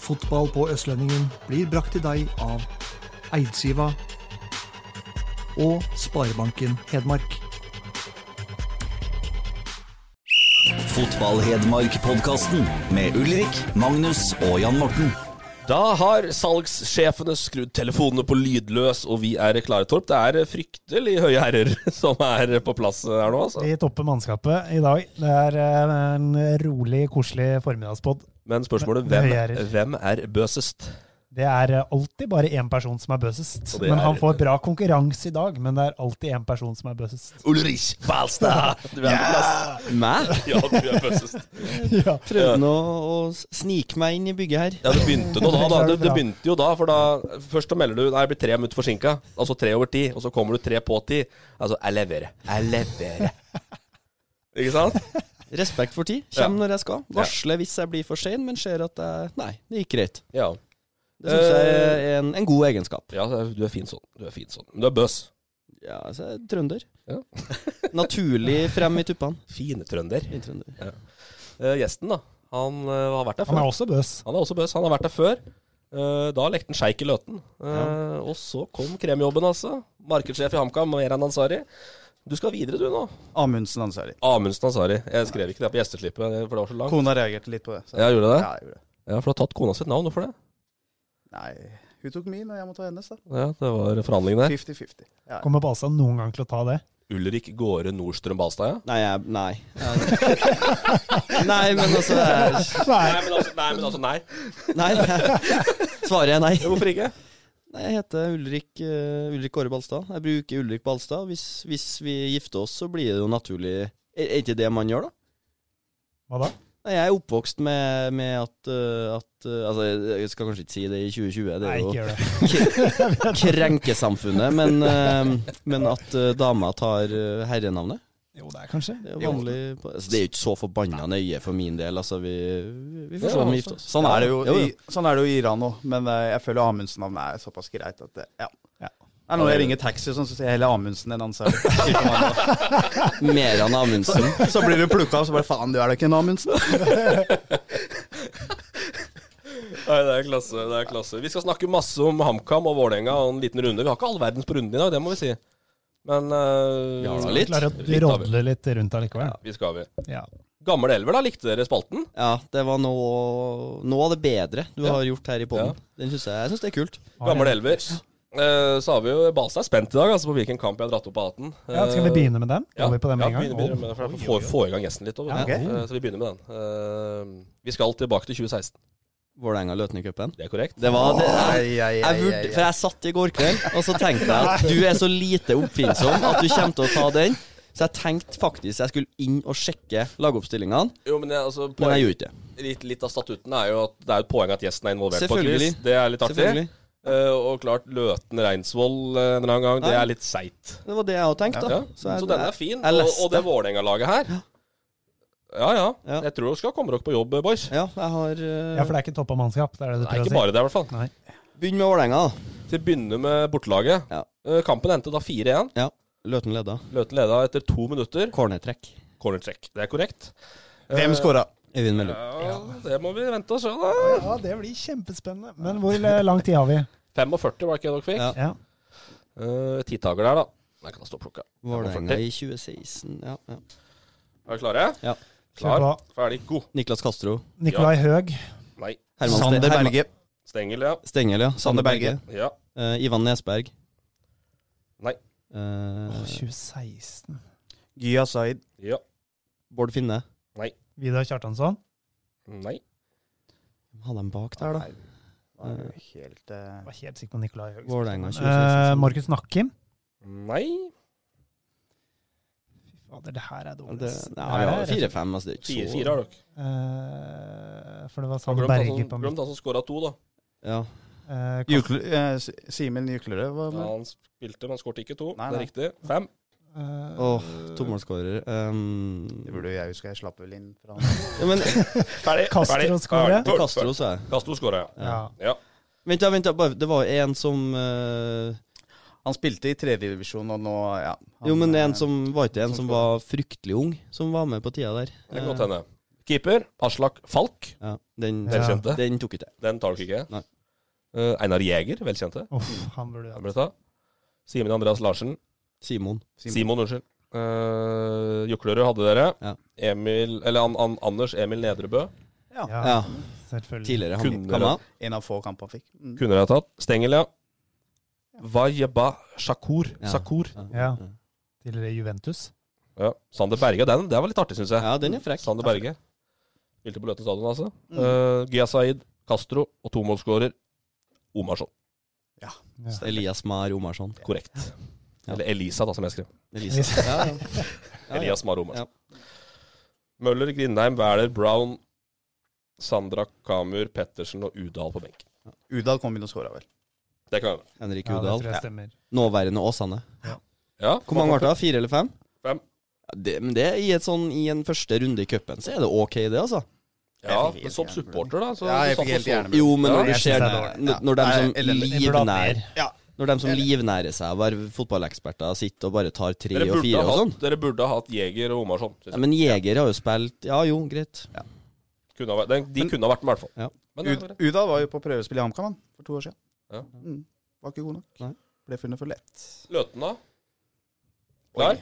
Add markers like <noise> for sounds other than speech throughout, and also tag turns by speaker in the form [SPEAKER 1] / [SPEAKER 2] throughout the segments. [SPEAKER 1] Fotball på Østlendingen blir brakt til deg av Eidsiva og Sparebanken Hedmark.
[SPEAKER 2] Fotball-Hedmark-podkasten med Ulrik, Magnus og Jan Morten.
[SPEAKER 3] Da har salgssjefene skrudd telefonene på lydløs, og vi er klare, Torp. Det er fryktelig høye herrer <laughs> som er på plass her nå, altså.
[SPEAKER 4] Vi topper mannskapet i dag. Det er eh, en rolig, koselig formiddagspod.
[SPEAKER 3] Men spørsmålet
[SPEAKER 4] Høye
[SPEAKER 3] hvem,
[SPEAKER 4] herrer.
[SPEAKER 3] hvem er bøsest?
[SPEAKER 4] Det er eh, alltid bare én person som er bøsest.
[SPEAKER 3] Og det
[SPEAKER 4] Men
[SPEAKER 3] er-
[SPEAKER 4] han får bra konkurranse i dag, men det er alltid én person som er bøsest.
[SPEAKER 3] Ulrich Balstad! Du er på plass.
[SPEAKER 5] Meg?
[SPEAKER 3] Ja, du er bøsest.
[SPEAKER 4] Ja.
[SPEAKER 5] Prøvde nå å s- snike meg inn i bygget her.
[SPEAKER 3] <laughs> Ja, det begynte nå da. da. Det, det
[SPEAKER 4] Bra.
[SPEAKER 3] begynte jo da, for da Først så melder du Nei, jeg blir tre minutter forsinka. Altså tre over ti. Og så kommer du tre på ti. Altså, jeg leverer. Jeg leverer. Ikke sant?
[SPEAKER 5] Respekt for tid.
[SPEAKER 3] Ja.
[SPEAKER 5] Kjem når jeg skal. Varsler hvis jeg blir for sein, men ser at jeg Nei, det gikk greit.
[SPEAKER 3] Ja.
[SPEAKER 5] Det
[SPEAKER 3] Eh.
[SPEAKER 5] syns jeg er en, en god egenskap.
[SPEAKER 3] ja, du er fin sånn. Du er fin sånn. Men Du er bøs.
[SPEAKER 5] Ja, altså, jeg er trønder.
[SPEAKER 3] Ja.
[SPEAKER 5] <laughs>
[SPEAKER 3] <laughs>
[SPEAKER 5] Naturlig frem i tuppene.
[SPEAKER 3] Fine trønder.
[SPEAKER 5] I trønder.
[SPEAKER 3] Eh, gjesten, da. Han eh, har vært der
[SPEAKER 4] Han
[SPEAKER 3] før.
[SPEAKER 4] er også bøs.
[SPEAKER 3] Han er også bøs. Han har vært der før. Eh, da lekte han sjeik i Løten. Eh, Og så kom kremjobben, altså. Markedssjef i HamKam, Meran Ansari. Du skal videre, du nå.
[SPEAKER 6] Amundsen Ansari.
[SPEAKER 3] Amundsen Ansari. Jeg skrev ikke det på gjesteslippet, for det var så langt.
[SPEAKER 6] Kona reagerte litt på det. så-
[SPEAKER 3] Ja, gjorde du det?
[SPEAKER 6] Ja, jeg gjorde det.
[SPEAKER 3] Ja, for du har tatt kona sitt navn, hvorfor det?
[SPEAKER 6] Nei, hun tok min, og jeg må ta hennes, da.
[SPEAKER 3] Ja, det var forhandling der.
[SPEAKER 6] 50-50. Ja.
[SPEAKER 4] Kommer Balstad noen gang til å ta det?
[SPEAKER 3] Ulrik Gåre Nordstrøm Balstad, ja?
[SPEAKER 5] Nei, jeg Nei. Jeg- Nei, men altså jeg,
[SPEAKER 3] Nei, men altså, nei. Men altså, nei.
[SPEAKER 5] Nei. Svaret er nei.
[SPEAKER 3] Hvorfor ikke?
[SPEAKER 5] Nei, Jeg heter Ulrik, eh, Ulrik Kåre Balstad. Jeg bruker Ulrik Balstad. Hvis, hvis vi gifter oss, så blir det jo naturlig Er er ikke det man gjør, da?
[SPEAKER 4] Hva da?
[SPEAKER 5] Nei, Jeg er oppvokst med, med at, eh, at eh, Altså, jeg skal kanskje ikke si det i 2020, det
[SPEAKER 4] Nei,
[SPEAKER 5] er
[SPEAKER 4] ikke
[SPEAKER 5] <laughs> jo
[SPEAKER 4] gjør det.
[SPEAKER 5] krenkesamfunnet, men, eh, men at eh, dama tar eh, herrenavnet.
[SPEAKER 4] Jo, det er kanskje.
[SPEAKER 5] Det er, vanlig, på- altså, det er jo ikke så forbanna nøye for min del. Altså, vi, vi får
[SPEAKER 3] Ja,
[SPEAKER 5] se om vi
[SPEAKER 3] altså.
[SPEAKER 5] gifter oss.
[SPEAKER 6] Sånn er det jo,
[SPEAKER 5] Ja, jo,
[SPEAKER 6] I, sånn er det jo i Iran òg, men eh, jeg føler Amundsen-navnet er såpass greit at det, ja.
[SPEAKER 4] Ja.
[SPEAKER 6] Det er når jeg ringer taxi, og sånn, så sier jeg heller Amundsen enn Ansari.
[SPEAKER 5] jo. Meran Amundsen.
[SPEAKER 6] <laughs> så blir du plukka opp, så bare faen, du er da ikke en Amundsen?
[SPEAKER 3] Nei, det er klasse. det er klasse. Vi skal snakke masse om HamKam og Vålerenga og en liten runde. Vi har ikke all verdens på runden i dag, det må vi si. Men eh,
[SPEAKER 5] Vi har da
[SPEAKER 3] skal
[SPEAKER 5] litt.
[SPEAKER 3] vi klare
[SPEAKER 4] Klarer
[SPEAKER 3] å-
[SPEAKER 4] at du
[SPEAKER 3] Litt har vi.
[SPEAKER 4] rodler litt rundt allikevel.
[SPEAKER 3] Vi skal vi.
[SPEAKER 4] Ja.
[SPEAKER 3] Gammel elver, da. Likte dere spalten?
[SPEAKER 5] Ja, det var noe, noe av det bedre du
[SPEAKER 3] Ja.
[SPEAKER 5] har gjort her i poden. Den synes jeg, jeg synes det er kult.
[SPEAKER 3] Gammel elver. Eh, så har vi jo Balstad er spent i dag altså, på hvilken kamp jeg har dratt opp av hatten. Eh,
[SPEAKER 4] Ja, skal vi begynne med den?
[SPEAKER 3] Ja,
[SPEAKER 4] Går vi på den
[SPEAKER 3] ja,
[SPEAKER 4] med en
[SPEAKER 3] begynner- begynner
[SPEAKER 4] gang?
[SPEAKER 3] med det, for jeg får, får i gang gjesten litt. Over,
[SPEAKER 4] Ja, ok.
[SPEAKER 3] Eh, så vi begynner med den. Eh, vi skal tilbake til 2016.
[SPEAKER 5] Vålerenga-Løten-cupen.
[SPEAKER 3] Det er korrekt.
[SPEAKER 5] Det var det. Jeg,
[SPEAKER 6] Ai, ai, ai,
[SPEAKER 5] jeg vurd,
[SPEAKER 6] ai,
[SPEAKER 5] for jeg satt i går kveld, og så tenkte jeg at du er så lite oppfinnsom at du kommer til å ta den. Så jeg tenkte faktisk jeg skulle inn og sjekke lagoppstillingene,
[SPEAKER 3] Jo, men det, er
[SPEAKER 5] men
[SPEAKER 3] altså,
[SPEAKER 5] jeg
[SPEAKER 3] poeng,
[SPEAKER 5] gjorde ikke det.
[SPEAKER 3] litt, litt av statutten er jo at det er et poeng at gjesten er involvert på et
[SPEAKER 5] Selvfølgelig.
[SPEAKER 3] quiz. Det er litt artig.
[SPEAKER 5] Selvfølgelig.
[SPEAKER 3] Eh, og klart Løten Reinsvoll eh, en eller annen gang, det
[SPEAKER 5] Ja.
[SPEAKER 3] er litt seigt.
[SPEAKER 5] Det var det jeg hadde tenkt,
[SPEAKER 3] Ja.
[SPEAKER 5] da.
[SPEAKER 3] Så,
[SPEAKER 5] jeg-
[SPEAKER 3] den er fin.
[SPEAKER 5] Jeg
[SPEAKER 3] Og,
[SPEAKER 5] leste.
[SPEAKER 3] og det Vålerenga-laget her. Ja, ja
[SPEAKER 5] Ja.
[SPEAKER 3] Jeg tror dere skal komme dere på jobb, boys.
[SPEAKER 5] Ja, jeg har eh,
[SPEAKER 4] Ja, for det er ikke toppa mannskap? Det er det
[SPEAKER 3] Det
[SPEAKER 4] du
[SPEAKER 3] er
[SPEAKER 4] prøver
[SPEAKER 3] ikke
[SPEAKER 4] å si?
[SPEAKER 3] bare det, i hvert fall.
[SPEAKER 4] Nei.
[SPEAKER 5] Begynn med Vålerenga, da.
[SPEAKER 3] Til å begynne med bortelaget.
[SPEAKER 5] Ja.
[SPEAKER 3] Eh, kampen endte da 4-1.
[SPEAKER 5] Ja. Løten leda.
[SPEAKER 3] Løten leda etter to minutter.
[SPEAKER 5] Cornertrekk.
[SPEAKER 3] Cornertrekk. Det er korrekt.
[SPEAKER 6] ai. Hvem skåra?
[SPEAKER 5] Øyvind Mellum.
[SPEAKER 3] Eh, Ja, det må vi vente og se, da.
[SPEAKER 4] Ja, det blir kjempespennende. Men hvor eh, lang tid har vi?
[SPEAKER 3] 45 var det ikke det dere fikk?
[SPEAKER 5] Ja.
[SPEAKER 4] Ja.
[SPEAKER 3] Eh, Titager der, da. Jeg kan da stå og plukke.
[SPEAKER 5] Vålerenga i 2016. Ja, ja.
[SPEAKER 3] Er dere klare?
[SPEAKER 5] Ja.
[SPEAKER 3] Klar,
[SPEAKER 4] Kjør på.
[SPEAKER 3] ferdig, god.
[SPEAKER 5] Niklas Castro.
[SPEAKER 4] Nikolai Høeg.
[SPEAKER 3] Nei.
[SPEAKER 5] Herman Ste-
[SPEAKER 6] Sander
[SPEAKER 5] Herman-
[SPEAKER 6] Berge.
[SPEAKER 3] Stengel, ja.
[SPEAKER 5] Stengel, ja.
[SPEAKER 6] Sander Berge.
[SPEAKER 3] Ja.
[SPEAKER 5] Eh, Ivan Nesberg.
[SPEAKER 3] Nei.
[SPEAKER 5] Eh,
[SPEAKER 4] 2016.
[SPEAKER 6] Gya Zaid.
[SPEAKER 3] Ja.
[SPEAKER 5] Bård Finne.
[SPEAKER 4] Vidar Kjartansson.
[SPEAKER 3] Nei.
[SPEAKER 5] Hvem hadde de bak der, da?
[SPEAKER 6] Nei,
[SPEAKER 5] Mm.
[SPEAKER 6] det var jo Helt eh,
[SPEAKER 4] Jeg var helt sikker på Nikolai Høeg.
[SPEAKER 5] Vålerenga
[SPEAKER 4] Eh,
[SPEAKER 5] 2016.
[SPEAKER 4] Markus Nakkim.
[SPEAKER 3] Nei.
[SPEAKER 4] Fader, det her er dårlig.
[SPEAKER 5] Det,
[SPEAKER 4] ass.
[SPEAKER 5] nei,
[SPEAKER 4] Det her
[SPEAKER 5] vi har
[SPEAKER 4] er-
[SPEAKER 5] fire-fem. Altså, det er
[SPEAKER 3] Fire,
[SPEAKER 5] ikke
[SPEAKER 3] fire
[SPEAKER 5] så
[SPEAKER 3] har dere.
[SPEAKER 4] Eh, for det var sånn
[SPEAKER 3] Glemt han
[SPEAKER 4] Berger på
[SPEAKER 3] som,
[SPEAKER 4] mitt.
[SPEAKER 3] glemt han som skåra to, da.
[SPEAKER 5] ja.
[SPEAKER 4] Eh, Ka-
[SPEAKER 6] Jukle, eh, S- Simen Juklerød var
[SPEAKER 3] Ja,
[SPEAKER 6] med.
[SPEAKER 3] han spilte, men skårte ikke to.
[SPEAKER 6] Nei,
[SPEAKER 3] Det er riktig. Fem.
[SPEAKER 4] eh,
[SPEAKER 5] Åh, tomålsskårer. Um,
[SPEAKER 6] Det burde jo jeg huske, jeg slapp vel inn fra han.
[SPEAKER 5] ja, men
[SPEAKER 3] Ferdig.
[SPEAKER 4] Castro skårer.
[SPEAKER 5] det kaster oss, jeg.
[SPEAKER 3] Castro skåra, ja.
[SPEAKER 4] Ja.
[SPEAKER 3] ja.
[SPEAKER 5] Vent, da, vent, da. bare- Det var jo en som eh,
[SPEAKER 6] Han spilte i tredjedivisjon, og nå, ja. Han,
[SPEAKER 5] Jo, men
[SPEAKER 6] eh,
[SPEAKER 5] en som var ikke en som
[SPEAKER 6] som skårer.
[SPEAKER 5] var fryktelig ung, som var med på tida der. Eh,
[SPEAKER 3] Det kan godt hende. Keeper Aslak Falk.
[SPEAKER 5] Ja, den,
[SPEAKER 4] Ja.
[SPEAKER 3] Velkjente.
[SPEAKER 5] den tok ikke jeg.
[SPEAKER 3] Den tar dere ikke.
[SPEAKER 5] Nei.
[SPEAKER 3] Eh, Einar Jæger. Velkjente.
[SPEAKER 4] Uff, han burde
[SPEAKER 3] Den
[SPEAKER 4] jo
[SPEAKER 3] ble tatt. Simen Andreas Larsen.
[SPEAKER 5] Simon.
[SPEAKER 6] Simon.
[SPEAKER 3] Simon, unnskyld. Uh, Juklerud hadde dere.
[SPEAKER 5] Ja.
[SPEAKER 3] Emil, eller an, an, Anders Emil Nedrebø.
[SPEAKER 6] Ja.
[SPEAKER 5] Ja,
[SPEAKER 4] Ja, selvfølgelig.
[SPEAKER 5] tidligere han
[SPEAKER 3] Kunne
[SPEAKER 5] kamma.
[SPEAKER 6] En av få kamper han fikk. Mm.
[SPEAKER 3] Kunne dere ha tatt. Stengel, ja. Vajeba Shakur.
[SPEAKER 5] Ja.
[SPEAKER 3] Shakur.
[SPEAKER 4] Ja. Tidligere Juventus.
[SPEAKER 3] Ja. Sander Berge. Den, det var litt artig, syns jeg.
[SPEAKER 5] Ja, den er frekk. Mm.
[SPEAKER 3] Sander Berge. Spilte på Løten stadion, altså. Eh, Gya Said, Castro og tomålsskårer Omarsson.
[SPEAKER 4] Ja.
[SPEAKER 5] Elias Mar
[SPEAKER 4] <laughs>
[SPEAKER 5] Omarsson.
[SPEAKER 3] Korrekt.
[SPEAKER 5] Ja.
[SPEAKER 3] Eller Elisa, da, som jeg skrev.
[SPEAKER 5] Elias. Ja, ja. Ja, ja.
[SPEAKER 3] Elias Mar Omarsson. Møller, Grindheim, Wæler, Brown, Sandra Kamur, Pettersen og Udal på benken.
[SPEAKER 6] Udal kom inn og skåra, vel.
[SPEAKER 3] Det kan hende.
[SPEAKER 5] Henrik
[SPEAKER 4] Ja, det
[SPEAKER 5] Udal.
[SPEAKER 4] tror jeg stemmer.
[SPEAKER 5] Nåværende Åsane.
[SPEAKER 3] Ja,
[SPEAKER 5] Hvor mange ble det? Fire eller fem?
[SPEAKER 3] Fem.
[SPEAKER 5] Ja, det, men det i, et sånn, I en første runde i cupen, så er det OK, det, altså.
[SPEAKER 3] Ja, men
[SPEAKER 6] Jeg fikk helt
[SPEAKER 3] som
[SPEAKER 6] jernblødning.
[SPEAKER 3] supporter, da. Så
[SPEAKER 6] Ja,
[SPEAKER 3] du satt
[SPEAKER 6] jeg fikk
[SPEAKER 3] og
[SPEAKER 6] helt
[SPEAKER 3] så-
[SPEAKER 6] jernblødning.
[SPEAKER 5] Jo, men
[SPEAKER 3] Ja,
[SPEAKER 5] når du
[SPEAKER 4] jeg
[SPEAKER 5] ser
[SPEAKER 4] synes det er dårlig.
[SPEAKER 5] når, når de
[SPEAKER 6] Nei,
[SPEAKER 5] som
[SPEAKER 6] elendig.
[SPEAKER 4] Vi burde hatt
[SPEAKER 5] livnær
[SPEAKER 4] mer.
[SPEAKER 6] Ja.
[SPEAKER 5] Når de som livnærer seg, hver fotballeksperter sitter og bare tar tre
[SPEAKER 3] Dere
[SPEAKER 5] og
[SPEAKER 3] burde,
[SPEAKER 5] fire
[SPEAKER 3] ha
[SPEAKER 5] og sånn.
[SPEAKER 3] hatt, dere burde ha hatt Jeger og Omarsson. synes
[SPEAKER 5] Ja,
[SPEAKER 3] jeg.
[SPEAKER 5] men Jeger har jo spilt Ja jo, greit.
[SPEAKER 3] Kunne ha vært, den- de kunne ha vært med, i hvert fall.
[SPEAKER 5] Ja.
[SPEAKER 3] Men det er
[SPEAKER 6] Ud
[SPEAKER 3] bare-
[SPEAKER 6] Udal var jo på prøvespill i HamKam han, for to år siden.
[SPEAKER 3] Ja.
[SPEAKER 6] Mm. Var ikke god nok.
[SPEAKER 5] Nei.
[SPEAKER 6] Ble funnet for lett.
[SPEAKER 3] Løten, da?
[SPEAKER 6] Oi,
[SPEAKER 3] Klar?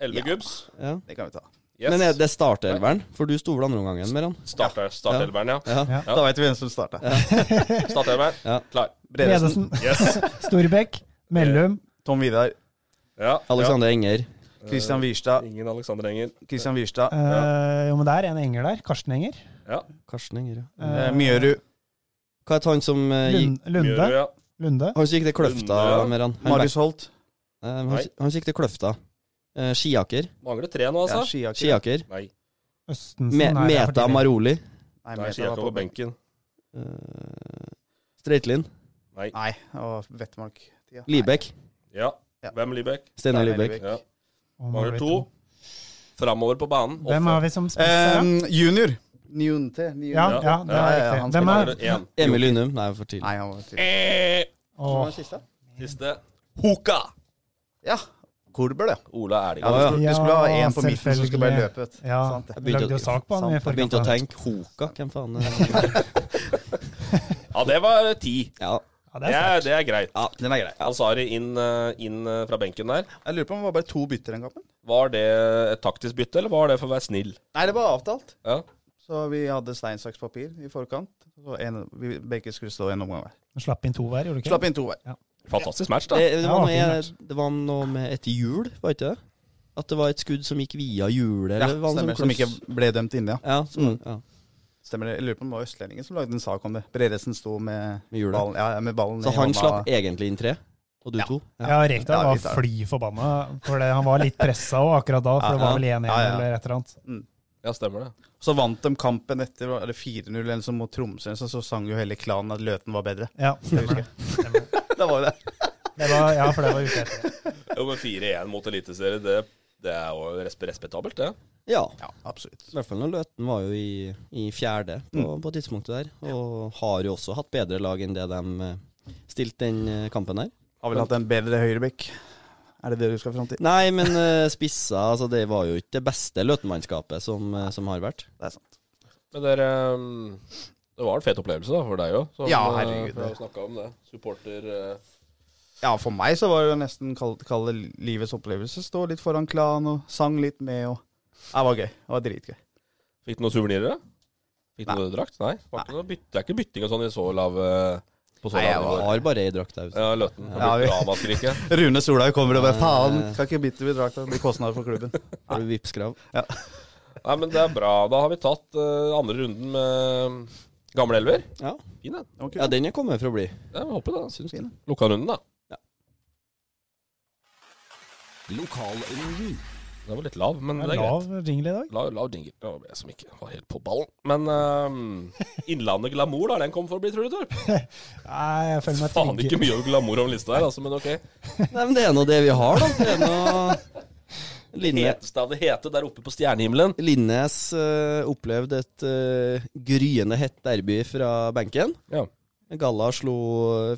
[SPEAKER 3] Elleve
[SPEAKER 6] Ja.
[SPEAKER 3] gubbs?
[SPEAKER 5] Ja.
[SPEAKER 6] det kan vi ta.
[SPEAKER 3] Yes.
[SPEAKER 5] Men er det startelveren? For du sto vel andreomgangen med han?
[SPEAKER 3] Start Startelveren, ja.
[SPEAKER 5] Ja.
[SPEAKER 4] Ja.
[SPEAKER 6] Da veit vi hvem som starta.
[SPEAKER 3] Startelveren,
[SPEAKER 5] Ja.
[SPEAKER 3] klar.
[SPEAKER 6] Bredesen,
[SPEAKER 5] <laughs>
[SPEAKER 4] Bredesen,
[SPEAKER 3] Yes.
[SPEAKER 4] Storbekk, Mellum,
[SPEAKER 6] Tom Vidar,
[SPEAKER 3] Ja.
[SPEAKER 5] Alexander Enger.
[SPEAKER 6] Christian
[SPEAKER 3] Ja. Eh,
[SPEAKER 6] Wirstad,
[SPEAKER 3] Ingen Alexander Enger.
[SPEAKER 6] Christian Wirstad,
[SPEAKER 4] eh, jo, men det er en enger der. Karsten Enger.
[SPEAKER 3] Ja.
[SPEAKER 5] Karsten Enger, ja.
[SPEAKER 4] Eh,
[SPEAKER 6] eh, Mjørud,
[SPEAKER 5] Hva het han som eh, gikk
[SPEAKER 4] Lund,
[SPEAKER 3] Mjørud,
[SPEAKER 4] Lunde.
[SPEAKER 3] ja.
[SPEAKER 4] Lunde.
[SPEAKER 5] Han som gikk til Kløfta
[SPEAKER 3] Lunde, ja.
[SPEAKER 5] med han? Han,
[SPEAKER 6] Marius Holt,
[SPEAKER 5] eh, han,
[SPEAKER 3] Nei.
[SPEAKER 5] han som gikk til Kløfta. Eh, Skiaker.
[SPEAKER 3] Mangler tre nå,
[SPEAKER 6] ja,
[SPEAKER 3] altså.
[SPEAKER 6] Skiaker.
[SPEAKER 5] Skiaker.
[SPEAKER 3] Nei,
[SPEAKER 4] Østensen.
[SPEAKER 5] Me
[SPEAKER 4] nei, det er
[SPEAKER 5] Meta
[SPEAKER 4] for tidlig.
[SPEAKER 5] Maroli.
[SPEAKER 6] Nei,
[SPEAKER 3] Nei
[SPEAKER 6] Meta var
[SPEAKER 3] Skiaker
[SPEAKER 6] på
[SPEAKER 3] på benken.
[SPEAKER 5] Eh, Streitlin.
[SPEAKER 3] Nei.
[SPEAKER 6] Nei, og Vettmark. Ja.
[SPEAKER 5] Libekk.
[SPEAKER 3] Ja.
[SPEAKER 6] Ja.
[SPEAKER 3] Hvem Libek?
[SPEAKER 6] Nei,
[SPEAKER 5] Steinar
[SPEAKER 6] nei,
[SPEAKER 5] Libekk.
[SPEAKER 6] Libek.
[SPEAKER 3] Ja.
[SPEAKER 4] Og
[SPEAKER 3] Mangler
[SPEAKER 4] Marvitt.
[SPEAKER 3] to. Framover på banen.
[SPEAKER 4] Hvem har vi som
[SPEAKER 6] Eh,
[SPEAKER 4] spiser?
[SPEAKER 6] junior. Njunte.
[SPEAKER 4] Ja,
[SPEAKER 6] Njunte.
[SPEAKER 4] ja, det er
[SPEAKER 6] Ja, ja, ja,
[SPEAKER 4] riktig.
[SPEAKER 6] han skal
[SPEAKER 4] Hvem er
[SPEAKER 3] Mangler én.
[SPEAKER 5] Emil Lynum. Nei, for tidlig.
[SPEAKER 6] Nei, han var til.
[SPEAKER 3] Eh,
[SPEAKER 6] Hvem var
[SPEAKER 4] Åh,
[SPEAKER 6] den siste?
[SPEAKER 3] Siste. Hoka!
[SPEAKER 6] Ja. Kolbøl, ja.
[SPEAKER 3] Ola Erling.
[SPEAKER 6] ja, du, skulle,
[SPEAKER 4] ja,
[SPEAKER 6] du skulle ha én på midten som
[SPEAKER 4] selvfølgelig.
[SPEAKER 6] skulle bare løpe. vet du.
[SPEAKER 4] Ja,
[SPEAKER 6] Sant det.
[SPEAKER 4] vi lagde jo sak på han i
[SPEAKER 6] Sant.
[SPEAKER 5] Jeg begynte å
[SPEAKER 4] forkant.
[SPEAKER 5] tenke Hoka, hvem faen er det?
[SPEAKER 3] Ja, det var eh, ti.
[SPEAKER 5] Ja.
[SPEAKER 4] Ja, det
[SPEAKER 3] Det
[SPEAKER 4] er sterkt.
[SPEAKER 3] er, det er greit.
[SPEAKER 6] Den er grei.
[SPEAKER 3] Ansari inn, eh, inn eh, fra benken der.
[SPEAKER 6] Jeg lurer på om det var bare to bytter den kampen.
[SPEAKER 3] Var det et taktisk bytte, eller var det for å være snill?
[SPEAKER 6] Nei, det var avtalt.
[SPEAKER 3] Ja.
[SPEAKER 6] Så vi hadde stein, saks, papir i forkant. Så en, vi, begge skulle stå en omgang hver.
[SPEAKER 4] Du Slapp inn to hver, gjorde du ikke?
[SPEAKER 6] Slapp inn to hver.
[SPEAKER 3] Fantastisk match, da.
[SPEAKER 5] Det, det, var
[SPEAKER 4] Ja,
[SPEAKER 5] noe,
[SPEAKER 4] fin
[SPEAKER 5] jeg, det var noe med et hjul, var ikke det? At det var et skudd som gikk via hjulet?
[SPEAKER 6] Ja,
[SPEAKER 5] eller var det
[SPEAKER 6] stemmer.
[SPEAKER 5] sånn
[SPEAKER 6] Som
[SPEAKER 5] kluss?
[SPEAKER 6] ikke Mm. ble dømt inne, ja.
[SPEAKER 5] Ja, som, ja.
[SPEAKER 6] Stemmer det. Jeg lurer på om det var Østlendingen som lagde en sak om det. Bredesen sto med,
[SPEAKER 5] Med hjulet.
[SPEAKER 6] ballen, ja, med ballen
[SPEAKER 5] Så
[SPEAKER 6] i
[SPEAKER 5] han
[SPEAKER 6] hånda.
[SPEAKER 5] slapp egentlig inn tre, og du to?
[SPEAKER 4] Ja, Rekdal
[SPEAKER 6] Ja,
[SPEAKER 4] var
[SPEAKER 6] vi tar-
[SPEAKER 4] fly forbanna, for det, han var litt pressa òg akkurat da, for det var vel 1-1
[SPEAKER 6] Ja, ja.
[SPEAKER 4] eller et eller annet.
[SPEAKER 3] Ja, stemmer det.
[SPEAKER 6] Så vant de kampen etter var det 4-0 eller noe sånt mot Tromsø, eller noe sånt, så sang jo hele klanen at Løten var bedre.
[SPEAKER 4] Ja, stemmer det. Stemmer det.
[SPEAKER 6] Da var jo det.
[SPEAKER 4] Det var, ja, for det var uka etter.
[SPEAKER 3] Jo, men 4-1 mot Eliteserien, det, det er jo respe- respektabelt, det.
[SPEAKER 5] Ja.
[SPEAKER 6] Ja, absolutt.
[SPEAKER 5] I hvert fall når Løten var jo i, i fjerde på,
[SPEAKER 6] Mm.
[SPEAKER 5] på tidspunktet der, og har jo også hatt bedre lag enn det de eh, stilte den eh, kampen her.
[SPEAKER 6] Har vel hatt en bedre høyrebekk. Er det det du skal fram til?
[SPEAKER 5] Nei, men eh, spissa altså Det var jo ikke det beste Løten-mannskapet som, eh, som har vært.
[SPEAKER 6] Det er sant.
[SPEAKER 3] Men dere ehm, Det var en fet opplevelse da, for deg eh, òg.
[SPEAKER 6] Ja, herregud,
[SPEAKER 3] Vi har
[SPEAKER 6] det-
[SPEAKER 3] jo snakka om det. Supporter eh,
[SPEAKER 6] Ja, for meg så var det jo nesten kall kall det livets opplevelse. Stå litt foran klan og sang litt med og Ja, Det var gøy. Det var dritgøy.
[SPEAKER 3] Fikk du noen suvenirer, da? Fikk du noe drakt? Nei. Var ikke noe bytte, det er ikke bytting og sånn i så lav eh, På så
[SPEAKER 6] Nei, jeg
[SPEAKER 3] lav
[SPEAKER 6] var-
[SPEAKER 3] nivå.
[SPEAKER 5] Har bare ei drakt der.
[SPEAKER 3] Ja, Løten. Det
[SPEAKER 6] Ja,
[SPEAKER 3] blir
[SPEAKER 6] vi-
[SPEAKER 3] Dramaskriket.
[SPEAKER 6] Rune Solhaug kommer og bare Faen,
[SPEAKER 4] Eh,
[SPEAKER 6] kan ikke bytte vi drakta. Det blir kostnader
[SPEAKER 4] <laughs>
[SPEAKER 6] for klubben.
[SPEAKER 5] Eh, Har du Vipps-krav?
[SPEAKER 3] Nei, men det er bra. Da har vi tatt eh, andre runden med eh, gamle elver.
[SPEAKER 5] Ja.
[SPEAKER 3] Fin, den.
[SPEAKER 5] ja, den er kommet for å bli.
[SPEAKER 3] Jeg håper det.
[SPEAKER 5] Syns det.
[SPEAKER 3] Lukka runden, da.
[SPEAKER 2] Lokalrunden.
[SPEAKER 3] Den var litt lav, men det
[SPEAKER 4] Det er
[SPEAKER 3] er greit.
[SPEAKER 4] lav jingle i dag.
[SPEAKER 3] Lav, lav jingle. Det var jeg som ikke var helt på ballen. Men ehm, Innlandet glamour, da. Den kom for å bli, tror du, Torp?
[SPEAKER 4] Nei, jeg føler meg
[SPEAKER 3] Faen
[SPEAKER 4] trygg.
[SPEAKER 3] ikke mye glamour om lista her, altså, men ok.
[SPEAKER 5] Nei, men det er nå det vi har, da. Det er nå Linje,
[SPEAKER 3] Heteste av det hete der oppe på stjernehimmelen.
[SPEAKER 5] Linnes eh, opplevde et eh, gryende hett derby fra benken.
[SPEAKER 3] Ja.
[SPEAKER 5] Galla slo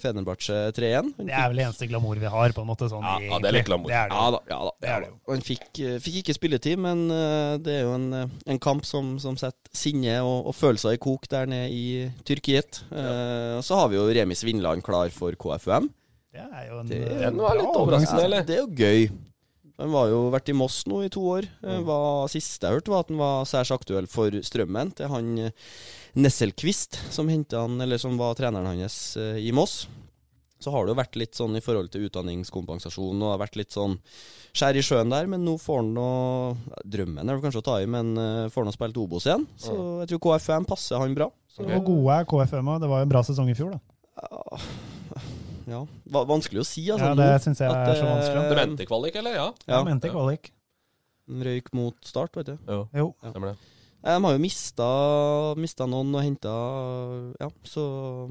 [SPEAKER 5] Fenerbahçe 3-1. Hun
[SPEAKER 4] Det er vel det eneste glamour vi har, på en måte. Sånn,
[SPEAKER 3] Ja, ja, det er
[SPEAKER 4] egentlig.
[SPEAKER 3] litt glamour.
[SPEAKER 4] Det er det.
[SPEAKER 5] Ja da. ja da,
[SPEAKER 4] Det er det jo.
[SPEAKER 5] Og Han fikk, eh, fikk ikke spilletid, men eh, det er jo en, eh, en kamp som, som setter sinne og, og følelser i kok der nede i Tyrkiet. Eh, og Så har vi jo Remi Svinland klar for KFUM.
[SPEAKER 4] Det er jo en eh,
[SPEAKER 5] Det-
[SPEAKER 3] Den var litt overraskende,
[SPEAKER 5] Ja,
[SPEAKER 3] eller?
[SPEAKER 5] det Sånn er jo gøy. Han var jo vært i Moss nå i to år. Eh, Var, siste jeg hørte, var at han var særs aktuell for Strømmen. Det er han eh, Nesselquist som, hentet han, eller som var treneren hans eh, i Moss. Så har det jo vært litt sånn i forhold til utdanningskompensasjon og det har vært litt sånn skjær i sjøen der, men nå får han nå ja, Drømmen er vel kanskje å ta i, men eh, får han nå spilt Obos igjen. Så jeg tror KFM passer han bra.
[SPEAKER 4] Så Hvor gode er KFM? og Det var jo en bra sesong i fjor, da.
[SPEAKER 5] Ja, Ja, va- vanskelig å si, altså.
[SPEAKER 4] Ja,
[SPEAKER 5] nå,
[SPEAKER 4] det syns jeg
[SPEAKER 5] at,
[SPEAKER 4] er så vanskelig.
[SPEAKER 5] eh,
[SPEAKER 3] Det mente kvalik, eller? Ja.
[SPEAKER 4] Ja,
[SPEAKER 5] Ja.
[SPEAKER 4] mente kvalik.
[SPEAKER 5] Røyk mot start, vet du.
[SPEAKER 4] Jo.
[SPEAKER 3] Stemmer det.
[SPEAKER 5] Nei, De har jo mista, mista noen og henta Ja, så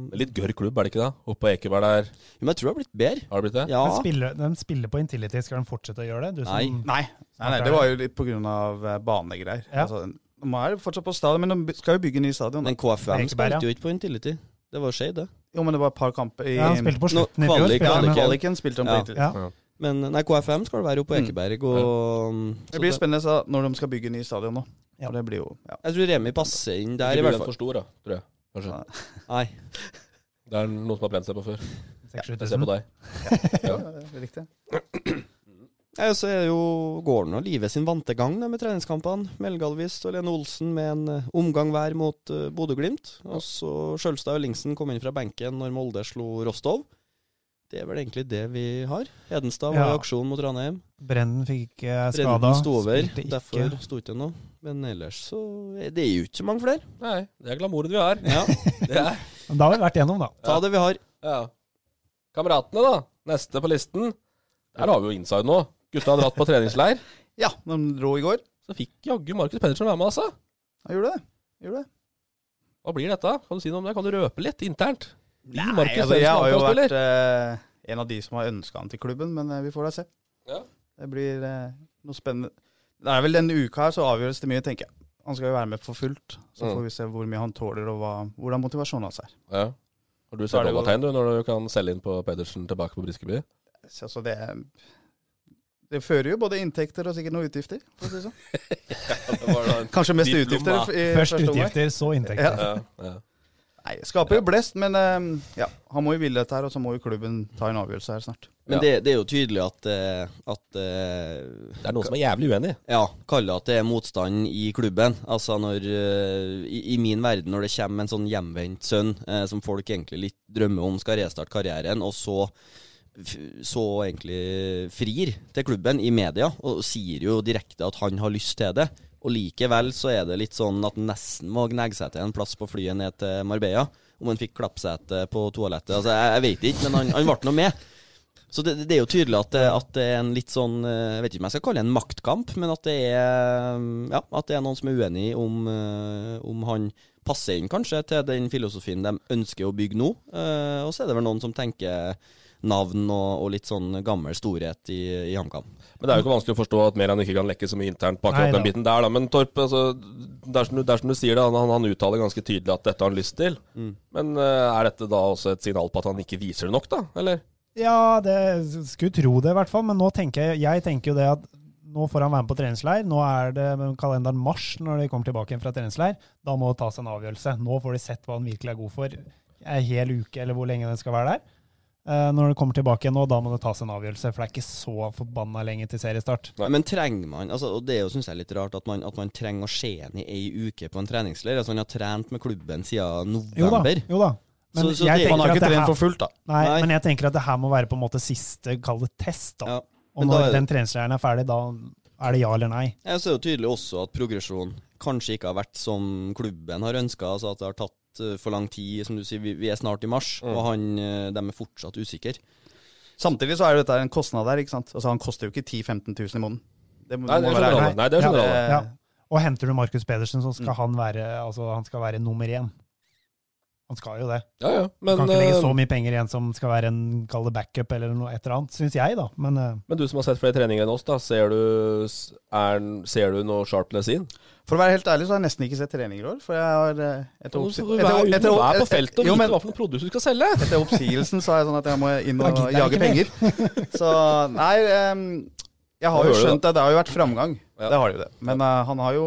[SPEAKER 3] Det er Litt gørr klubb, er det ikke det? Oppe på Ekeberg der.
[SPEAKER 5] Jo, Men jeg tror det har blitt bedre.
[SPEAKER 3] Har det blitt det?
[SPEAKER 5] Ja.
[SPEAKER 4] Men spiller, den spiller på Intility. Skal den fortsette å gjøre det? Du som,
[SPEAKER 6] Nei. Nei, nei, det var jo litt på grunn av eh, banegreier.
[SPEAKER 4] Ja.
[SPEAKER 6] Altså, nå er det fortsatt på stadion, men de skal jo bygge ny stadion. da.
[SPEAKER 5] Men KFM
[SPEAKER 4] Ekeberg, ja.
[SPEAKER 5] spilte jo ikke på Intility. Det var Skeid, det.
[SPEAKER 6] Jo, men det var et par kamper i
[SPEAKER 4] Ja, han spilte på
[SPEAKER 5] Nå,
[SPEAKER 4] slutten i fjor.
[SPEAKER 5] kvalik,
[SPEAKER 4] spilte
[SPEAKER 6] Ja,
[SPEAKER 4] han-
[SPEAKER 6] men
[SPEAKER 5] kvalik.
[SPEAKER 6] Kvaliken spilte de på
[SPEAKER 5] Ja.
[SPEAKER 6] Intility.
[SPEAKER 4] Ja.
[SPEAKER 5] Men nei, KFM skal være oppe på Ekeberg. Og, så
[SPEAKER 6] Det blir spennende så, når de skal bygge ny stadion nå.
[SPEAKER 4] Ja.
[SPEAKER 6] For Det blir jo ja.
[SPEAKER 5] Jeg tror Remi passer inn der,
[SPEAKER 3] Ikke
[SPEAKER 5] i hvert
[SPEAKER 3] bli den
[SPEAKER 5] fall.
[SPEAKER 3] for stor, da, tror jeg. Kanskje.
[SPEAKER 5] Nei.
[SPEAKER 3] Det er noen som har brent seg på før. Jeg ser
[SPEAKER 4] 6000.
[SPEAKER 3] på deg.
[SPEAKER 6] det er riktig.
[SPEAKER 5] Nei, og så er jo gården og livet sin vante gang da, med treningskampene. Melgalvist og Lene Olsen med en eh, omgang hver mot uh, Bodø-Glimt. Og så Skjølstad og Lingsen kom inn fra benken når Molde slo Rostov. Det er vel egentlig det vi har. Hedenstad var
[SPEAKER 4] Ja.
[SPEAKER 5] i aksjon mot Ranheim.
[SPEAKER 4] Brennen fikk ikke skada.
[SPEAKER 5] Brenden sto over,
[SPEAKER 4] spilte ikke.
[SPEAKER 5] derfor sto ikke det noe. Men ellers så er Det er jo ikke så mange flere.
[SPEAKER 3] Nei, det er glamouren vi har.
[SPEAKER 5] Ja,
[SPEAKER 3] <laughs> Det er.
[SPEAKER 4] Men Da har vi vært gjennom, da.
[SPEAKER 5] Ta det vi har.
[SPEAKER 3] Ja. Kameratene, da. Neste på listen. Der har vi jo inside nå. Gutta har dratt på treningsleir.
[SPEAKER 6] Ja, de dro i går.
[SPEAKER 3] Så fikk jaggu Markus Pedersen være med, altså.
[SPEAKER 6] Ja, gjorde det. Gjorde det.
[SPEAKER 3] Hva blir dette? Kan du si noe om det? Kan du røpe litt internt? Blir Markus
[SPEAKER 6] altså, jeg
[SPEAKER 3] Pedersen
[SPEAKER 6] har jo
[SPEAKER 3] fotballspiller?
[SPEAKER 6] vært eh, en av de som har ønska han til klubben, men eh, vi får da se.
[SPEAKER 3] Ja.
[SPEAKER 6] Det blir eh, noe spennende. Det er vel denne uka her så avgjøres det mye, tenker jeg. Han skal jo være med for fullt. Så
[SPEAKER 3] Mm.
[SPEAKER 6] får vi se hvor mye han tåler, og hva, hvordan motivasjonen hans er.
[SPEAKER 3] Ja. Har du
[SPEAKER 6] Da er
[SPEAKER 3] sett
[SPEAKER 6] det jo-
[SPEAKER 3] dollartegn, du, når du kan selge inn på Pedersen tilbake på
[SPEAKER 6] <laughs>
[SPEAKER 3] Briskeby?
[SPEAKER 6] Så, så det, det fører jo både inntekter og sikkert noen utgifter. For å si det sånn. <laughs> Kanskje mest
[SPEAKER 3] Diploma.
[SPEAKER 6] utgifter i
[SPEAKER 4] Først
[SPEAKER 6] første omgang.
[SPEAKER 4] utgifter, så inntekter.
[SPEAKER 3] Ja, ja.
[SPEAKER 6] Nei, skaper jo blest, men eh, ja, han må jo ville dette her, og så må jo klubben ta en avgjørelse her snart.
[SPEAKER 5] Men
[SPEAKER 3] Ja.
[SPEAKER 5] det, det er jo tydelig at, eh, at eh,
[SPEAKER 3] Det er noen som er jævlig uenig.
[SPEAKER 5] Ja, kalle at det er motstand i klubben. Altså når eh, i, I min verden, når det kommer en sånn hjemvendt sønn eh, som folk egentlig litt drømmer om skal restarte karrieren, og så f- så egentlig frir til klubben i media og sier jo direkte at han har lyst til det. Og likevel så er det litt sånn at han nesten må gnegge seg til en plass på flyet ned til Marbella. Om han fikk klappsete på toalettet. Altså, jeg, jeg vet ikke, men han, han ble nå med. Så det, det er jo tydelig at, det- at det er en litt sånn eh, Jeg vet ikke om jeg skal kalle det en maktkamp, men at det er, mm, ja, at det er noen som er uenig om, eh, om han passer inn kanskje til den filosofien de ønsker å bygge nå. Eh, Og så er det vel noen som tenker navn og, og litt sånn gammel storhet i, i HamKam.
[SPEAKER 3] Men det er jo ikke vanskelig å forstå at Meran ikke kan lekke så mye internt på akkurat
[SPEAKER 4] Neida.
[SPEAKER 3] den biten der, da. Men Torp, altså, det er som du, det er som du sier, det, han, han uttaler ganske tydelig at dette har han lyst til.
[SPEAKER 6] Mm.
[SPEAKER 3] Men eh, er dette da også et signal på at han ikke viser det nok, da? Eller?
[SPEAKER 4] Ja, det skulle tro det, i hvert fall. Men nå tenker jeg, jeg tenker jo det at nå får han være med på treningsleir. Nå er det kalenderen mars når de kommer tilbake igjen fra treningsleir. Da må det tas en avgjørelse. Nå får de sett hva han virkelig er god for. En hel uke, eller hvor lenge den skal være der. Eh, Når det kommer tilbake igjen nå, da må det tas en avgjørelse. For det er ikke så forbanna lenge til seriestart.
[SPEAKER 3] Nei.
[SPEAKER 5] Men trenger man altså, Og det er jo synes jeg litt rart at man, at man trenger å se ham i ei uke på en treningsleir. Altså, han har trent med klubben siden
[SPEAKER 4] Jo da.
[SPEAKER 5] november.
[SPEAKER 4] jo da. Men
[SPEAKER 5] Så- så
[SPEAKER 4] jeg
[SPEAKER 5] det-
[SPEAKER 4] tenker
[SPEAKER 6] Han har
[SPEAKER 4] at
[SPEAKER 6] ikke
[SPEAKER 4] det
[SPEAKER 6] trent
[SPEAKER 4] her-
[SPEAKER 6] for fullt, da.
[SPEAKER 4] Nei,
[SPEAKER 5] Nei.
[SPEAKER 4] men jeg tenker at det her må være på en måte siste, kall det test,
[SPEAKER 5] Ja.
[SPEAKER 4] da. Og
[SPEAKER 5] men da
[SPEAKER 4] når
[SPEAKER 5] er det-
[SPEAKER 4] den treningsleiren er ferdig, da er det ja eller nei.
[SPEAKER 5] Jeg ser jo tydelig også at progresjonen kanskje ikke har vært som klubben har ønska. Altså at det har tatt eh, for lang tid. Som du sier, vi, vi er snart i mars, og han, eh, de er fortsatt usikre.
[SPEAKER 6] Samtidig så er jo dette en kostnad der, ikke sant. Altså Han koster jo ikke 10 000-15 000 i måneden. Det må,
[SPEAKER 3] Nei,
[SPEAKER 6] du
[SPEAKER 3] det skjønner
[SPEAKER 6] må være
[SPEAKER 3] alle.
[SPEAKER 6] ærlig.
[SPEAKER 3] Nei, det skjønner alle.
[SPEAKER 6] Eh,
[SPEAKER 4] Ja. Og henter du Markus Pedersen, så skal han være altså, han skal være nummer én. Han skal jo det.
[SPEAKER 3] Ja, ja.
[SPEAKER 4] Du
[SPEAKER 3] Men,
[SPEAKER 4] kan ikke legge så
[SPEAKER 3] eh,
[SPEAKER 4] mye penger i en som skal være en kall det backup eller noe et eller annet, syns jeg, da. Men eh,
[SPEAKER 3] men du som har sett flere treninger enn oss, da, ser du, s- er, den- ser du noe sharpness inn?
[SPEAKER 6] For å være helt ærlig så har jeg nesten ikke sett treninger i år. For jeg har eh, etter,
[SPEAKER 3] Nå
[SPEAKER 6] oppsi-
[SPEAKER 3] skal du
[SPEAKER 6] etter,
[SPEAKER 3] være ute
[SPEAKER 6] etter,
[SPEAKER 3] og være på feltet og
[SPEAKER 6] jo,
[SPEAKER 3] vite
[SPEAKER 6] men
[SPEAKER 3] hva for noen produkt du skal selge.
[SPEAKER 6] etter oppsigelsen så er jeg sånn at jeg må inn
[SPEAKER 4] Da
[SPEAKER 6] og
[SPEAKER 4] gidder jeg
[SPEAKER 6] jage
[SPEAKER 4] ikke mer.
[SPEAKER 6] penger. <laughs> Så nei em, Jeg har
[SPEAKER 3] Da
[SPEAKER 6] jo
[SPEAKER 3] hører du
[SPEAKER 6] skjønt det. Det har jo vært framgang.
[SPEAKER 3] Ja.
[SPEAKER 6] Det har det jo det. Men eh, han har jo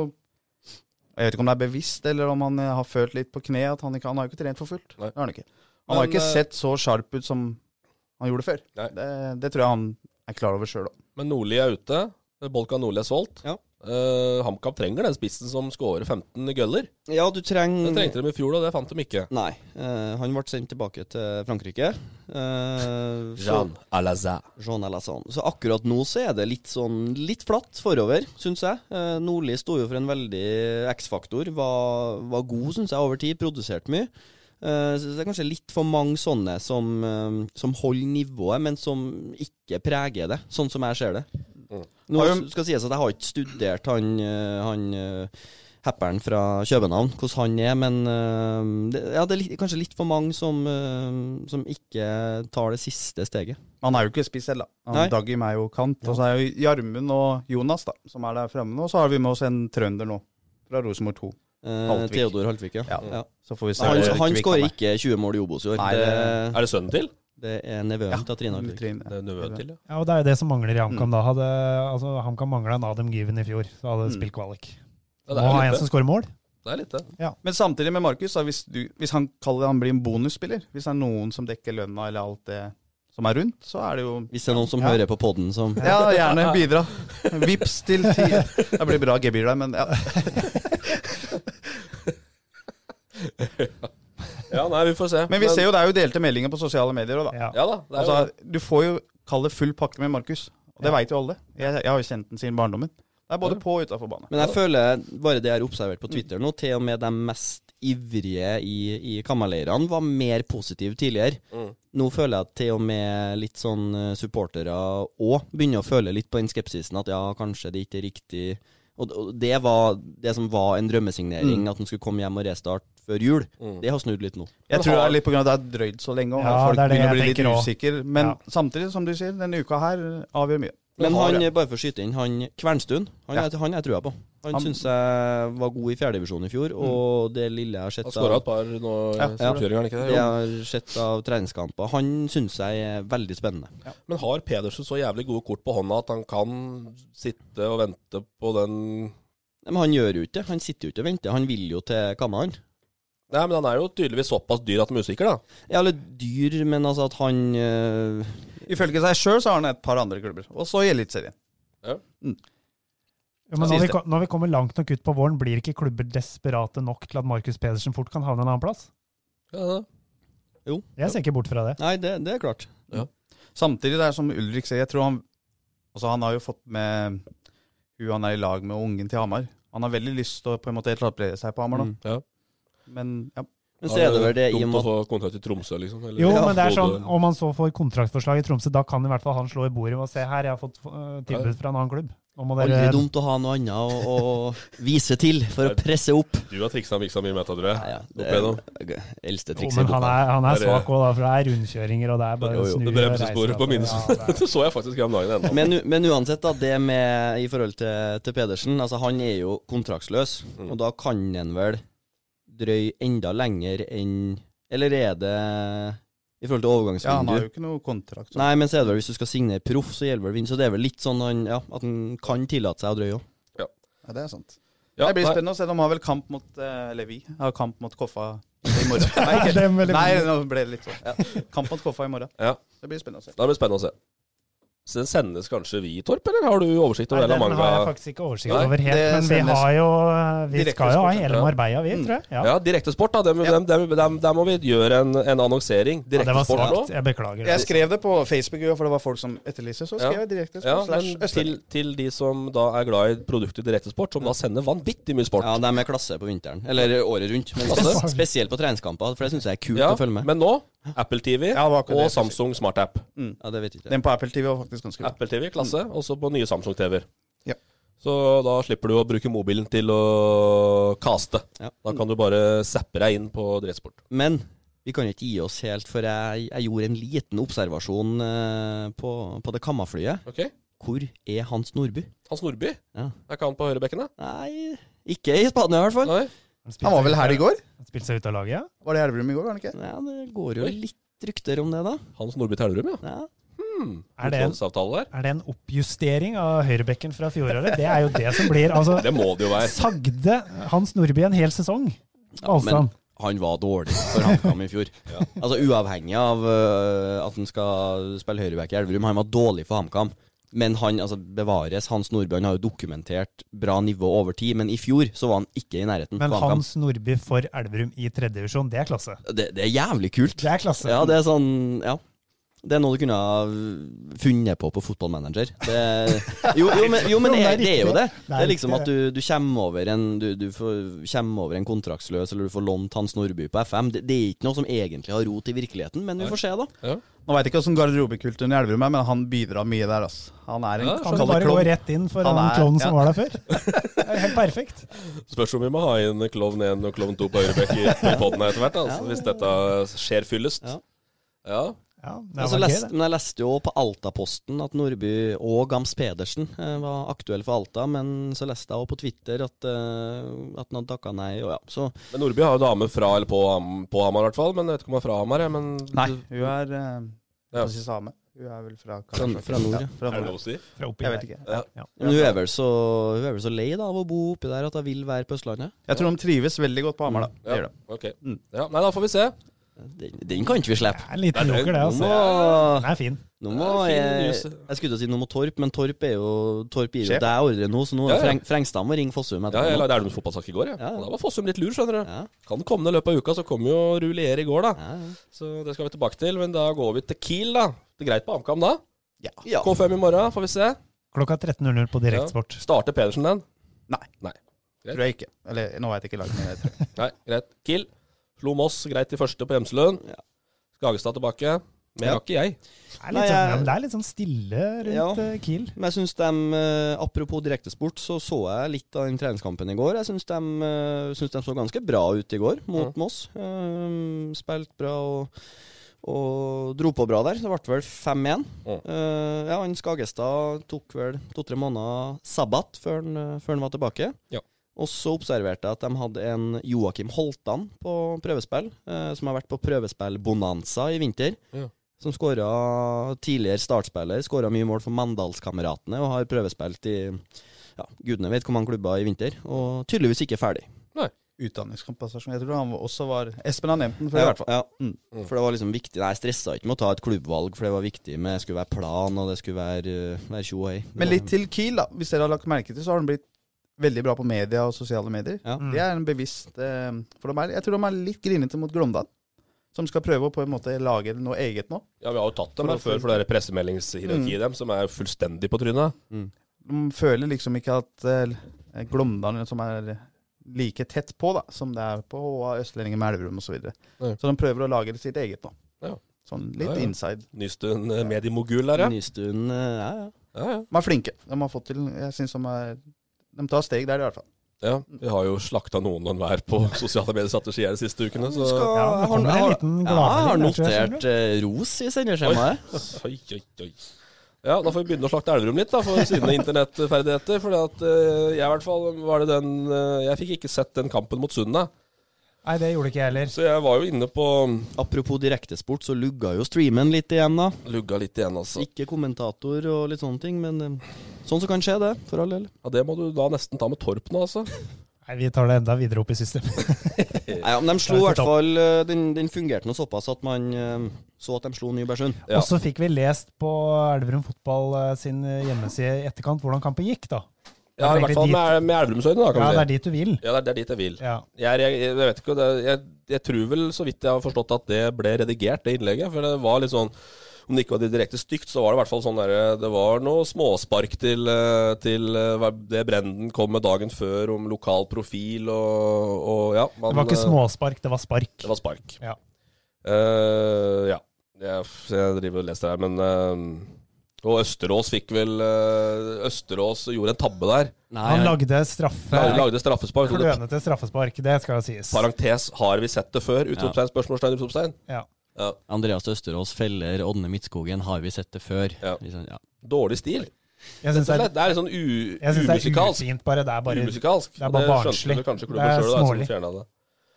[SPEAKER 6] Jeg vet ikke om det er bevisst, eller om han eh, har følt litt på kne at han ikke Han har jo ikke trent for fullt.
[SPEAKER 3] Nei.
[SPEAKER 6] Det har han ikke. Han har
[SPEAKER 3] Men,
[SPEAKER 6] ikke
[SPEAKER 3] eh,
[SPEAKER 6] sett så sharp ut som han gjorde før.
[SPEAKER 3] Nei.
[SPEAKER 6] Det, det tror jeg han er klar over sjøl òg.
[SPEAKER 3] Men Nordli er ute. Bolkan Nordli er solgt.
[SPEAKER 5] Ja.
[SPEAKER 3] Eh, HamKam trenger den spissen som scorer 15 gøller.
[SPEAKER 5] Ja, du trenger
[SPEAKER 3] Det trengte de i fjor, og det fant de ikke.
[SPEAKER 5] Nei. eh, han ble sendt tilbake til Frankrike. Eh, så-
[SPEAKER 3] Alazar.
[SPEAKER 5] Jean Alassane. Så akkurat nå så er det litt sånn litt flatt forover, syns jeg. Eh, Nordli sto jo for en veldig X-faktor. Var, var god, syns jeg, over tid. Produserte mye. Eh, så det er kanskje litt for mange sånne som, eh, som holder nivået, men som ikke preger det, sånn som jeg ser det. Nå
[SPEAKER 6] Mm. Har du-
[SPEAKER 5] skal sies at jeg har ikke studert han, eh, han eh, happeren fra København, hvordan han er, men eh, det, ja, det er litt, kanskje litt for mange som, eh, som ikke tar det siste steget.
[SPEAKER 6] Han er jo ikke spiss selv, da.
[SPEAKER 5] Nei.
[SPEAKER 6] Han Dagim er jo kant. Og så er jo Gjermund og Jonas da, som er der fremme. nå. Og så har vi med oss en trønder nå, fra Rosenborg 2.
[SPEAKER 5] Eh,
[SPEAKER 6] Haltvik.
[SPEAKER 5] Theodor Haltvik, ja.
[SPEAKER 6] Ja.
[SPEAKER 5] ja.
[SPEAKER 6] Så får vi se.
[SPEAKER 5] Han,
[SPEAKER 6] hvor
[SPEAKER 5] han
[SPEAKER 6] Kvik
[SPEAKER 5] skårer
[SPEAKER 6] er.
[SPEAKER 5] ikke 20 mål i Obos i år.
[SPEAKER 6] Nei,
[SPEAKER 5] det,
[SPEAKER 6] det-
[SPEAKER 5] det,
[SPEAKER 3] Er det sønnen til?
[SPEAKER 5] er nevøen til Trine Haltvik.
[SPEAKER 6] Trine.
[SPEAKER 3] Det er nevøen til, ja.
[SPEAKER 4] ja, og det er jo det som mangler i HamKam. da. Hadde, altså, HamKam mangla en Adam Given i fjor, så hadde det
[SPEAKER 6] Mm.
[SPEAKER 4] spilt kvalik.
[SPEAKER 3] Ja,
[SPEAKER 4] Nå
[SPEAKER 3] det er
[SPEAKER 4] har jeg
[SPEAKER 3] litt
[SPEAKER 4] en som skårer mål.
[SPEAKER 3] Det er litt det.
[SPEAKER 6] Men samtidig med Markus, da, hvis, du, hvis han kaller han blir en bonusspiller, hvis det er noen som dekker lønna eller alt det som er rundt, så er det jo
[SPEAKER 5] Hvis det er noen som hører på podden som <laughs>
[SPEAKER 6] Ja, gjerne bidra. Vips til ti. Det blir bra gebyr der, men ja.
[SPEAKER 3] Ja, nei, vi får se.
[SPEAKER 6] Men vi ser jo det er jo delte meldinger på sosiale medier òg, da.
[SPEAKER 4] Ja.
[SPEAKER 3] Ja da. Det er jo
[SPEAKER 6] Altså, du får jo kalle full pakke med Markus, og det veit jo alle. Jeg, jeg har jo kjent den siden barndommen. Det er både på og utafor bane.
[SPEAKER 5] Men jeg føler bare det jeg har observert på Twitter nå, til og med de mest ivrige i, i kammerleirene var mer positive tidligere.
[SPEAKER 6] Mm.
[SPEAKER 5] Nå føler jeg at til og med litt sånn eh, supportere òg begynner å føle litt på den skepsisen at ja, kanskje det ikke er riktig Og, og det var det som var en drømmesignering,
[SPEAKER 6] Mm.
[SPEAKER 5] at han skulle komme hjem og restarte før jul. Det har snudd litt nå.
[SPEAKER 6] Jeg tror det er litt pga. at det er drøyd så lenge, og
[SPEAKER 4] Ja,
[SPEAKER 6] folk
[SPEAKER 4] det er det
[SPEAKER 6] begynner å
[SPEAKER 4] jeg
[SPEAKER 6] bli litt
[SPEAKER 4] tenker også.
[SPEAKER 6] usikre. Men
[SPEAKER 4] Ja.
[SPEAKER 6] samtidig, som du sier, denne uka her avgjør mye.
[SPEAKER 5] Men
[SPEAKER 6] har
[SPEAKER 5] han,
[SPEAKER 6] det.
[SPEAKER 5] bare for å skyte inn, han Kvernstuen, han,
[SPEAKER 6] Ja.
[SPEAKER 5] er- han er jeg trua på. Han,
[SPEAKER 6] Han-
[SPEAKER 5] syns jeg var god i fjerdedivisjon i fjor, og det lille jeg har sett
[SPEAKER 3] Han skåra et par nå i
[SPEAKER 6] Ja.
[SPEAKER 3] storkjøringa, ikke
[SPEAKER 5] det
[SPEAKER 3] det?
[SPEAKER 5] jeg
[SPEAKER 3] Jo.
[SPEAKER 5] har sett av treningskamper, han syns jeg er veldig spennende.
[SPEAKER 3] Men har Pedersen så jævlig gode kort på hånda at han kan sitte og vente på den
[SPEAKER 5] Nei, Men han gjør jo ikke det. Han sitter jo ikke og venter. Han vil jo til Kamma, han.
[SPEAKER 3] Nei, men han er jo tydeligvis såpass dyr at han er usikker, da.
[SPEAKER 5] Ja, eller dyr, men altså at han øh,
[SPEAKER 6] Ifølge seg sjøl så har han et par andre klubber, og så i Eliteserien.
[SPEAKER 4] Ja, men når
[SPEAKER 6] Siste.
[SPEAKER 4] vi, ko- når vi kommer langt nok ut på våren, blir ikke klubber desperate nok til at Markus Pedersen fort kan havne en annen plass?
[SPEAKER 3] Ja, ja.
[SPEAKER 4] Jeg ser ikke bort fra det.
[SPEAKER 5] Nei, det, det er klart.
[SPEAKER 6] Samtidig, det er som Ulrik sier, jeg tror han Altså, han har jo fått med hun han er i lag med, og ungen til Hamar. Han har veldig lyst til å på en måte etablere seg på Hamar nå,
[SPEAKER 5] Mm.
[SPEAKER 3] Ja.
[SPEAKER 6] men ja.
[SPEAKER 5] Men så er det vel det i og
[SPEAKER 3] Dumt å
[SPEAKER 5] med at
[SPEAKER 3] få kontrakt i Tromsø, liksom. eller-
[SPEAKER 4] Jo,
[SPEAKER 3] Ja,
[SPEAKER 4] men det er sånn,
[SPEAKER 3] Bodø.
[SPEAKER 4] om han så får kontraktforslag i Tromsø, da kan i hvert fall han slå i bordet og se her, jeg har fått eh, tilbud fra en annen klubb. Nå må
[SPEAKER 5] Aldri
[SPEAKER 4] dere
[SPEAKER 5] dumt å ha noe annet å, å vise til for å presse opp.
[SPEAKER 3] Du har triksa og miksa mye med dette, tror jeg.
[SPEAKER 5] Ja, ja,
[SPEAKER 3] Opp
[SPEAKER 5] det
[SPEAKER 3] igjennom.
[SPEAKER 5] er det eldste
[SPEAKER 4] Jo,
[SPEAKER 5] trikset i
[SPEAKER 4] men han
[SPEAKER 5] boka.
[SPEAKER 4] er, han er
[SPEAKER 3] Det er-
[SPEAKER 4] svak òg, for det er rundkjøringer og det er bare
[SPEAKER 3] Jo,
[SPEAKER 4] å
[SPEAKER 3] jo,
[SPEAKER 4] snu
[SPEAKER 3] det
[SPEAKER 4] og
[SPEAKER 3] bremsesporet
[SPEAKER 4] reise,
[SPEAKER 3] på
[SPEAKER 4] altså.
[SPEAKER 3] minusen.
[SPEAKER 4] Ja, det
[SPEAKER 3] <laughs>
[SPEAKER 4] er-
[SPEAKER 3] det så jeg faktisk her om dagen ennå.
[SPEAKER 5] Men, men uansett, da, det med i forhold til, til Pedersen altså Han er jo kontraktsløs, og da kan han vel drøy enda lenger enn Eller er det i forhold til
[SPEAKER 6] ja, han har
[SPEAKER 5] overgangsvindu?
[SPEAKER 6] jo ikke noe kontrakt. Så.
[SPEAKER 5] Nei, men så er det vel hvis du skal signere proff, så gjelder vel vind. Så det er vel litt sånn han, ja, at han kan tillate seg å drøye òg.
[SPEAKER 6] Ja, det er sant.
[SPEAKER 3] Ja,
[SPEAKER 6] det blir
[SPEAKER 3] nei,
[SPEAKER 6] spennende å se. De har vel kamp mot eh, Eller vi har kamp mot Koffa i
[SPEAKER 4] <laughs>
[SPEAKER 6] morgen. Nei,
[SPEAKER 4] Det er
[SPEAKER 6] ikke.
[SPEAKER 4] veldig-
[SPEAKER 6] Nei nå ble det litt sånn. Ja. Kamp mot Koffa i morgen.
[SPEAKER 3] Ja.
[SPEAKER 6] Det blir spennende å se.
[SPEAKER 3] Da blir det spennende å se. Så den sendes kanskje vi, Torp, eller har du oversikt
[SPEAKER 4] Nei,
[SPEAKER 3] over hele
[SPEAKER 4] den har jeg
[SPEAKER 3] manga?
[SPEAKER 4] faktisk ikke oversikt
[SPEAKER 3] Nei,
[SPEAKER 4] over helt,
[SPEAKER 6] det
[SPEAKER 4] men vi
[SPEAKER 6] sendes
[SPEAKER 4] har jo eh, Vi
[SPEAKER 6] direkte
[SPEAKER 4] skal jo ha
[SPEAKER 6] sport,
[SPEAKER 4] hele
[SPEAKER 3] ja.
[SPEAKER 4] Marbella, vi, tror jeg. Ja.
[SPEAKER 3] Ja, Direktesport, da. Der
[SPEAKER 6] Ja.
[SPEAKER 3] dem, dem, dem, der må vi gjøre en, en annonsering.
[SPEAKER 4] Ja, det var
[SPEAKER 3] Direktesport nå.
[SPEAKER 4] svakt. Jeg beklager.
[SPEAKER 6] Jeg skrev det på Facebook, jo, for det var folk som etterlyste. Så skrev
[SPEAKER 3] Ja.
[SPEAKER 6] jeg direkte
[SPEAKER 3] Ja, men
[SPEAKER 6] slash
[SPEAKER 3] til,
[SPEAKER 6] Østlendingen.
[SPEAKER 3] til de som da er glad i produktet Direktesport, som da sender vanvittig mye sport.
[SPEAKER 5] Ja, de er klasse på vinteren. Eller året rundt. Men
[SPEAKER 3] Klasse.
[SPEAKER 5] spes spesielt på treningskamper, for det syns jeg er kult
[SPEAKER 3] Ja,
[SPEAKER 5] å følge med.
[SPEAKER 3] men nå Apple TV
[SPEAKER 6] Ja, det var akkurat det
[SPEAKER 3] og
[SPEAKER 6] jeg skulle
[SPEAKER 3] Samsung Smart App.
[SPEAKER 5] Ja, det vet jeg ikke.
[SPEAKER 6] Den på Apple TV var faktisk ganske bra.
[SPEAKER 3] Apple TV, klasse. Også på nye Samsung TV-er.
[SPEAKER 6] Ja.
[SPEAKER 3] Så da slipper du å bruke mobilen til å kaste.
[SPEAKER 5] Ja.
[SPEAKER 3] Da kan du bare zappe deg inn på drittsport.
[SPEAKER 5] Men vi kan jo ikke gi oss helt, for jeg, jeg gjorde en liten observasjon eh, på, på det kammaflyet.
[SPEAKER 3] Ok.
[SPEAKER 5] Hvor er Hans Nordby?
[SPEAKER 3] Hans Nordby,
[SPEAKER 5] Ja.
[SPEAKER 3] er ikke han på høyrebekken, da?
[SPEAKER 5] Nei, ikke i Spania i hvert fall.
[SPEAKER 3] Nei.
[SPEAKER 6] Han var vel her i går?
[SPEAKER 4] Han spilte seg ut av laget, ja.
[SPEAKER 6] Var det i Elverum i går? var han ikke?
[SPEAKER 5] Ja, det går jo
[SPEAKER 3] Oi.
[SPEAKER 5] litt rykter om det, da.
[SPEAKER 3] Hans Nordby Tælerum, ja.
[SPEAKER 5] Ja.
[SPEAKER 3] Hmm.
[SPEAKER 4] Er det en-
[SPEAKER 3] Utlånsavtale der?
[SPEAKER 4] Er det en oppjustering av høyrebekken fra fjoråret? Det er jo det som blir. Altså,
[SPEAKER 3] Det må det jo være.
[SPEAKER 4] sagde Hans Nordby en hel sesong? Avstand.
[SPEAKER 5] han var dårlig for HamKam i fjor. Altså Uavhengig av øh, at han skal spille høyreback i Elverum, han var dårlig for HamKam. Men han altså, bevares. Hans Nordby han har jo dokumentert bra nivå over tid, men i fjor så var han ikke i nærheten.
[SPEAKER 4] Men
[SPEAKER 5] for HamKam.
[SPEAKER 4] Hans Nordby for Elverum i tredje divisjon, det er klasse.
[SPEAKER 5] det, det er jævlig kult.
[SPEAKER 4] Det er klasse.
[SPEAKER 5] Ja, det er sånn Ja. Det er noe du kunne ha funnet på på Fotballmanager. Det, jo, jo, men, jo, men <laughs> det, er, det er jo det. Det er liksom at du, du kommer over en Du, du får, kommer over en kontraktsløs, eller du får lånt Hans Nordby på FM. Det, det er ikke noe som egentlig har rot i virkeligheten, men vi får se, da.
[SPEAKER 6] Nå veit jeg ikke åssen garderobekulturen i Elverum er, men han bidrar mye der. ass. Han er en
[SPEAKER 3] Ja,
[SPEAKER 4] Kan du
[SPEAKER 6] kalle
[SPEAKER 4] bare gå
[SPEAKER 6] klovn.
[SPEAKER 4] rett inn for
[SPEAKER 6] Han
[SPEAKER 4] han,
[SPEAKER 6] er-
[SPEAKER 4] klovnen som
[SPEAKER 6] ja.
[SPEAKER 4] var der før? Det er helt perfekt.
[SPEAKER 3] Spørs om vi må ha inn klovn 1 og klovn 2 på høyrebekk i i podden etter hvert, altså, hvis dette skjer fyllest.
[SPEAKER 5] Ja.
[SPEAKER 3] Ja.
[SPEAKER 4] Ja,
[SPEAKER 5] Jeg
[SPEAKER 4] det var gøy,
[SPEAKER 5] Altså, lest,
[SPEAKER 4] det.
[SPEAKER 5] men jeg leste jo på Altaposten at Nordby og Gams Pedersen eh, var aktuelle for Alta, men så leste jeg også på Twitter at, eh, at han hadde takka nei, og ja, så
[SPEAKER 3] Men Nordby har jo dame fra eller på, Ham- på Hamar, i hvert fall. Men jeg vet ikke om hun er fra Hamar. jeg, Men
[SPEAKER 6] Nei, hun er eh,
[SPEAKER 3] Ja.
[SPEAKER 6] på sin same. Hun er vel fra
[SPEAKER 5] Fra- fra nord, ja.
[SPEAKER 6] fra
[SPEAKER 3] er det
[SPEAKER 6] nord.
[SPEAKER 3] lov å si?
[SPEAKER 4] Fra oppi
[SPEAKER 6] Jeg vet
[SPEAKER 4] der.
[SPEAKER 6] ikke.
[SPEAKER 5] Men hun er vel så, hun er vel så lei da, av å bo oppi der at hun vil være på Østlandet?
[SPEAKER 6] Jeg tror de trives veldig godt på Hamar, da. Det
[SPEAKER 3] Ja,
[SPEAKER 6] gjør de.
[SPEAKER 3] ok.
[SPEAKER 6] Mm.
[SPEAKER 3] Ja, nei, da får vi se.
[SPEAKER 5] Den, den kan ikke vi
[SPEAKER 4] Det
[SPEAKER 5] slippe.
[SPEAKER 4] er en liten
[SPEAKER 3] Nei, det-
[SPEAKER 4] joker, det.
[SPEAKER 5] Nå,
[SPEAKER 4] altså. Den er fin.
[SPEAKER 5] nå må
[SPEAKER 3] Det er fin
[SPEAKER 5] jeg
[SPEAKER 3] news.
[SPEAKER 5] Jeg skulle til å si noe om Torp, men Torp er jo Torp gir jo
[SPEAKER 6] Sjef.
[SPEAKER 5] deg ordre nå, så nå
[SPEAKER 3] Ja,
[SPEAKER 5] er
[SPEAKER 3] ja.
[SPEAKER 5] Freng, Frengstad må ringe Fossum
[SPEAKER 3] Ja, jeg
[SPEAKER 5] etterpå.
[SPEAKER 3] lagde Elvenes fotballsak i går, jeg.
[SPEAKER 5] Ja, ja.
[SPEAKER 3] Og Da var Fossum litt lur, skjønner du.
[SPEAKER 5] Ja.
[SPEAKER 3] Kan komme i løpet av uka, så kom jo Rulier i går, da.
[SPEAKER 5] Ja, ja.
[SPEAKER 3] Så det skal vi tilbake til. Men da går vi til Kiel, da. Det er greit på HamKam da.
[SPEAKER 5] Ja.
[SPEAKER 3] K5 i morgen, får vi se.
[SPEAKER 4] Klokka 13.00 på Direktsport.
[SPEAKER 3] Starter Pedersen den?
[SPEAKER 6] Tror jeg ikke. Eller nå veit jeg ikke laget, men jeg tror
[SPEAKER 3] Nei, greit. Kiel. Slo Moss greit i første på Hemselund.
[SPEAKER 5] Ja.
[SPEAKER 3] Skagestad tilbake. Mer
[SPEAKER 5] Ja.
[SPEAKER 3] har ikke jeg.
[SPEAKER 4] Det er
[SPEAKER 5] Nei,
[SPEAKER 4] litt sånn,
[SPEAKER 5] jeg-
[SPEAKER 4] men det er litt sånn stille
[SPEAKER 5] Ja.
[SPEAKER 4] rundt eh, Kiel.
[SPEAKER 5] Men jeg synes de, eh, Apropos direktesport, så så jeg litt av den treningskampen i går. Jeg syns de, eh, synes de så ganske bra ut i går mot
[SPEAKER 3] Ja.
[SPEAKER 5] Moss. Eh, Spilte bra og, og dro på bra der. Det ble vel 5-1.
[SPEAKER 3] Ja.
[SPEAKER 5] Eh, ja, han Skagestad tok vel to-tre måneder sabbat før han, eh, før han var tilbake.
[SPEAKER 3] Ja.
[SPEAKER 5] Og så observerte jeg at de hadde en Joakim Holtan på prøvespill, eh, som har vært på prøvespillbonanza i vinter.
[SPEAKER 3] Ja.
[SPEAKER 5] Som skåra tidligere startspiller, skåra mye mål for Mandalskameratene og har prøvespilt i ja, gudene vet hvor mange klubber i vinter. Og tydeligvis ikke ferdig.
[SPEAKER 6] Utdanningskompensasjon. Jeg tror han også var Espen har nevnt den før, i hvert fall.
[SPEAKER 5] Ja.
[SPEAKER 6] Mm.
[SPEAKER 5] For det var liksom viktig. Nei, jeg stressa ikke med å ta et klubbvalg, for det var viktig med det skulle være plan, og det skulle være, eh, være tjo og hei. Det
[SPEAKER 6] Men
[SPEAKER 5] var-
[SPEAKER 6] litt til Kiel, da. Hvis dere har lagt merke til, så har han blitt veldig bra på media og sosiale medier.
[SPEAKER 5] Ja.
[SPEAKER 4] Mm.
[SPEAKER 6] Det er en bevisst eh, For de er, jeg tror de er litt grinete mot Glåmdal, som skal prøve å på en måte lage noe eget nå.
[SPEAKER 3] Ja, Vi har jo tatt dem
[SPEAKER 6] For
[SPEAKER 3] her
[SPEAKER 6] å-
[SPEAKER 3] før for det Mm. der pressemeldingshierarkiet dem, som er fullstendig på trynet.
[SPEAKER 6] De føler liksom ikke at eh, Glåmdal som er like tett på da, som det er på HA, Østlendingen med Elverum osv. Så, videre.
[SPEAKER 3] Nei.
[SPEAKER 6] så de prøver å lage sitt eget nå.
[SPEAKER 3] Ja.
[SPEAKER 6] Sånn litt
[SPEAKER 3] Ja, ja.
[SPEAKER 6] inside.
[SPEAKER 3] Nystuen eh, mediemogul der, ja.
[SPEAKER 5] Nystuen, eh, ja, ja.
[SPEAKER 3] Ja, ja.
[SPEAKER 6] De er flinke. De har fått til Jeg syns de er De tar steg der, i hvert fall.
[SPEAKER 3] ja. Vi har jo slakta noen og enhver på sosiale medier satte seg de siste ukene, så
[SPEAKER 5] Skal- jeg
[SPEAKER 4] Ja,
[SPEAKER 5] har-
[SPEAKER 4] det kommer
[SPEAKER 5] jeg
[SPEAKER 4] en
[SPEAKER 5] har-
[SPEAKER 4] liten
[SPEAKER 5] ja, jeg har
[SPEAKER 4] gladmelding der, tror jeg,
[SPEAKER 5] notert eh, ros i sendeskjemaet.
[SPEAKER 3] <laughs> Oi, oi, oi. Ja, da får vi begynne å slakte Elverum litt, da, for sine internettferdigheter. For at eh, jeg i hvert fall var det den eh, Jeg fikk ikke sett den kampen mot Sunna.
[SPEAKER 4] Nei, det gjorde ikke jeg heller.
[SPEAKER 3] Så jeg var jo inne på
[SPEAKER 5] Apropos direktesport, så lugga jo streamen litt igjen, da.
[SPEAKER 3] Lugga litt igjen, altså.
[SPEAKER 5] Ikke kommentator og litt sånne ting, men eh, sånn som kan skje, det. For all del.
[SPEAKER 3] Ja, det må du da nesten ta med Torp nå,
[SPEAKER 4] <laughs>
[SPEAKER 3] altså.
[SPEAKER 4] Nei, vi tar det enda videre opp i systemet.
[SPEAKER 5] Nei, ja, men de slo i
[SPEAKER 4] Ja,
[SPEAKER 5] hvert fall eh, Den, den fungerte nå såpass at man eh, så at de slo Nybergsund.
[SPEAKER 3] Ja.
[SPEAKER 4] <laughs> Og så fikk vi lest på Elverum Fotball eh, sin hjemmeside i etterkant hvordan kampen gikk, da.
[SPEAKER 3] Ja, i
[SPEAKER 4] Det er
[SPEAKER 3] hvert fall
[SPEAKER 4] egentlig
[SPEAKER 3] med, med Elverumsøyne, da, kan vi
[SPEAKER 4] Ja, det
[SPEAKER 3] si.
[SPEAKER 4] er dit du vil.
[SPEAKER 3] Ja, det er, det er dit jeg vil.
[SPEAKER 4] Ja.
[SPEAKER 3] Jeg, jeg, jeg vet ikke, det, jeg, jeg tror vel, så vidt jeg har forstått, at det ble redigert, det innlegget. For det var litt sånn Om det ikke var direkte stygt, så var det i hvert fall sånn derre Det var noe småspark til, eh, til eh, hva- det Brenden kom med dagen før om lokal profil og, og ja. man-
[SPEAKER 4] Det var ikke
[SPEAKER 3] eh,
[SPEAKER 4] småspark, det var spark.
[SPEAKER 3] Det var spark.
[SPEAKER 4] Ja.
[SPEAKER 3] Eh, ja. Jeg, jeg driver og leser her, men eh, Og Østerås fikk vel eh, Østerås gjorde en tabbe der.
[SPEAKER 4] Han lagde straffe.
[SPEAKER 3] Lagde- lagde straffespark.
[SPEAKER 4] Klønete straffespark, det skal sies.
[SPEAKER 3] Parentes, har vi sett det før? Utropstegn, spørsmålstegn, utropstegn.
[SPEAKER 4] Ja.
[SPEAKER 3] Ja.
[SPEAKER 5] Andreas Østerås feller Ådne Midtskogen, har vi sett det før?
[SPEAKER 3] Ja.
[SPEAKER 5] Liksom, ja.
[SPEAKER 3] Dårlig stil.
[SPEAKER 4] Jeg
[SPEAKER 3] Rett
[SPEAKER 4] syns
[SPEAKER 3] og
[SPEAKER 4] det,
[SPEAKER 3] slett, det er litt sånn
[SPEAKER 4] jeg synes
[SPEAKER 3] u-
[SPEAKER 4] det er
[SPEAKER 3] umusikalsk.
[SPEAKER 4] ufint, bare. Det er bare
[SPEAKER 3] Umusikalsk.
[SPEAKER 4] det er bare
[SPEAKER 3] skjønte
[SPEAKER 4] barnslig.
[SPEAKER 3] vel kanskje
[SPEAKER 4] Det
[SPEAKER 3] klubben
[SPEAKER 4] er
[SPEAKER 3] sjøl, da, som
[SPEAKER 4] smålig.
[SPEAKER 3] fjerna det.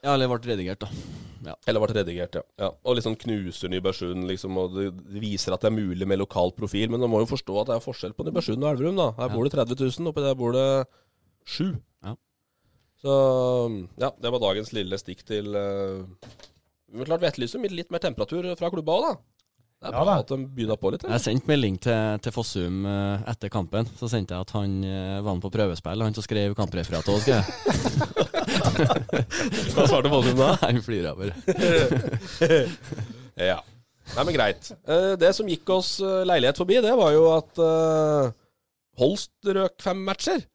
[SPEAKER 5] ja, eller ble redigert, da.
[SPEAKER 3] Eller vært redigert, ja. ja. Og liksom knuser Nybergsund, liksom, og det det viser at det er mulig med lokal profil. Men man må jo forstå at det er forskjell på Nybergsund og Elverum, da. Her bor det 30 000, oppi der bor det sju.
[SPEAKER 5] Ja.
[SPEAKER 3] Så ja, det var dagens lille stikk til eh, Men klart, vi etterlyser litt mer temperatur fra klubba òg, da. Det er
[SPEAKER 4] Ja,
[SPEAKER 3] bra
[SPEAKER 4] da.
[SPEAKER 3] at de begynner på litt. eller?
[SPEAKER 5] Jeg sendte melding til, til Fossum eh, etter kampen. Så sendte jeg at han eh, var med på prøvespill, han som skrev kampreferatet òg, skrev <laughs> jeg.
[SPEAKER 3] Hva svarte Fossum da?
[SPEAKER 5] Han flirer bare.
[SPEAKER 3] Ja. Nei, men greit. Eh, Det som gikk oss eh, leilighet forbi, det var jo at eh, Holst røk fem matcher.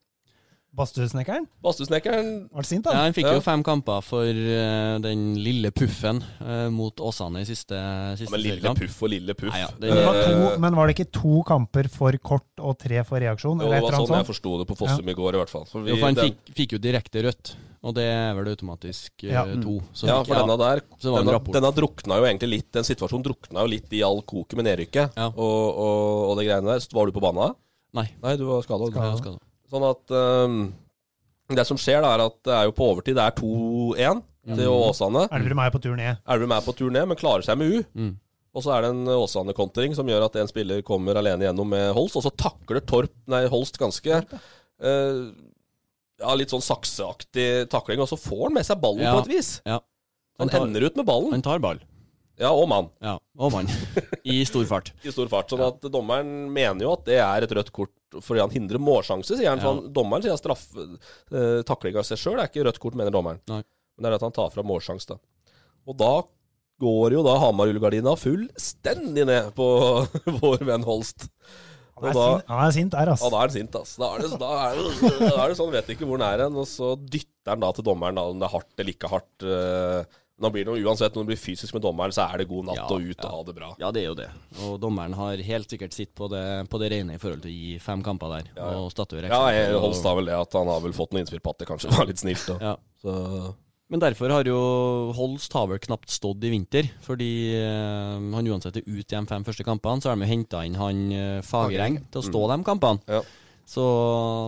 [SPEAKER 4] Badstuesnekkeren
[SPEAKER 3] Badstuesnekkeren
[SPEAKER 4] var det sint,
[SPEAKER 5] Ja,
[SPEAKER 4] da.
[SPEAKER 5] han fikk
[SPEAKER 3] Ja.
[SPEAKER 5] jo fem kamper for eh, den lille puffen eh, mot Åsane i siste,
[SPEAKER 3] Ja,
[SPEAKER 5] siste
[SPEAKER 3] men lille
[SPEAKER 5] seriekamp.
[SPEAKER 3] puff og lille puff.
[SPEAKER 5] Nei, ja, det-
[SPEAKER 3] Eh,
[SPEAKER 4] Det var to, men var det ikke to kamper for kort og tre for reaksjon?
[SPEAKER 3] jo,
[SPEAKER 4] Eller
[SPEAKER 3] det
[SPEAKER 4] et
[SPEAKER 3] var
[SPEAKER 4] eller
[SPEAKER 3] sånn jeg
[SPEAKER 4] annet sånt?
[SPEAKER 3] forsto det på Fossum i går, i hvert fall. For, vi,
[SPEAKER 5] Jo, for han
[SPEAKER 3] den,
[SPEAKER 5] fikk, fikk jo direkte rødt, og det er vel automatisk eh,
[SPEAKER 4] Ja.
[SPEAKER 5] to. Så
[SPEAKER 3] ja,
[SPEAKER 5] fikk-
[SPEAKER 3] for denne der
[SPEAKER 5] Så det var en
[SPEAKER 3] denne,
[SPEAKER 5] rapport.
[SPEAKER 3] denne drukna jo egentlig litt Den situasjonen drukna jo litt i all koket med nedrykket
[SPEAKER 5] Ja.
[SPEAKER 3] og, og, og det greiene der. Så Var du på banen da?
[SPEAKER 5] Nei.
[SPEAKER 3] Nei, du var skada.
[SPEAKER 5] Ja, skal da.
[SPEAKER 3] Sånn at eh, Det som skjer, da er at det er jo på overtid. Det er 2-1 til
[SPEAKER 5] Mm.
[SPEAKER 3] Åsane.
[SPEAKER 4] Elverum er jo på tur ned.
[SPEAKER 3] Elverum er på tur ned, men klarer seg med U.
[SPEAKER 5] Mm.
[SPEAKER 3] Og så er det en Åsane-kontring som gjør at en spiller kommer alene gjennom med Holst, og så takler Torp, nei, Holst ganske eh, Ja, litt sånn sakseaktig takling, og så får han med seg ballen
[SPEAKER 5] Ja.
[SPEAKER 3] på et vis.
[SPEAKER 5] Ja. Han
[SPEAKER 3] Han
[SPEAKER 5] tar-
[SPEAKER 3] ender ut med ballen.
[SPEAKER 5] Han tar ball.
[SPEAKER 3] Ja, og mann,
[SPEAKER 5] Ja, og
[SPEAKER 3] <laughs>
[SPEAKER 5] mann. I stor fart.
[SPEAKER 3] i stor fart. Sånn at dommeren mener jo at det er et rødt kort fordi han hindrer målsjanse, sier han.
[SPEAKER 5] Ja.
[SPEAKER 3] For han, dommeren sier at straff, eh, takling av seg sjøl er ikke rødt kort, mener dommeren.
[SPEAKER 5] Nei.
[SPEAKER 3] Men det er at han tar fra målsjanse, da. Og da går jo da Hamar-rullegardina fullstendig ned på <laughs> vår venn Holst. Og
[SPEAKER 4] Han er
[SPEAKER 3] da,
[SPEAKER 4] sint, han er sint der,
[SPEAKER 3] ja,
[SPEAKER 4] altså.
[SPEAKER 3] da er han sint, ass. Da er det, da er det, da er det sånn, vet ikke hvor han er hen. Og så dytter han da til dommeren, da, om det er hardt eller ikke hardt. eh. Men da blir det jo uansett, når du blir fysisk med dommeren, så er det god natt
[SPEAKER 5] Ja,
[SPEAKER 3] og ut og
[SPEAKER 5] ja.
[SPEAKER 3] ha det bra.
[SPEAKER 5] Ja, det er jo det. Og dommeren har helt sikkert sitt på det, på det rene i forhold til å gi fem kamper der, og statuere
[SPEAKER 3] Ja,
[SPEAKER 5] eksempel,
[SPEAKER 3] jeg,
[SPEAKER 5] og-
[SPEAKER 3] Holst har vel det at han har vel fått noen innspill på at det kanskje var litt snilt. Da.
[SPEAKER 5] Ja.
[SPEAKER 3] Så
[SPEAKER 5] Men derfor har jo Holst har vel knapt stått i vinter, fordi eh, han uansett er ut i de fem første kampene. Så har de jo henta inn han eh, Fagereng til å stå de kampene.
[SPEAKER 3] Mm. Ja.
[SPEAKER 5] Så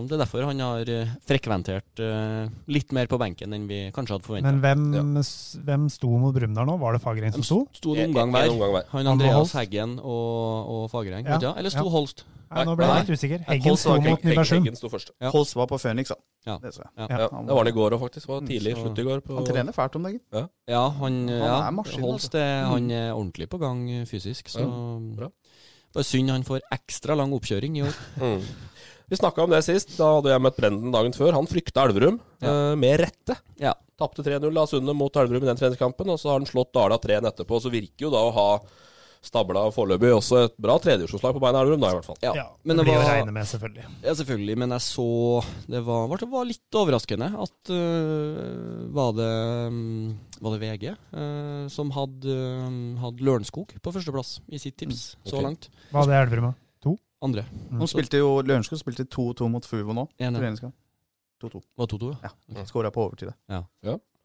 [SPEAKER 5] det er derfor han har eh, frekventert eh, litt mer på benken enn vi kanskje hadde forventa.
[SPEAKER 4] Men hvem, hvem sto mot Brumunddal nå? Var det Fagereng som sto?
[SPEAKER 5] Sto
[SPEAKER 3] En-
[SPEAKER 5] en omgang
[SPEAKER 3] en
[SPEAKER 5] hver.
[SPEAKER 3] omgang hver.
[SPEAKER 5] Han
[SPEAKER 4] var
[SPEAKER 5] Andreas
[SPEAKER 4] Holst.
[SPEAKER 5] Heggen og, og Fagereng.
[SPEAKER 4] Ja,
[SPEAKER 5] vet du, Eller sto
[SPEAKER 4] ja.
[SPEAKER 5] Holst?
[SPEAKER 4] Nei, nå ble
[SPEAKER 3] Nei.
[SPEAKER 4] jeg litt usikker.
[SPEAKER 6] Holst
[SPEAKER 4] Eggen sto
[SPEAKER 6] var ikke-
[SPEAKER 4] mot Nybergsund.
[SPEAKER 3] Eggen sto først.
[SPEAKER 5] Ja.
[SPEAKER 6] Holst var på Phoenix, da.
[SPEAKER 5] Ja.
[SPEAKER 6] Det så jeg.
[SPEAKER 4] Ja.
[SPEAKER 3] Ja, det var han i går òg, faktisk. Det var tidlig
[SPEAKER 5] så-
[SPEAKER 3] slutt i går. På,
[SPEAKER 6] Han trener fælt om dagen.
[SPEAKER 5] Ja, han, ja,
[SPEAKER 6] er maskin,
[SPEAKER 5] Holst er, han er ordentlig på gang eh, fysisk, så
[SPEAKER 3] bra.
[SPEAKER 5] Bare synd han får ekstra lang oppkjøring i år.
[SPEAKER 3] Mm. Vi snakka om det sist. Da hadde jeg møtt Brenden dagen før. Han frykta Elverum, eh, med rette.
[SPEAKER 5] Ja.
[SPEAKER 3] Tapte 3-0 av Sunde mot Elverum i den treningskampen, og så har han slått Dala 3-1 etterpå. Så virker jo da å ha stabla foreløpig også et bra tredjevisjonslag på beina Elverum, da i hvert fall.
[SPEAKER 5] Ja,
[SPEAKER 4] Ja,
[SPEAKER 5] men det
[SPEAKER 4] blir å
[SPEAKER 5] var,
[SPEAKER 4] regne med, selvfølgelig.
[SPEAKER 5] <laughs> ja, selvfølgelig, men jeg så Det var, var- det var litt overraskende at øh, var, det, mm, var det VG øh, som hadde, øh, hadde Lørenskog på førsteplass i sitt tips så
[SPEAKER 3] Ok.
[SPEAKER 5] langt?
[SPEAKER 4] Hva hadde Elverum? da? To?
[SPEAKER 5] Andre
[SPEAKER 4] Mm.
[SPEAKER 6] De spilte jo, Lørenskog spilte 2-2 mot Fuvo nå.
[SPEAKER 5] ene
[SPEAKER 6] Treningskamp. 2-2.
[SPEAKER 5] var 2-2, ja.
[SPEAKER 6] Ja. Skåra på overtid.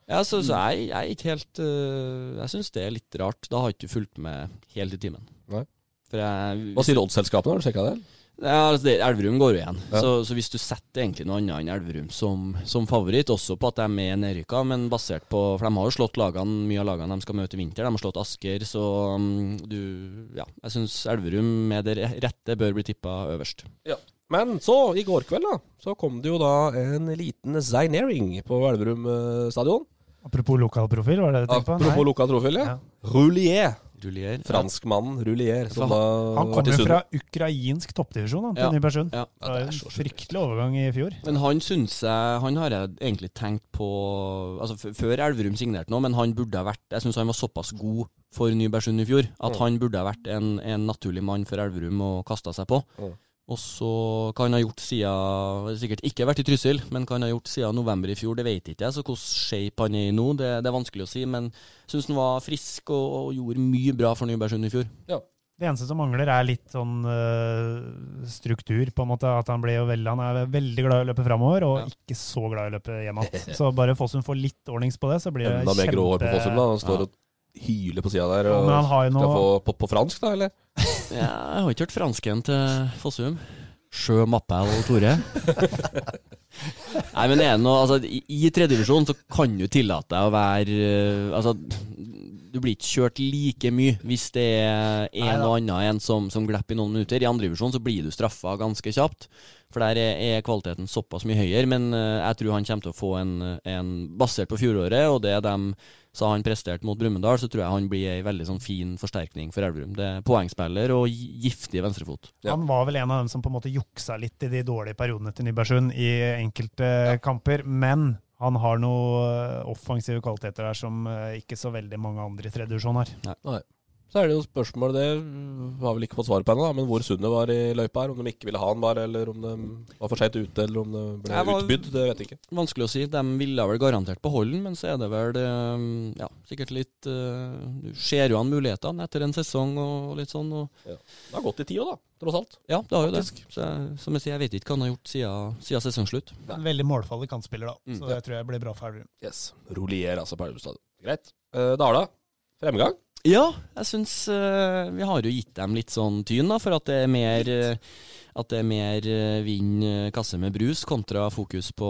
[SPEAKER 5] ja så,
[SPEAKER 3] Mm.
[SPEAKER 5] så jeg, jeg er ikke helt øh, Jeg syns det er litt rart. Da har jeg ikke fulgt med helt i timen.
[SPEAKER 3] Nei.
[SPEAKER 5] For jeg,
[SPEAKER 3] Hva sier oddsselskapene, har du sjekka det?
[SPEAKER 5] Ja, altså det, Elverum går jo igjen.
[SPEAKER 3] Ja.
[SPEAKER 5] Så, så hvis du setter egentlig noe annet enn Elverum som, som favoritt, også på at de er med nedrykka, men basert på For de har jo slått lagene, mye av lagene de skal møte i vinter. De har slått Asker, så mm, du Ja, jeg syns Elverum med det rette bør bli tippa øverst.
[SPEAKER 3] Men så, i går kveld, da, så kom det jo da en liten signering på Elverum eh, stadion.
[SPEAKER 4] Apropos lokalprofil, var det det du tenkte på?
[SPEAKER 3] Apropos
[SPEAKER 4] Nei.
[SPEAKER 3] lukka trofille.
[SPEAKER 4] Ja.
[SPEAKER 3] Roulier.
[SPEAKER 5] Rullier.
[SPEAKER 3] Franskmannen Roulier, som
[SPEAKER 5] For
[SPEAKER 3] da
[SPEAKER 4] Han
[SPEAKER 3] var til
[SPEAKER 4] kommer
[SPEAKER 3] Sunde.
[SPEAKER 4] fra ukrainsk toppdivisjon han, til
[SPEAKER 5] Ja.
[SPEAKER 4] Nybergsund.
[SPEAKER 5] Ja.
[SPEAKER 4] Det var
[SPEAKER 3] det er så
[SPEAKER 4] en
[SPEAKER 3] sjukt.
[SPEAKER 4] fryktelig overgang i fjor.
[SPEAKER 5] Men han syns jeg Han har jeg egentlig tenkt på Altså f- Før Elverum signerte nå, men han burde ha vært Jeg syns han var såpass god for Nybergsund i fjor at han burde ha vært en, en naturlig mann for Elverum og kasta seg på.
[SPEAKER 3] Mm.
[SPEAKER 5] Og så hva han har gjort siden Sikkert ikke vært i Trysil, men hva han har gjort siden november i fjor, det vet ikke jeg. Så hvordan shape han er i nå, det, det er vanskelig å si. Men jeg syns han var frisk og, og gjorde mye bra for Nybergsund i fjor.
[SPEAKER 4] Det Det eneste som mangler, er litt sånn eh, struktur, på en måte. At han, blir jo veldig, han er veldig glad i å løpe framover, og ikke så glad i å løpe hjem
[SPEAKER 3] <laughs>
[SPEAKER 4] igjen. Så bare Fossum får litt ordnings på det, så blir det
[SPEAKER 3] Enda mer grå hår på Fossum, da. Han står
[SPEAKER 4] Ja.
[SPEAKER 3] og hyler på sida der.
[SPEAKER 4] Ja,
[SPEAKER 3] Og
[SPEAKER 4] men han har jo
[SPEAKER 3] skal
[SPEAKER 4] noe-
[SPEAKER 3] få på, på fransk, da, eller?
[SPEAKER 5] Ja, jeg har ikke hørt fransken til Fossum. Sjø, Mappe og Tore. Nei, men er det noe, altså, I i tredjevisjon så kan du tillate deg å være eh, altså, Du blir ikke kjørt like mye hvis det er en og annen en som, som glipper i noen minutter. I andrevisjon så blir du straffa ganske kjapt, for der er, er kvaliteten såpass mye høyere. Men eh, jeg tror han kommer til å få en, en basert på fjoråret, og det de sa han presterte mot Brumunddal, så tror jeg han blir ei veldig sånn fin forsterkning for Elverum. Det er poengspiller og gi- giftig venstrefot.
[SPEAKER 4] Han var vel en av dem som på en måte juksa litt i de dårlige periodene til Nybergsund i enkelte kamper, men han har noen offensive kvaliteter der som eh, ikke så veldig mange andre i tredje divisjon har.
[SPEAKER 3] Så er det jo spørsmål det har vel ikke fått svar på ennå, da, men hvor Sunde var i løypa her. Om de ikke ville ha han bare, eller om de var for seint ute, eller om de ble
[SPEAKER 5] Jeg var-
[SPEAKER 3] utbydd. Det vet jeg ikke.
[SPEAKER 5] Vanskelig å si. De ville vel garantert beholde den, men så er det vel eh, ja, sikkert litt eh, Du ser jo an mulighetene etter en sesong og litt sånn. Og,
[SPEAKER 3] Det har gått i tida, da, tross alt.
[SPEAKER 5] ja, det har jo det. Så, jeg- som jeg sier, jeg vet ikke hva han har gjort siden, siden sesongslutt.
[SPEAKER 4] En veldig målfallig kantspiller, da.
[SPEAKER 5] Mm.
[SPEAKER 4] Så det tror jeg blir bra for Elverum.
[SPEAKER 3] Yes. Rolier, altså, på Elvestad. Greit. Eh, Dala, fremgang.
[SPEAKER 5] Ja, jeg syns eh, Vi har jo gitt dem litt sånn tyn, da, for at det er mer eh, At det er mer eh, vinn eh, kasse med brus kontra fokus på,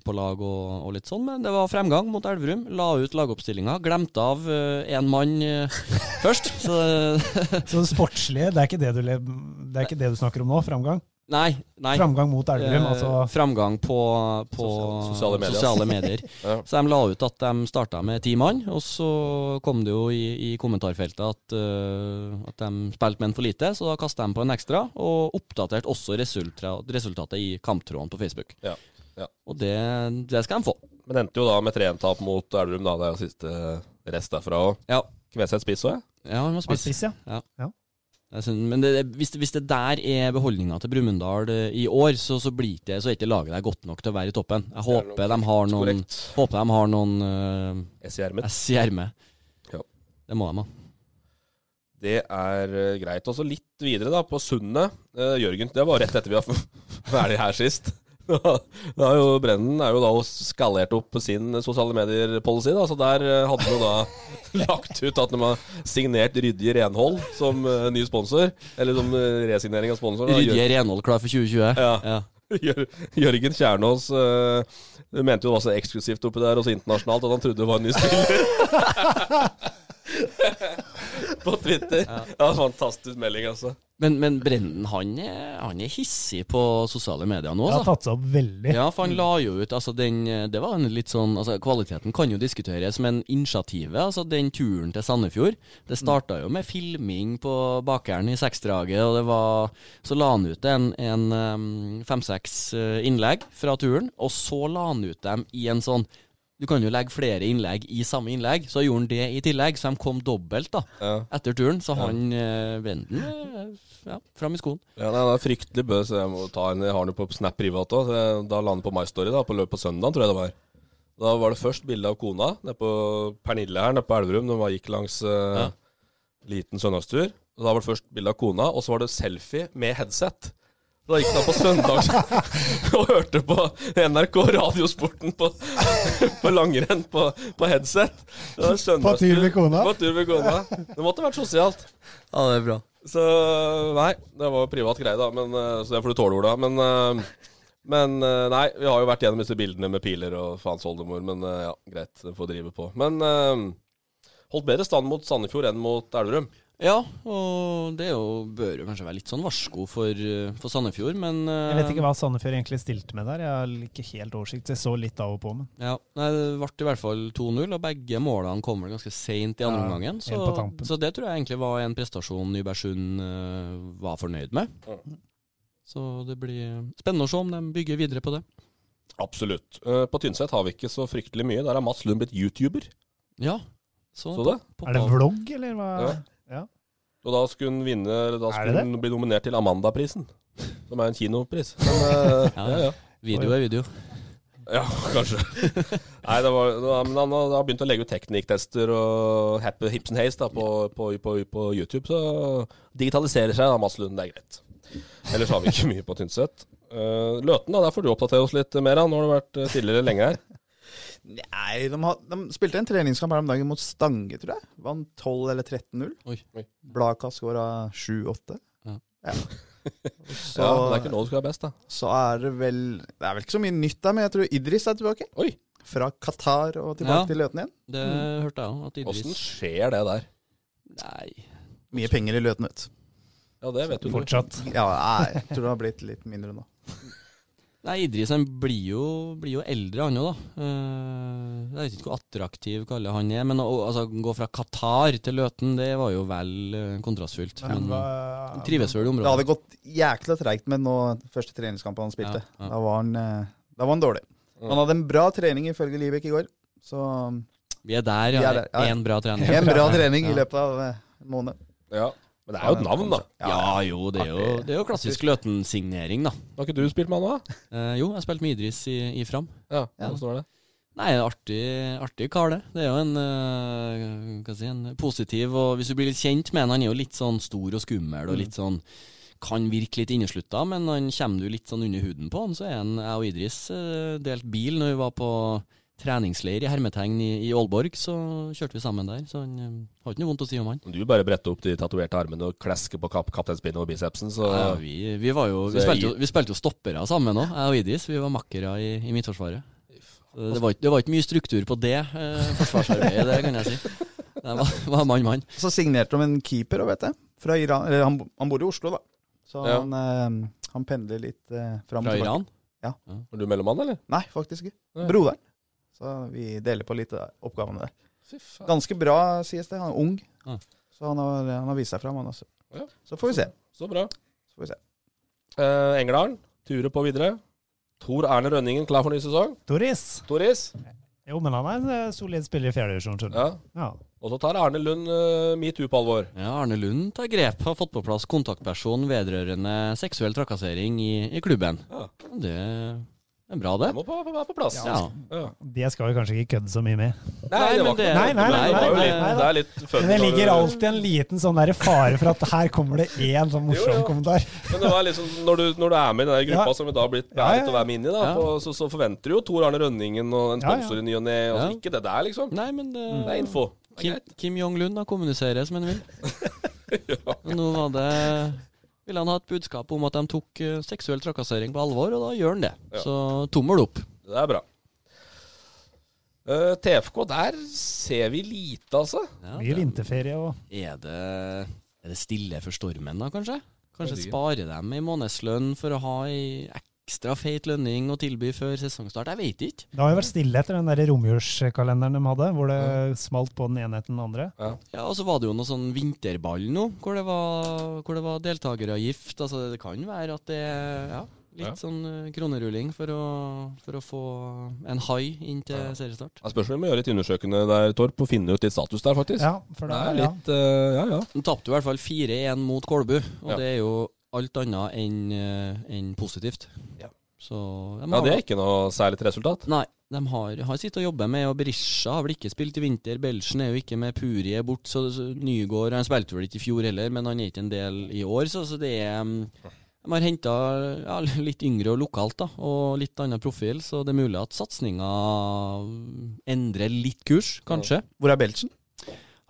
[SPEAKER 5] på lag og, og litt sånn. Men det var fremgang mot Elverum. La ut lagoppstillinga. Glemte av én mann eh, først. Så
[SPEAKER 4] Så det sportslige, det er ikke det du, le- det er ikke det du snakker om nå? Framgang?
[SPEAKER 5] nei, nei.
[SPEAKER 4] Framgang mot Elverum,
[SPEAKER 5] Eh,
[SPEAKER 4] altså.
[SPEAKER 5] Framgang på, på
[SPEAKER 3] Sosiale medier.
[SPEAKER 5] sosiale medier.
[SPEAKER 3] Ja.
[SPEAKER 5] Så de la ut at de starta med ti mann, og så kom det jo i, i kommentarfeltet at, eh, at de spilte menn for lite, så da kasta de på en ekstra, og oppdaterte også resultra, resultatet i kamptråden på Facebook.
[SPEAKER 3] Ja, ja.
[SPEAKER 5] Og det, det skal de få.
[SPEAKER 3] Men endte jo da med 3-1-tap mot Elverum, da. Det er jo siste rest derfra òg.
[SPEAKER 5] Ja.
[SPEAKER 3] Kveseth spiss òg, jeg.
[SPEAKER 5] Ja, vi må
[SPEAKER 4] Var det
[SPEAKER 5] spise.
[SPEAKER 4] spiss, ja.
[SPEAKER 5] Jeg synes- Men det, hvis, det- hvis det der er beholdninga til Brumunddal eh, i år, så, så, blir det, så er ikke laget der godt nok til å være i toppen. Jeg
[SPEAKER 3] Det
[SPEAKER 5] håper
[SPEAKER 3] er
[SPEAKER 5] de har noen,
[SPEAKER 3] Korrekt.
[SPEAKER 5] håper de har noen eh,
[SPEAKER 3] S i ermet.
[SPEAKER 5] Jeg sier med.
[SPEAKER 3] Ja.
[SPEAKER 5] Det må de ha.
[SPEAKER 3] Det er eh, greit. Og så litt videre, da, på Sundet. Eh, Jørgen, det var rett etter vi var <laughs> ferdig her sist. <laughs> Da er jo Brennen er jo da skalert opp sin sosiale medier-policy, da. Så der eh, hadde han jo da <laughs> lagt ut at de har signert Rydje Renhold som eh, ny sponsor. Eller som eh, resignering av sponsor. da.
[SPEAKER 5] Rydje renhold klar for 2020.
[SPEAKER 3] Ja. <laughs> Jør- Jørgen Kjernås eh, mente jo det var så eksklusivt oppi der og så internasjonalt at han trodde det var en ny spiller. <laughs> på Twitter. Ja. fantastisk melding, altså.
[SPEAKER 5] Men, men Brenden han er, han er hissig på sosiale medier nå,
[SPEAKER 4] Det har
[SPEAKER 5] altså.
[SPEAKER 4] tatt seg opp veldig.
[SPEAKER 5] Ja, for han la jo ut altså den, eh, det var en litt sånn, altså Kvaliteten kan jo diskuteres, men initiativet, altså den turen til Sandefjord Det starta jo med filming på Bakeren i Seksdraget, og det var Så la han ut en, en fem-seks eh, innlegg fra turen, og så la han ut dem i en sånn du kan jo legge flere innlegg i samme innlegg, så gjorde han det i tillegg. Så de kom dobbelt da, etter turen. Så han eh, Brenden eh, ja, fram i skoen.
[SPEAKER 3] Ja, nei, det er fryktelig bøs. Jeg må ta en, jeg har den jo på Snap privat òg. Da la han på My Story da, på løpet på søndag, tror jeg det var. Da var det først bilde av kona nede på Pernille her nede på Elverum. De var, gikk langs eh,
[SPEAKER 5] Ja.
[SPEAKER 3] liten søndagstur. Og Da var det først bilde av kona, og så var det selfie med headset. Da gikk han på søndag <laughs> og hørte på NRK Radiosporten på, <laughs> på langrenn på, på headset. Det var søndagstur.
[SPEAKER 4] tur med kona.
[SPEAKER 3] På tur med kona. Det måtte vært sosialt.
[SPEAKER 5] Ja, det er bra.
[SPEAKER 3] Så nei, det var jo privat greie, da. Men, eh, så det får du tåle, Ola. Men, eh, men eh, nei, vi har jo vært gjennom disse bildene med piler og faens oldemor. Men eh, ja, greit, det får drive på. Men eh, holdt bedre stand mot Sandefjord enn mot Elverum.
[SPEAKER 5] Ja, og det er jo, bør jo kanskje være litt sånn varsko for, eh, for Sandefjord, men eh,
[SPEAKER 4] Jeg vet ikke hva Sandefjord egentlig stilte med der. Jeg har ikke helt oversikt. så Jeg så litt av og på, men
[SPEAKER 5] Ja, nei, Det ble i hvert fall 2-0, og begge målene kom vel ganske seint i andre
[SPEAKER 4] Ja,
[SPEAKER 5] omgangen. Så,
[SPEAKER 4] helt på tampen.
[SPEAKER 5] så det tror jeg egentlig var en prestasjon Nybergsund eh, var fornøyd med. Så det blir spennende å se om de bygger videre på det.
[SPEAKER 3] Absolutt. Eh, på Tynset har vi ikke så fryktelig mye. Der er Mats Lund blitt YouTuber.
[SPEAKER 5] Ja, så,
[SPEAKER 3] Så det?
[SPEAKER 5] pop-
[SPEAKER 4] Er det
[SPEAKER 5] poppa-
[SPEAKER 4] vlogg, eller hva?
[SPEAKER 3] Ja. Og da skulle hun vinne eller Da
[SPEAKER 4] Er det
[SPEAKER 3] skulle
[SPEAKER 4] det?
[SPEAKER 3] hun bli nominert til Amandaprisen. Som er en kinopris. Men eh,
[SPEAKER 5] <laughs> Ja,
[SPEAKER 3] ja, ja.
[SPEAKER 5] Video er video.
[SPEAKER 3] Ja, <laughs> kanskje. Nei, det var, det var, men han har- har begynt å legge ut teknikktester og happy hips and haze da, på, på, på, på YouTube. Så digitaliserer seg da, Mads Lund, det er greit. Ellers har vi ikke mye på Tynset. Eh, Løten, da, der får du oppdatere oss litt mer. da. Nå har du vært eh, tidligere lenge <laughs> her.
[SPEAKER 6] Nei, de, har, de spilte en treningskamp her om dagen mot Stange, tror jeg. Vant 12 eller 13-0.
[SPEAKER 5] Oi.
[SPEAKER 6] Blaka skåra 7-8.
[SPEAKER 5] Ja.
[SPEAKER 6] Ja. Så,
[SPEAKER 3] Ja, det er ikke nå du skal være best, da.
[SPEAKER 6] så er det vel Det er vel ikke så mye nytt der, men jeg tror Idris er tilbake.
[SPEAKER 3] Oi.
[SPEAKER 6] Fra Qatar og tilbake
[SPEAKER 5] Ja.
[SPEAKER 6] til Løten igjen.
[SPEAKER 5] Det
[SPEAKER 4] Mm.
[SPEAKER 5] hørte jeg òg. At
[SPEAKER 3] Åssen
[SPEAKER 5] Idris
[SPEAKER 3] skjer det der?
[SPEAKER 5] Nei.
[SPEAKER 6] Mye penger i Løten, vet du.
[SPEAKER 3] Ja, det vet du. Fort.
[SPEAKER 4] Fortsatt.
[SPEAKER 6] Ja, nei, jeg tror det har blitt litt mindre nå.
[SPEAKER 5] Nei, Idris han blir jo, blir jo eldre, han òg, da. Eh, jeg vet ikke hvor attraktiv kaller han er, men å å- altså, gå fra Qatar til Løten, det var jo vel eh, kontrastfylt. Men, eh, han trives vel i
[SPEAKER 6] Det hadde
[SPEAKER 5] området.
[SPEAKER 6] gått jækla treigt med nå første treningskampen han spilte.
[SPEAKER 5] Ja, ja.
[SPEAKER 6] Da, var han, eh, da var han dårlig. Han hadde en bra trening ifølge Libek i går. Så
[SPEAKER 5] Vi er der,
[SPEAKER 6] Vi
[SPEAKER 5] ja.
[SPEAKER 6] er der, ja.
[SPEAKER 5] En bra trening.
[SPEAKER 6] en bra trening
[SPEAKER 5] Ja.
[SPEAKER 6] i løpet av eh, en måned.
[SPEAKER 3] Ja. Men det er jo et navn, da.
[SPEAKER 5] Ja jo, det er jo, det er jo klassisk Løten-signering, da.
[SPEAKER 3] Har ikke du spilt med han da?
[SPEAKER 5] Eh, jo, jeg spilte med Idris i, i Fram.
[SPEAKER 3] Ja, Åssen var det?
[SPEAKER 5] Nei, artig, artig kar, det. Det er jo en, eh, hva skal jeg si, en positiv og Hvis du blir litt kjent med han, han er jo litt sånn stor og skummel og litt sånn Kan virke litt inneslutta, men han kommer du litt sånn under huden på han, så er han Jeg og Idris eh, delt bil når vi var på treningsleir i Hermetegn i, i Aalborg, så kjørte vi sammen der. Så han eh, har ikke noe vondt å si om han.
[SPEAKER 3] Du bare bretter opp de tatoverte armene og klasker på kap kapteinspinnet og bicepsen, så
[SPEAKER 5] Ja, vi, vi, var jo, vi,
[SPEAKER 3] Så
[SPEAKER 5] spilte jo,
[SPEAKER 3] jeg-
[SPEAKER 5] vi spilte jo stoppere sammen òg, jeg og Idris. Vi var makkere i, i Midtforsvaret. Det var, ikke- det var ikke mye struktur på det eh, forsvarsarbeidet, det kan jeg si. Det var, var mann, mann.
[SPEAKER 6] Så signerte de en keeper, og vet jeg. Fra Iran, eller han, han bor i Oslo, da. Så
[SPEAKER 3] Ja.
[SPEAKER 6] han, eh, han pendler litt eh, fram
[SPEAKER 5] Fra
[SPEAKER 6] og tilbake.
[SPEAKER 5] Iran.
[SPEAKER 3] Var du mellommann, eller?
[SPEAKER 6] Nei, faktisk ikke.
[SPEAKER 3] Nei.
[SPEAKER 6] Broderen. Så vi deler på litt av oppgavene der.
[SPEAKER 3] Fy faen.
[SPEAKER 6] Ganske bra, sies det. Han er ung.
[SPEAKER 5] Ja.
[SPEAKER 6] Så han har, han har vist seg fram, han også.
[SPEAKER 3] Ja.
[SPEAKER 6] Så får vi se.
[SPEAKER 3] Så bra.
[SPEAKER 6] Så får vi se.
[SPEAKER 3] Eh, Engerdalen turer på videre. Tor Erne Rønningen klar for ny sesong.
[SPEAKER 4] Toris.
[SPEAKER 3] Toris.
[SPEAKER 4] Jo, men han er en eh, solid spiller i fjerdedivisjon, skjønner du.
[SPEAKER 3] Ja.
[SPEAKER 4] Ja.
[SPEAKER 3] Og så tar Arne Lund eh, metoo på alvor.
[SPEAKER 5] Ja, Arne Lund tar grep, har fått på plass kontaktperson vedrørende seksuell trakassering i, i klubben.
[SPEAKER 3] Ja.
[SPEAKER 5] Det er bra,
[SPEAKER 3] Det
[SPEAKER 5] det.
[SPEAKER 3] må på, på, være på plass.
[SPEAKER 5] Ja.
[SPEAKER 3] Ja.
[SPEAKER 4] Det skal vi kanskje ikke kødde så mye med.
[SPEAKER 5] Nei, men det-
[SPEAKER 4] Nei, nei, nei,
[SPEAKER 3] det var jo
[SPEAKER 4] nei,
[SPEAKER 3] litt-
[SPEAKER 4] nei, nei.
[SPEAKER 3] Det er litt funny
[SPEAKER 4] Men det
[SPEAKER 3] når du-
[SPEAKER 4] ligger alltid en liten sånn der fare for at her kommer det én sånn
[SPEAKER 3] Jo,
[SPEAKER 4] morsom
[SPEAKER 3] jo.
[SPEAKER 4] kommentar.
[SPEAKER 3] Men det var liksom, når du, når du er med i den der gruppa
[SPEAKER 4] Ja.
[SPEAKER 3] som vi da har blitt
[SPEAKER 4] Ja, ja,
[SPEAKER 3] beæret å være med inn i, da,
[SPEAKER 5] Ja.
[SPEAKER 3] på, så, så forventer du jo Tor Arne Rønningen og en
[SPEAKER 4] Ja, ja.
[SPEAKER 3] sponsor i ny og ne. Altså,
[SPEAKER 5] Ja.
[SPEAKER 3] Ikke det der, liksom.
[SPEAKER 5] Nei, men eh, det,
[SPEAKER 3] Det er info. Det er
[SPEAKER 5] Kim,
[SPEAKER 3] greit.
[SPEAKER 5] Kim Jong-lund da kommuniserer som han vil. Men Nå var det ville han ha et budskap om at de tok eh, seksuell trakassering på alvor, og da gjør han det. Så tommel opp.
[SPEAKER 3] Det er bra. Eh, TFK, der ser vi lite, altså.
[SPEAKER 4] Mye vinterferie og
[SPEAKER 5] Er det, er det stille for stormen da, kanskje? Kanskje spare dem i månedslønn for å ha ei ekstra feit lønning å tilby før sesongstart? Jeg vet ikke.
[SPEAKER 4] Det har jo vært stille etter den der romjulskalenderen de hadde, hvor det smalt på den ene etter den andre.
[SPEAKER 5] Ja, Og så var det jo noe sånn vinterball nå, hvor det var, hvor det var deltakeravgift. Altså, det kan være at det er ja, litt
[SPEAKER 3] Ja.
[SPEAKER 5] sånn eh, kronerulling for å, for å få en hai inn til seriestart.
[SPEAKER 3] Det spørs om vi må gjøre litt undersøkende der, Torp, og finne ut litt status der, faktisk.
[SPEAKER 4] Ja, for
[SPEAKER 3] Det
[SPEAKER 4] det
[SPEAKER 3] er
[SPEAKER 4] er ja.
[SPEAKER 3] litt eh, Ja, ja.
[SPEAKER 5] De tapte i hvert fall 4-1 mot Kolbu, og
[SPEAKER 3] Ja.
[SPEAKER 5] det er jo alt annet enn eh, enn positivt.
[SPEAKER 3] Ja.
[SPEAKER 5] Så de
[SPEAKER 3] ja
[SPEAKER 5] har,
[SPEAKER 3] det er ikke noe særlig til resultat.
[SPEAKER 5] Nei, de har, har sittet og jobbet med, og Berisha har vel ikke spilt i vinter. Belsen er jo ikke med, Puri er bort, så, så Nygård Han spilte vel ikke i fjor heller, men han er ikke en del i år, så, så det er mm, De har henta ja, litt yngre og lokalt, da, og litt annen profil, så det er mulig at satsinga endrer litt kurs, kanskje.
[SPEAKER 6] Hvor er Belchen?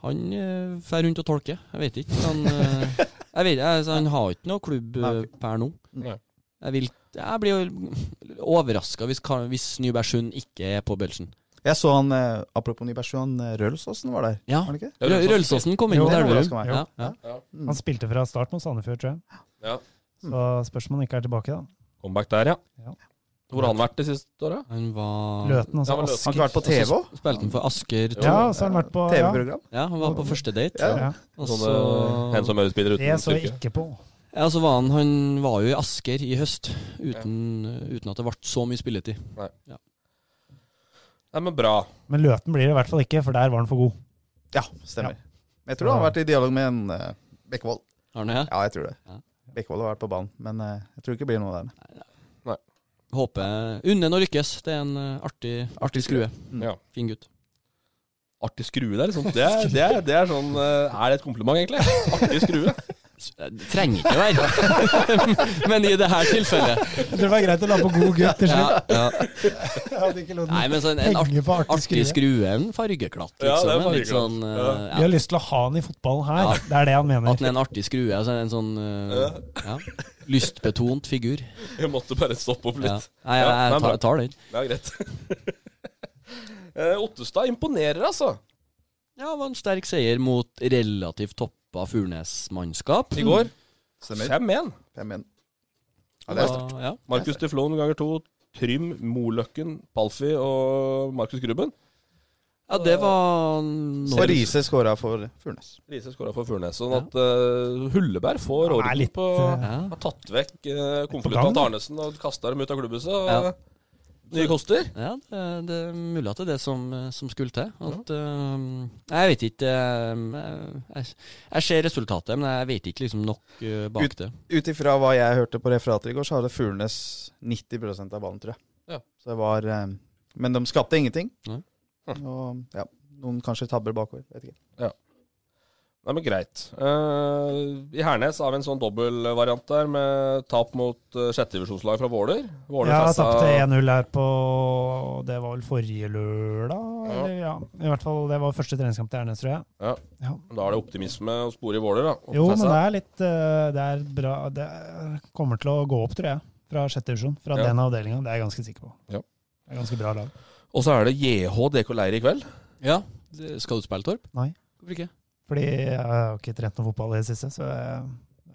[SPEAKER 5] Han eh, fer rundt og tolker, jeg vet ikke. Han, eh, jeg vet, altså, han har ikke noe klubb eh,
[SPEAKER 6] Nei.
[SPEAKER 5] per nå.
[SPEAKER 3] Nei.
[SPEAKER 5] Jeg, vil, jeg blir jo overraska hvis, Ka- hvis Nybergsund ikke er på Belsen.
[SPEAKER 6] Jeg så han, eh, apropos Nybergsjøen, Rølsåsen var der.
[SPEAKER 5] Ja.
[SPEAKER 6] Var det ikke?
[SPEAKER 3] Ja,
[SPEAKER 5] Rø-
[SPEAKER 3] Rølsåsen.
[SPEAKER 5] Rølsåsen kom inn
[SPEAKER 4] Jo,
[SPEAKER 5] mot
[SPEAKER 6] det
[SPEAKER 5] Elverum.
[SPEAKER 6] overrasker meg.
[SPEAKER 5] Ja, ja.
[SPEAKER 4] Han spilte fra start mot Sandefjord, tror jeg.
[SPEAKER 3] Ja.
[SPEAKER 4] Så spørs om han ikke er tilbake, da.
[SPEAKER 3] Comeback der, ja.
[SPEAKER 4] Ja.
[SPEAKER 3] Hvor har han vært det siste året?
[SPEAKER 5] Han var
[SPEAKER 4] Løten, altså.
[SPEAKER 3] Ja, men Løten.
[SPEAKER 6] Han har ikke vært på TV òg?
[SPEAKER 5] Spilte han for Asker
[SPEAKER 4] Ja,
[SPEAKER 5] 2?
[SPEAKER 4] så har han vært på ja.
[SPEAKER 6] TV-program?
[SPEAKER 5] Ja, han var på første date.
[SPEAKER 4] Ja.
[SPEAKER 5] Og
[SPEAKER 3] Sånne
[SPEAKER 5] så,
[SPEAKER 3] en som ørespiller
[SPEAKER 4] Det
[SPEAKER 3] uten
[SPEAKER 4] så jeg
[SPEAKER 3] styrke.
[SPEAKER 4] ikke på.
[SPEAKER 5] ja, så var han Han var jo i Asker i høst, uten, uten at det ble så mye spilletid.
[SPEAKER 3] Nei, men bra.
[SPEAKER 4] Men Løten blir det i hvert fall ikke, for der var han for god.
[SPEAKER 6] Ja, stemmer. Men Jeg tror han har vært i dialog med en eh, Bekkevold.
[SPEAKER 5] Arne,
[SPEAKER 6] Ja, jeg tror det.
[SPEAKER 5] Ja.
[SPEAKER 6] Bekkevold har vært på banen, men eh, jeg tror ikke det blir noe der.
[SPEAKER 5] Håper Unnen å lykkes. Det er en eh, artig, artig skrue.
[SPEAKER 4] Mm.
[SPEAKER 3] Ja.
[SPEAKER 5] Fin gutt.
[SPEAKER 3] Artig skrue der, liksom. Det er, det er, det er sånn eh, Er det et kompliment, egentlig? Artig skrue.
[SPEAKER 5] Det eh, trenger ikke være, <laughs> men i det her tilfellet
[SPEAKER 4] Jeg tror det var greit å la på god gutt til
[SPEAKER 5] ja,
[SPEAKER 4] slutt.
[SPEAKER 5] ja.
[SPEAKER 4] Jeg hadde ikke lov
[SPEAKER 5] Nei,
[SPEAKER 4] til
[SPEAKER 5] men sånn, en
[SPEAKER 4] å
[SPEAKER 5] art,
[SPEAKER 4] henge på artig
[SPEAKER 5] artig
[SPEAKER 4] skrue.
[SPEAKER 5] skrue er en fargeklatt, liksom.
[SPEAKER 3] Ja, det er
[SPEAKER 5] en litt
[SPEAKER 3] fargeklatt.
[SPEAKER 5] sånn,
[SPEAKER 3] Ja.
[SPEAKER 5] eh,
[SPEAKER 4] Vi har lyst til å ha han i fotballen her. Det er det han
[SPEAKER 5] ja. At den
[SPEAKER 4] mener.
[SPEAKER 5] er en artig skrue, altså en sånn eh, ja, lystbetont
[SPEAKER 3] <laughs>
[SPEAKER 5] figur.
[SPEAKER 3] Jeg måtte bare stoppe opp
[SPEAKER 5] Ja.
[SPEAKER 3] litt.
[SPEAKER 5] Nei, jeg,
[SPEAKER 3] Ja,
[SPEAKER 5] jeg,
[SPEAKER 3] nei,
[SPEAKER 5] tar-
[SPEAKER 3] bra.
[SPEAKER 5] jeg tar den.
[SPEAKER 3] Det er greit. <laughs> Eh, Ottestad imponerer, altså.
[SPEAKER 5] Ja, det var en sterk seier mot relativt toppa Furnes-mannskap.
[SPEAKER 4] Mm.
[SPEAKER 3] I går.
[SPEAKER 6] Stemmer.
[SPEAKER 3] 5-1.
[SPEAKER 6] Fem igjen. Ja, det er sterkt.
[SPEAKER 5] Og- Ja,
[SPEAKER 3] Markus Teflon ganger to. Trym, Moløkken, Palfi og Markus Grubben.
[SPEAKER 5] ja, det var når,
[SPEAKER 6] Så Riise skåra for Furnes.
[SPEAKER 3] Riise skåra for Furnes. Sånn at eh, Hulleberg får
[SPEAKER 4] Han er
[SPEAKER 3] orden
[SPEAKER 4] litt,
[SPEAKER 3] på
[SPEAKER 4] eh,
[SPEAKER 5] ja.
[SPEAKER 3] Har tatt vekk uh,
[SPEAKER 4] gang,
[SPEAKER 3] konvolutten til
[SPEAKER 4] da.
[SPEAKER 3] Arnesen og kasta dem ut av klubbhuset. Og, eh,
[SPEAKER 5] Ja.
[SPEAKER 3] Nye koster.
[SPEAKER 5] Ja, det, det er mulig at det er det som, eh, som skulle til. At, eh, jeg vet ikke eh, jeg, jeg ser resultatet, men jeg vet ikke liksom nok eh, bak
[SPEAKER 6] Ut-
[SPEAKER 5] det.
[SPEAKER 6] Ut ifra hva jeg hørte på referater i går, så hadde Furnes 90 av ballen, tror jeg.
[SPEAKER 3] Ja.
[SPEAKER 6] Så det var eh, Men de skapte ingenting.
[SPEAKER 5] Nei.
[SPEAKER 6] Og ja, noen kanskje tabber bakover. Vet ikke.
[SPEAKER 3] Nei, men greit. Eh, I Hernes har vi en sånn dobbeltvariant der, med tap mot uh, sjettedivisjonslag fra Våler. Våler
[SPEAKER 4] Ja,
[SPEAKER 3] kassa-
[SPEAKER 4] tapte 1-0 her på Det var vel forrige lørdag? Eller, ja. I hvert fall, det var første treningskamp til Ernes, tror jeg.
[SPEAKER 3] Ja.
[SPEAKER 4] Ja.
[SPEAKER 3] Da er det optimisme å spore i Våler, da. Og
[SPEAKER 4] Jo, men
[SPEAKER 3] Fessa.
[SPEAKER 4] det er litt eh, Det er bra Det er- kommer til å gå opp, tror jeg. Fra sjette divisjon. Fra
[SPEAKER 3] Ja.
[SPEAKER 4] den avdelinga. Det er jeg ganske sikker på.
[SPEAKER 3] Ja.
[SPEAKER 4] Det er ganske bra lag.
[SPEAKER 3] Og så er det JH DK Leir i kveld.
[SPEAKER 5] Ja, det, Skal du spille, Torp?
[SPEAKER 4] Nei.
[SPEAKER 5] Hvorfor ikke?
[SPEAKER 4] Fordi jeg har ikke trent noe fotball i det siste, så jeg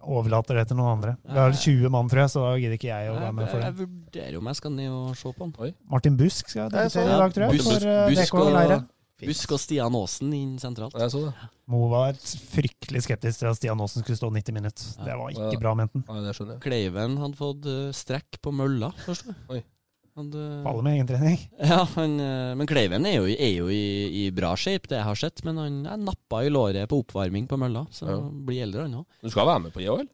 [SPEAKER 4] overlater det til noen andre. Vi har 20 mann, tror jeg, så da gidder ikke jeg å være
[SPEAKER 5] Jeg,
[SPEAKER 4] med
[SPEAKER 5] jeg,
[SPEAKER 4] for det.
[SPEAKER 5] vurderer om jeg skal ned og se på han.
[SPEAKER 4] Martin Busk skal
[SPEAKER 6] Jeg
[SPEAKER 4] debutere
[SPEAKER 6] så det.
[SPEAKER 4] i dag, tror jeg.
[SPEAKER 5] Busk-
[SPEAKER 4] For eh,
[SPEAKER 5] Busk
[SPEAKER 4] DK Leire.
[SPEAKER 5] og, Busk og Stian Aasen inn sentralt.
[SPEAKER 3] Jeg så det.
[SPEAKER 4] Mo var fryktelig skeptisk til at Stian Aasen skulle stå 90 minutter. Det var
[SPEAKER 3] Ja.
[SPEAKER 4] ikke bra, mente han.
[SPEAKER 3] Nei, det skjønner jeg.
[SPEAKER 5] Kleiven hadde fått eh, strekk på mølla, forstår
[SPEAKER 3] Oi.
[SPEAKER 5] du. Han, eh,
[SPEAKER 4] Faller med egen trening.
[SPEAKER 5] ja, han, eh, men Kleiven er jo, i- er jo i, i bra shape, det jeg har sett. Men han er nappa i låret på oppvarming på mølla, så
[SPEAKER 3] Ja.
[SPEAKER 5] blir eldre han òg.
[SPEAKER 3] Du skal være med på JHL?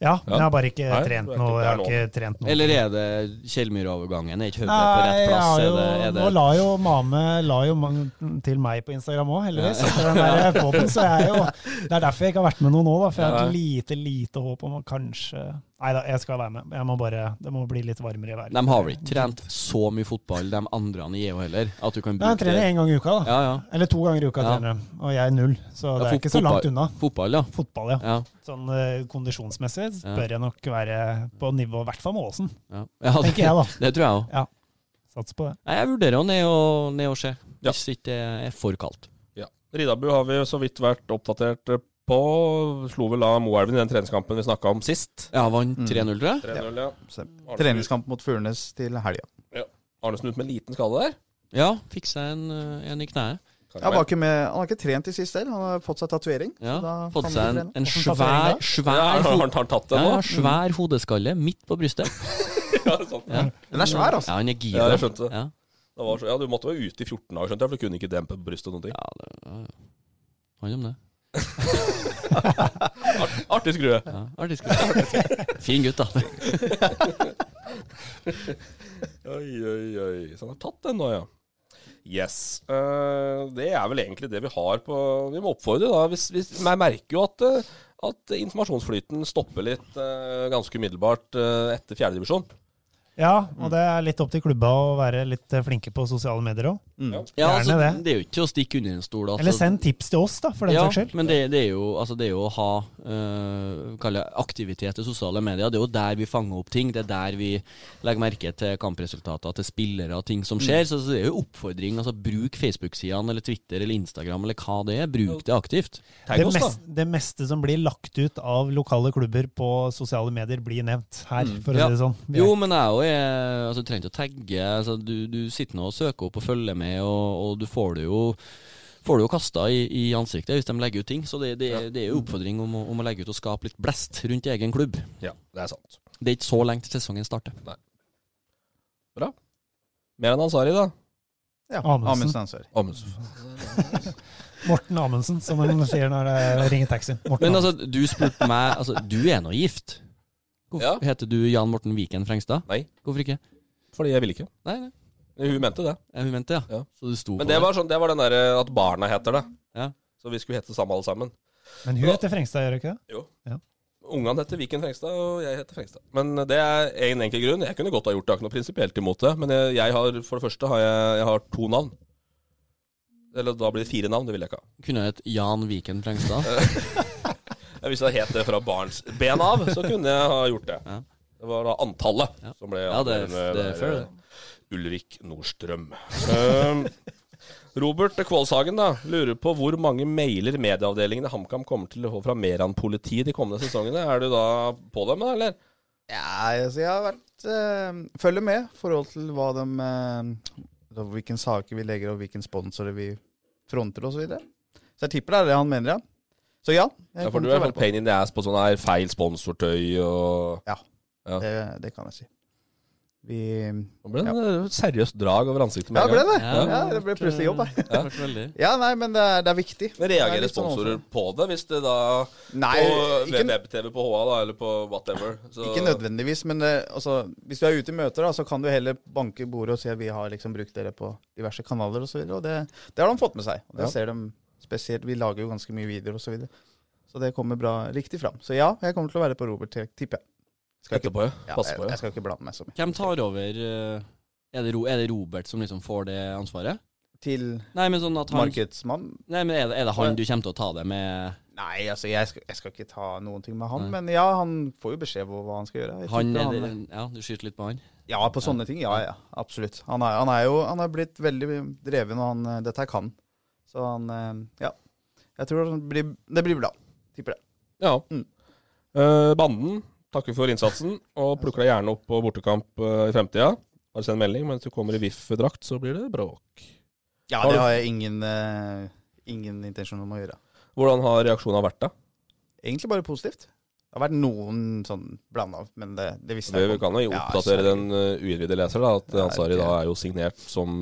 [SPEAKER 4] Ja, men
[SPEAKER 3] Ja.
[SPEAKER 4] jeg har bare ikke
[SPEAKER 3] Nei,
[SPEAKER 4] trent
[SPEAKER 3] det er ikke- det er
[SPEAKER 4] noe. Jeg har
[SPEAKER 3] lov.
[SPEAKER 4] ikke trent noe.
[SPEAKER 5] Eller er det Kjellmyr-overgangen? Er ikke hodet på
[SPEAKER 4] Nei,
[SPEAKER 5] rett
[SPEAKER 4] jeg
[SPEAKER 5] plass?
[SPEAKER 4] har jo,
[SPEAKER 5] Er det, er
[SPEAKER 4] nå
[SPEAKER 5] det,
[SPEAKER 4] la jo mame la jo man- til meg på Instagram òg, heldigvis. Etter den der podden, så jeg er jo,
[SPEAKER 5] <laughs>
[SPEAKER 4] det er derfor jeg ikke har vært med noe nå, da, for jeg har et lite lite håp om å kanskje Nei da, jeg skal være med. Jeg må bare, Det må bli litt varmere i været.
[SPEAKER 5] de har vel ikke trent så mye fotball, de andre i EO heller? At du kan
[SPEAKER 4] Nei,
[SPEAKER 5] bruke
[SPEAKER 4] jeg trener én gang i uka, da.
[SPEAKER 5] Ja, ja.
[SPEAKER 4] Eller to ganger i uka,
[SPEAKER 5] Ja.
[SPEAKER 4] trener jeg. og jeg er null. Så det
[SPEAKER 5] Ja,
[SPEAKER 4] er
[SPEAKER 5] fot-
[SPEAKER 4] ikke så langt unna.
[SPEAKER 5] Fotball, ja.
[SPEAKER 4] Fotball, ja.
[SPEAKER 5] Ja,
[SPEAKER 4] Sånn eh, kondisjonsmessig bør jeg nok være på nivå, i hvert fall med Åsen.
[SPEAKER 5] ja. ja
[SPEAKER 4] Tenker jeg,
[SPEAKER 5] <laughs>
[SPEAKER 4] da.
[SPEAKER 5] Det tror jeg òg.
[SPEAKER 4] Sats på det.
[SPEAKER 5] Jeg vurderer å ned og, ned og se,
[SPEAKER 3] Ja.
[SPEAKER 5] hvis ikke det er for kaldt.
[SPEAKER 3] Ja. Ridabu har vi så vidt vært oppdatert eh, på. Slo vel av Moelven i den treningskampen vi snakka om sist.
[SPEAKER 5] Ja, vant 3-0, tror jeg.
[SPEAKER 3] 3-0, ja.
[SPEAKER 6] Så,
[SPEAKER 3] Arnesen-
[SPEAKER 6] treningskamp mot Furnes til helga.
[SPEAKER 3] Arnesen ut med en liten skade der.
[SPEAKER 5] Ja, fikk seg en, eh, en i kneet.
[SPEAKER 6] Ja, var ikke med, han har ikke trent i sist del. Han har fått seg tatovering.
[SPEAKER 5] Ja,
[SPEAKER 6] så da
[SPEAKER 5] Fått
[SPEAKER 6] kan
[SPEAKER 5] seg
[SPEAKER 6] han
[SPEAKER 5] en,
[SPEAKER 6] ikke trene.
[SPEAKER 5] en
[SPEAKER 4] Hvordan tar
[SPEAKER 5] svær,
[SPEAKER 4] det
[SPEAKER 3] Ja,
[SPEAKER 5] svær,
[SPEAKER 3] har
[SPEAKER 5] ho
[SPEAKER 3] han- har han tatt
[SPEAKER 5] ja,
[SPEAKER 3] den nå?
[SPEAKER 5] ja, svær hodeskalle midt på brystet.
[SPEAKER 3] Ja, sånn.
[SPEAKER 5] Ja.
[SPEAKER 6] Den er svær, altså.
[SPEAKER 5] Ja, han er gira.
[SPEAKER 3] Ja, jeg skjønte det.
[SPEAKER 5] Ja.
[SPEAKER 3] Det var så, ja, du måtte være ute i 14 dager, skjønte jeg, for du kunne ikke dempe brystet og noen ting.
[SPEAKER 5] Ja, det ja, ja. handler om det.
[SPEAKER 3] Artig skrue.
[SPEAKER 5] Ja, artig skuespill. <laughs> Fin gutt, da.
[SPEAKER 3] Oi, oi, oi. Så han har tatt den nå, ja. Yes. Eh, det er vel egentlig det vi har på Vi må oppfordre, da. Hvis, hvis, men jeg merker jo at, eh, at informasjonsflyten stopper litt eh, ganske umiddelbart eh, etter fjerdedivisjon.
[SPEAKER 4] Ja, og det er litt opp til klubba å være litt eh, flinke på sosiale medier òg.
[SPEAKER 5] Ja,
[SPEAKER 4] Gjerne
[SPEAKER 5] altså, det.
[SPEAKER 4] det.
[SPEAKER 5] er jo ikke å stikke under en stol. Altså.
[SPEAKER 4] Eller send tips til oss, da, for den
[SPEAKER 5] ja,
[SPEAKER 4] saks skyld.
[SPEAKER 5] Men det, det, er jo, altså, det er jo å ha øh, kall det aktivitet i sosiale medier. Det er jo der vi fanger opp ting. Det er der vi legger merke til kampresultater, til spillere og ting som skjer. Så, så det er jo oppfordring. altså Bruk Facebook-sidene eller Twitter eller Instagram eller hva det er. Bruk det aktivt.
[SPEAKER 4] Det,
[SPEAKER 3] Tagg oss, da.
[SPEAKER 4] mest, det meste som blir lagt ut av lokale klubber på sosiale medier, blir nevnt her, for å
[SPEAKER 5] Ja.
[SPEAKER 4] si det sånn. Vi
[SPEAKER 5] Jo,
[SPEAKER 4] er-
[SPEAKER 5] men jeg òg er altså, Du trenger ikke å tagge. Altså, du, du sitter nå og søker opp og følger med, og, og du får det jo Får det jo kasta i, i ansiktet hvis de legger ut ting. Så det, det, er- det er jo oppfordring om å, om å legge ut og skape litt blest rundt egen klubb.
[SPEAKER 3] Ja, det er sant.
[SPEAKER 5] Det er ikke så lenge til sesongen starter.
[SPEAKER 3] Mer enn Ansari, da.
[SPEAKER 6] Ja,
[SPEAKER 4] Amundsen.
[SPEAKER 6] Amundsen ansvar.
[SPEAKER 3] Amundsen.
[SPEAKER 4] Morten Amundsen, som han sier når det ringer taxi. Morten
[SPEAKER 5] Men
[SPEAKER 4] Amundsen.
[SPEAKER 5] altså, du spurte meg altså, Du er nå gift. Hvorfor
[SPEAKER 3] Ja.
[SPEAKER 5] heter du Jan Morten Viken Frengstad?
[SPEAKER 3] Nei.
[SPEAKER 5] Hvorfor ikke?
[SPEAKER 3] Fordi jeg ville ikke.
[SPEAKER 5] Nei, nei.
[SPEAKER 3] Hun mente det.
[SPEAKER 5] Ja, hun mente, ja.
[SPEAKER 3] Ja.
[SPEAKER 5] Så du sto
[SPEAKER 3] Men
[SPEAKER 5] på
[SPEAKER 3] det var, sånn, det var den derre at barna heter det.
[SPEAKER 5] Ja.
[SPEAKER 3] Så vi skulle hete det samme alle sammen.
[SPEAKER 4] Men hun heter Frengstad, gjør hun ikke det?
[SPEAKER 3] Ungene heter Viken Frengstad, og jeg heter Frengstad. Men det er en enkel grunn. Jeg kunne godt ha gjort det, jeg har ikke noe prinsipielt imot det. Men jeg, jeg har, for det første har jeg, jeg har to navn. Eller da blir det fire navn, det vil jeg ikke ha.
[SPEAKER 5] Kunne jeg hett Jan Viken
[SPEAKER 3] <laughs>
[SPEAKER 5] Frengstad?
[SPEAKER 3] Eh, Hvis jeg hadde het det fra barns ben av, så kunne jeg ha gjort det.
[SPEAKER 5] Ja.
[SPEAKER 3] Det var da antallet
[SPEAKER 5] Ja.
[SPEAKER 3] som ble
[SPEAKER 5] Ja, det er-
[SPEAKER 3] avgjørende
[SPEAKER 5] det er
[SPEAKER 3] der, eh,
[SPEAKER 5] fair, det.
[SPEAKER 3] Ulrik Nordstrøm. Um, Robert Kvalshagen da, lurer på hvor mange mailer medieavdelingen i HamKam kommer til å få fra Meran-politiet de kommende sesongene. Er du da på dem, da, eller?
[SPEAKER 6] Ja, altså jeg har vært eh, Følger med i forhold til hva de eh, da Hvilken saker vi legger, og hvilken sponsorer vi fronter, osv. Så, videre. så jeg tipper det er det han mener, ja. Så ja.
[SPEAKER 3] Ja,
[SPEAKER 6] Jeg
[SPEAKER 3] for
[SPEAKER 6] kommer
[SPEAKER 3] du
[SPEAKER 6] til
[SPEAKER 3] er
[SPEAKER 6] å være
[SPEAKER 3] sånn
[SPEAKER 6] på.
[SPEAKER 3] pain in the ass på sånn her feil sponsortøy og
[SPEAKER 6] Ja,
[SPEAKER 3] Ja.
[SPEAKER 6] Det, det kan jeg si. Vi Ja,
[SPEAKER 3] Nå ble det
[SPEAKER 5] eh,
[SPEAKER 3] en seriøst drag over ansiktet
[SPEAKER 6] det ble det.
[SPEAKER 5] Ja.
[SPEAKER 6] Ja, det ble plutselig jobb, jeg.
[SPEAKER 5] Det har vært veldig
[SPEAKER 6] Ja, nei, men det er, det er viktig.
[SPEAKER 3] Men
[SPEAKER 6] Det er
[SPEAKER 3] reagerer
[SPEAKER 6] litt sånn
[SPEAKER 3] sponsorer
[SPEAKER 6] overfor.
[SPEAKER 3] på det, hvis det da
[SPEAKER 6] Nei,
[SPEAKER 3] På
[SPEAKER 6] ikke,
[SPEAKER 3] web-TV på HA, da, eller på whatever. Så,
[SPEAKER 6] ikke nødvendigvis, men eh, altså, hvis du er ute i møter, da, så kan du heller banke i bordet og si at vi har liksom brukt dere på diverse kanaler osv. Og det, det har de fått med seg. Og det
[SPEAKER 3] Ja.
[SPEAKER 6] ser de spesielt. Vi lager jo ganske mye videoer osv. Så, videre. så det kommer bra riktig fram. Så ja, jeg kommer til å være på Robert, tipper jeg. Skal ikke,
[SPEAKER 3] Etterpå, ja.
[SPEAKER 6] ja,
[SPEAKER 3] Pass på,
[SPEAKER 6] jeg,
[SPEAKER 3] ja.
[SPEAKER 6] jeg skal ikke blande meg så mye.
[SPEAKER 5] Hvem tar over eh, er det, Ro- er det Robert som liksom får det ansvaret?
[SPEAKER 6] Til
[SPEAKER 5] Nei, men sånn at han
[SPEAKER 6] markedsmann?
[SPEAKER 5] Nei, men er det, er det han du kommer til å ta det med?
[SPEAKER 6] Nei, altså, jeg skal, jeg skal ikke ta noen ting med han.
[SPEAKER 5] Nei.
[SPEAKER 6] Men ja, han får jo beskjed om hva han skal gjøre. Jeg
[SPEAKER 5] Han
[SPEAKER 6] tipper
[SPEAKER 5] er det, Ja, du skyter litt på han?
[SPEAKER 6] Ja, på sånne ting. Ja, ja, absolutt. Han er, han er jo han er blitt veldig dreven, og han, eh, dette her kan han. Så han eh, Ja. Jeg tror det blir, det blir bra. Tipper det.
[SPEAKER 3] ja.
[SPEAKER 6] Mm.
[SPEAKER 3] Eh, banden takker for innsatsen, og plukker deg gjerne opp på bortekamp eh, i fremtida. Bare send melding. Mens du kommer i VIF-drakt, så blir det bråk.
[SPEAKER 6] Ja,
[SPEAKER 3] Har
[SPEAKER 6] det
[SPEAKER 3] du-
[SPEAKER 6] har jeg ingen, eh, ingen intensjon om å gjøre.
[SPEAKER 3] Hvordan har reaksjonene vært, da?
[SPEAKER 6] Egentlig bare positivt. Det har vært noen sånn blanda, men det, det visste
[SPEAKER 3] Det,
[SPEAKER 6] jeg
[SPEAKER 3] vi kan jo
[SPEAKER 6] Ja,
[SPEAKER 3] oppdatere
[SPEAKER 6] så-
[SPEAKER 3] den eh, uinnvidde leser, da, at
[SPEAKER 6] Ja,
[SPEAKER 3] Ansari
[SPEAKER 6] ok.
[SPEAKER 3] da er jo signert som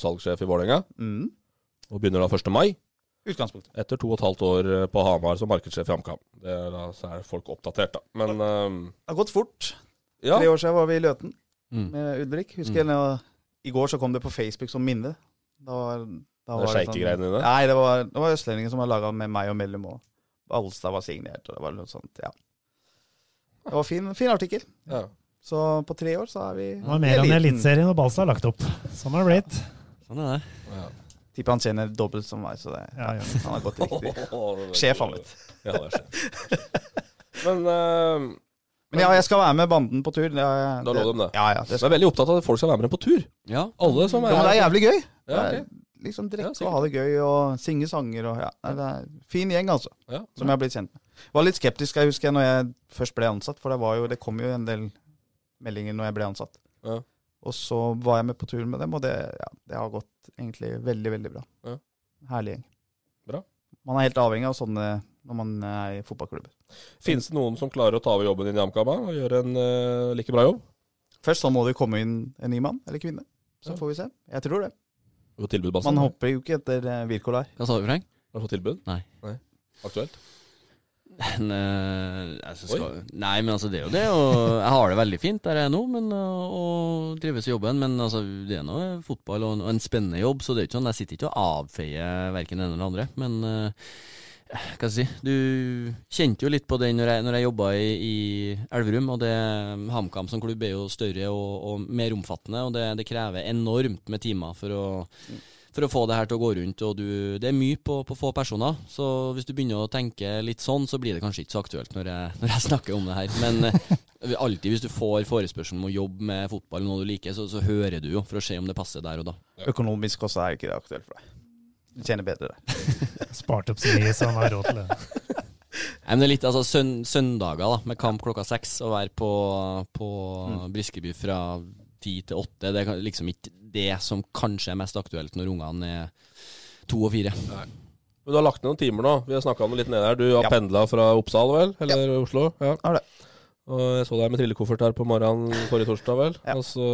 [SPEAKER 3] salgssjef i Vålerenga.
[SPEAKER 6] Mm.
[SPEAKER 3] Og begynner da 1. mai.
[SPEAKER 6] Utgangspunktet.
[SPEAKER 3] Etter to og et halvt år eh, på Hamar som markedssjef i HamKam. Det er Da så er folk oppdatert, da. Men ehm,
[SPEAKER 6] Det har gått fort.
[SPEAKER 3] ja.
[SPEAKER 6] Tre år siden var vi i Løten
[SPEAKER 5] Mm.
[SPEAKER 6] med Ulrik. Husker jeg når- I går så kom det på Facebook som minne. Da var, da
[SPEAKER 3] Det er
[SPEAKER 6] var sånn-
[SPEAKER 3] sjeikegreiene dine?
[SPEAKER 6] Nei, det var, det var østlendingen som var laga med meg og Mellum òg. Alstad var signert, og det var noe sånt. Ja. Det var fin, fin artikkel.
[SPEAKER 3] Ja.
[SPEAKER 6] Så på tre år så er vi
[SPEAKER 4] Det var mer enn Eliteserien og Balsa har lagt opp. Sånn har det blitt.
[SPEAKER 5] Sånn er det.
[SPEAKER 6] Tipper han tjener dobbelt som meg, så det,
[SPEAKER 4] Ja, ja.
[SPEAKER 6] <laughs> han har gått riktig.
[SPEAKER 3] <laughs> Åh,
[SPEAKER 6] Sjef, han vet.
[SPEAKER 3] Ja, det er sjef. <laughs> Men ehm,
[SPEAKER 6] Men ja, jeg skal være med banden på tur. Det, er-
[SPEAKER 3] Da lå de det.
[SPEAKER 6] Ja, ja, det,
[SPEAKER 3] jeg er veldig opptatt av at folk skal være med på tur.
[SPEAKER 5] Ja.
[SPEAKER 3] Alle som
[SPEAKER 6] ja,
[SPEAKER 3] er
[SPEAKER 6] men det er jævlig gøy.
[SPEAKER 3] Ja, ok.
[SPEAKER 6] Det er Liksom
[SPEAKER 3] Ja,
[SPEAKER 6] drikke
[SPEAKER 3] sikkert.
[SPEAKER 6] og ha det gøy og synge sanger og ja. Nei, Det er en fin gjeng, altså.
[SPEAKER 3] Ja.
[SPEAKER 6] Som jeg har blitt kjent med. Var litt skeptisk, jeg husker jeg, når jeg først ble ansatt, for det, var jo, det kom jo en del meldinger når jeg ble ansatt.
[SPEAKER 3] Ja.
[SPEAKER 6] Og så var jeg med på tur med dem, og det, ja, det har gått egentlig veldig, veldig bra.
[SPEAKER 3] Ja.
[SPEAKER 6] Herlig gjeng.
[SPEAKER 3] Bra.
[SPEAKER 6] Man er helt avhengig av sånne når man er i fotballklubber.
[SPEAKER 3] Finnes det noen som klarer å ta over jobben din i HamKam da, og gjøre en eh, like bra jobb?
[SPEAKER 6] Først så må det komme inn en ny mann eller kvinne. Så
[SPEAKER 3] Ja.
[SPEAKER 6] får vi se. Jeg tror det.
[SPEAKER 3] Og tilbud, Bassen?
[SPEAKER 6] Man hopper jo ikke etter eh, Wirkolar.
[SPEAKER 5] Hva sa du, Frank?
[SPEAKER 3] Har du fått tilbud?
[SPEAKER 5] Nei.
[SPEAKER 3] Aktuelt?
[SPEAKER 5] Nei, altså,
[SPEAKER 3] Oi.
[SPEAKER 5] skal, nei, men altså, det er jo det. Og jeg har det veldig fint der jeg er nå, men, og, og trives i jobben. Men altså, det er nå fotball og, en- og en spennende jobb, så det er ikke sånn, jeg sitter ikke og avfeier verken den eller den andre. Men eh, hva skal jeg si, du kjente jo litt på den når jeg, når jeg jobba i, i Elverum. Og det HamKam som klubb er jo større og, og mer omfattende, og det, det krever enormt med timer for å for å få det her til å gå rundt, og du, det er mye på, på få personer. Så hvis du begynner å tenke litt sånn, så blir det kanskje ikke så aktuelt når jeg, når jeg <laughs> snakker om det her. Men eh, alltid hvis du får forespørsel om å jobbe med fotball, noe du liker, så, så hører du jo for å se om det passer der og da.
[SPEAKER 6] Økonomisk også er ikke det aktuelt for deg. Du tjener bedre der.
[SPEAKER 4] Spart opp så mye, så han har råd til det.
[SPEAKER 5] Nei, men det er litt altså, søn, søndager da, med kamp klokka seks, og være på, på Briskeby fra ti til åtte, det er kan- liksom ikke det som kanskje er mest aktuelt når ungene er to og fire.
[SPEAKER 3] Men du har lagt ned noen timer nå. Vi har snakka om det litt nede her. Du har
[SPEAKER 6] Ja.
[SPEAKER 3] pendlet pendla fra Oppsal, vel? Eller Oslo? Ja.
[SPEAKER 6] Har det.
[SPEAKER 3] Og jeg så deg med trillekoffert her på morgenen forrige torsdag, vel?
[SPEAKER 6] Ja.
[SPEAKER 3] Og så,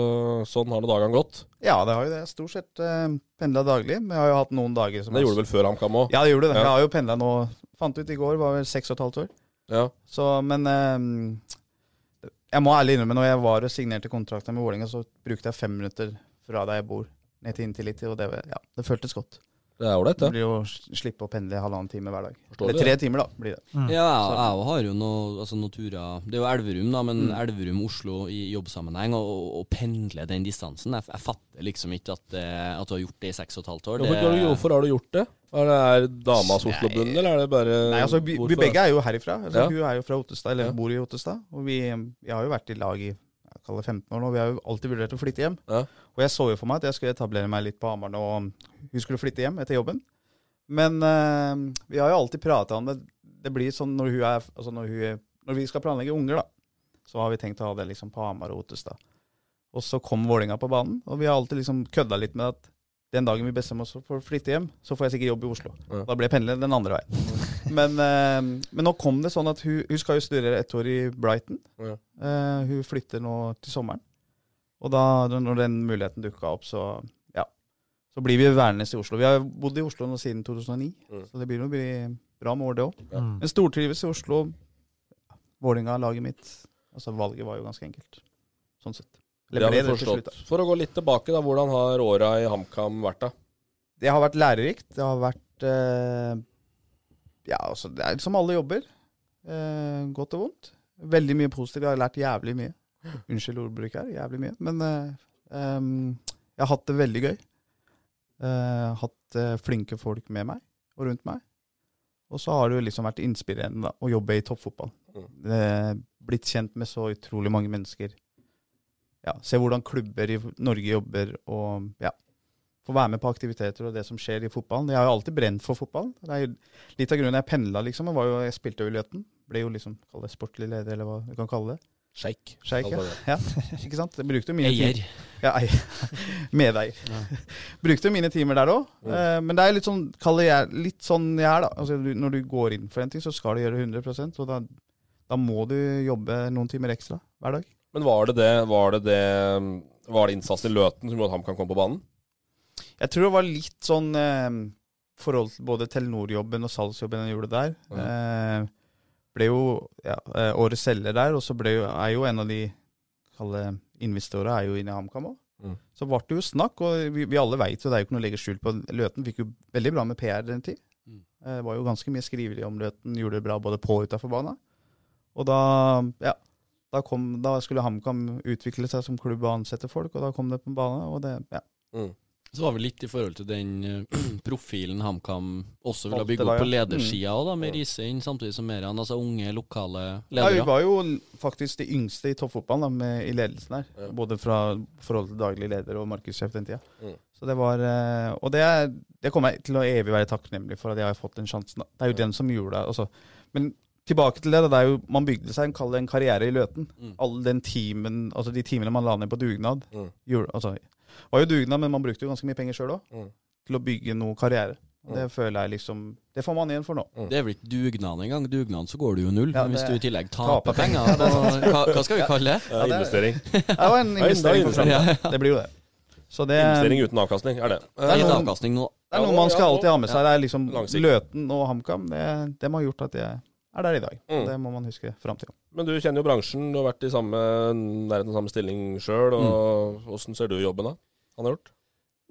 [SPEAKER 3] sånn har nå dagene gått.
[SPEAKER 6] Ja, det har jo det. Jeg har Stort sett uh, pendla daglig, men jeg har jo hatt noen dager som
[SPEAKER 3] Det gjorde du vel før HamKam òg?
[SPEAKER 6] Ja, det gjorde det.
[SPEAKER 3] Ja.
[SPEAKER 6] Jeg har jo pendla nå Fant ut i går, var vel seks og et halvt år.
[SPEAKER 3] Ja.
[SPEAKER 6] Så, men eh, Jeg må ærlig innrømme, når jeg var og signerte kontrakten med Vålerenga, så brukte jeg fem minutter fra der jeg bor, ned til Intility, og det, ja, det føltes godt.
[SPEAKER 3] Det er ålreit,
[SPEAKER 6] Det
[SPEAKER 3] det.
[SPEAKER 6] blir jo å slippe å pendle halvannen time hver dag.
[SPEAKER 3] Forstår
[SPEAKER 6] Eller
[SPEAKER 3] du
[SPEAKER 6] tre timer, da. blir det.
[SPEAKER 5] Ja, jeg, jeg har jo noe, altså noen turer Det er jo Elverum, da, men
[SPEAKER 6] Mm.
[SPEAKER 5] Elverum-Oslo i jobbsammenheng, og, og, og pendle den distansen Jeg, jeg fatter liksom ikke at, det- at du har gjort det i seks og et halvt år.
[SPEAKER 3] Hvorfor, har du- hvorfor har du gjort det? Er det er damas Oslo-bunnen, eller er det bare
[SPEAKER 6] Nei, altså, vi, vi
[SPEAKER 3] Eh, hvorfor?
[SPEAKER 6] begge er jo herifra. Altså,
[SPEAKER 3] Ja.
[SPEAKER 6] Hun er jo fra Ottestad, eller
[SPEAKER 3] Ja.
[SPEAKER 6] bor i Ottestad. Og vi, vi har jo vært i lag i jeg kaller det 15 år nå. Vi har jo alltid vurdert å flytte hjem.
[SPEAKER 3] Ja.
[SPEAKER 6] Og jeg så jo for meg at jeg skulle etablere meg litt på Hamar nå, og hun skulle flytte hjem etter jobben. Men eh, vi har jo alltid prata om det. Det blir sånn når hun er Altså når, hun, når vi skal planlegge unger, da, så har vi tenkt å ha det liksom på Hamar og Ottestad. Og så kom Vålinga på banen, og vi har alltid liksom kødda litt med at den dagen vi bestemmer oss for å flytte hjem, så får jeg sikkert jobb i Oslo.
[SPEAKER 3] Ja.
[SPEAKER 6] Da blir jeg pendler den andre veien. Men, eh, men nå kom det sånn at hun, hun skal jo studere ett år i Brighton.
[SPEAKER 3] Ja.
[SPEAKER 6] Eh, hun flytter nå til sommeren. Og da, når den muligheten dukka opp, så ja. Så blir vi værende i Oslo. Vi har bodd i Oslo nå siden 2009,
[SPEAKER 3] Mm.
[SPEAKER 6] så det blir jo bli bra med år, det òg.
[SPEAKER 3] Ja.
[SPEAKER 4] Mm.
[SPEAKER 6] Men stortrives i Oslo. Vålinga, laget mitt. Altså Valget var jo ganske enkelt, sånn sett. Eller
[SPEAKER 3] Det har
[SPEAKER 6] ble
[SPEAKER 3] vi
[SPEAKER 6] det til slutt,
[SPEAKER 3] forstått.
[SPEAKER 6] da.
[SPEAKER 3] For å gå litt tilbake, da. Hvordan har åra i HamKam vært, da?
[SPEAKER 6] Det har vært lærerikt. Det har vært eh, Ja, altså, det er som alle jobber. Eh, godt og vondt. Veldig mye positivt. Jeg har lært jævlig mye. Unnskyld ordbruket her. Jævlig mye. Men eh, em, jeg har hatt det veldig gøy. Eh, hatt eh, flinke folk med meg og rundt meg. Og så har det jo liksom vært inspirerende da, å jobbe i toppfotball. Eh, blitt kjent med så utrolig mange mennesker. Ja, se hvordan klubber i Norge jobber, og ja, få være med på aktiviteter og det som skjer i fotballen. Jeg har jo alltid brent for fotballen. Det er jo litt av grunnen jeg pendla, liksom. Jeg, var jo, jeg spilte jo i Løten. Ble jo liksom kall det sportlig leder, eller hva du kan kalle det.
[SPEAKER 3] Sjeik.
[SPEAKER 6] Sjeik, ja. ja. Ikke sant? Jeg brukte jo mye tid-
[SPEAKER 5] Eier.
[SPEAKER 6] ja, eier. <laughs> Medeier. Brukte mine timer der òg. Men det er litt sånn, kaller jeg, litt sånn jeg er, da. Altså, du, når du går inn for en ting, så skal du gjøre 100 og da, da må du jobbe noen timer ekstra hver dag.
[SPEAKER 3] Men var det det Var det det Var det innsatsen i Løten som gjorde at HamKam kom på banen?
[SPEAKER 6] Jeg tror det var litt sånn eh, forhold til både Telenor-jobben og salgsjobben jeg gjorde der. Eh, ble jo ja, eh, årets selger der, og så ble jo, er jo en av de kalle investorene er jo inne i HamKam òg.
[SPEAKER 3] Mm.
[SPEAKER 6] Så ble det jo snakk, og vi, vi alle veit jo, det er jo ikke noe å legge skjul på. Løten fikk jo veldig bra med PR den tid.
[SPEAKER 5] Mm.
[SPEAKER 6] Eh, Det var jo ganske mye skriveri om Løten, gjorde det bra både på og utafor banen. Og da, ja, da, kom, da skulle HamKam utvikle seg som klubb og ansette folk, og da kom det på banen, og det, ja.
[SPEAKER 5] Så var vel litt i forhold til den eh, <clears throat> profilen HamKam også ville
[SPEAKER 6] Valgte
[SPEAKER 5] bygge opp
[SPEAKER 6] da,
[SPEAKER 5] på
[SPEAKER 6] ja. Mm.
[SPEAKER 5] ledersida òg, da, med Risein samtidig som Meran. Altså unge, lokale
[SPEAKER 6] Ja, vi
[SPEAKER 5] ledere.
[SPEAKER 6] var jo faktisk de yngste i toppfotballen da, med, i ledelsen her. Både fra forhold til daglig leder og markedssjef den tida.
[SPEAKER 3] Mm.
[SPEAKER 6] Så det var, eh, og det, er- det kommer jeg til å evig være takknemlig for at jeg har fått den sjansen. Da. Det er jo den som gjorde det. Altså. Men tilbake til det. Da, det er jo, man bygde seg en, kall det en karriere i Løten. All den timen, altså De timene man la ned på dugnad.
[SPEAKER 3] Mm.
[SPEAKER 6] Gjorde, altså, var jo dugnad, men man brukte jo ganske mye penger sjøl òg.
[SPEAKER 3] Mm.
[SPEAKER 6] Til å bygge noe karriere. Og det føler jeg liksom Det får man igjen for nå.
[SPEAKER 5] Det er vel ikke dugnad engang. Dugnad så går det jo null.
[SPEAKER 6] Ja,
[SPEAKER 5] men hvis
[SPEAKER 6] det-
[SPEAKER 5] du i tillegg
[SPEAKER 6] Taper
[SPEAKER 5] taper penger, på, hva, hva skal vi kalle det?
[SPEAKER 6] det er-
[SPEAKER 3] Eh, investering.
[SPEAKER 6] Det var en
[SPEAKER 3] <laughs> Ja, det er
[SPEAKER 6] investering for
[SPEAKER 3] investering,
[SPEAKER 6] fremtiden. Det blir jo det. Så det
[SPEAKER 3] investering uten avkastning, er det.
[SPEAKER 6] er
[SPEAKER 5] Litt
[SPEAKER 6] noen-
[SPEAKER 5] avkastning nå.
[SPEAKER 6] Det er
[SPEAKER 3] Ja,
[SPEAKER 6] noe man
[SPEAKER 3] og-
[SPEAKER 6] skal
[SPEAKER 3] ja,
[SPEAKER 6] alltid ha med seg. Det er liksom
[SPEAKER 3] Langsiktig.
[SPEAKER 6] Løten og HamKam. Det, dem har gjort at jeg er der i dag.
[SPEAKER 3] Mm.
[SPEAKER 6] Det må man huske fram til.
[SPEAKER 3] Men du kjenner jo bransjen, du har vært i samme nærheten av samme stilling sjøl.
[SPEAKER 6] Mm.
[SPEAKER 3] Åssen ser du jobben da? Han har gjort?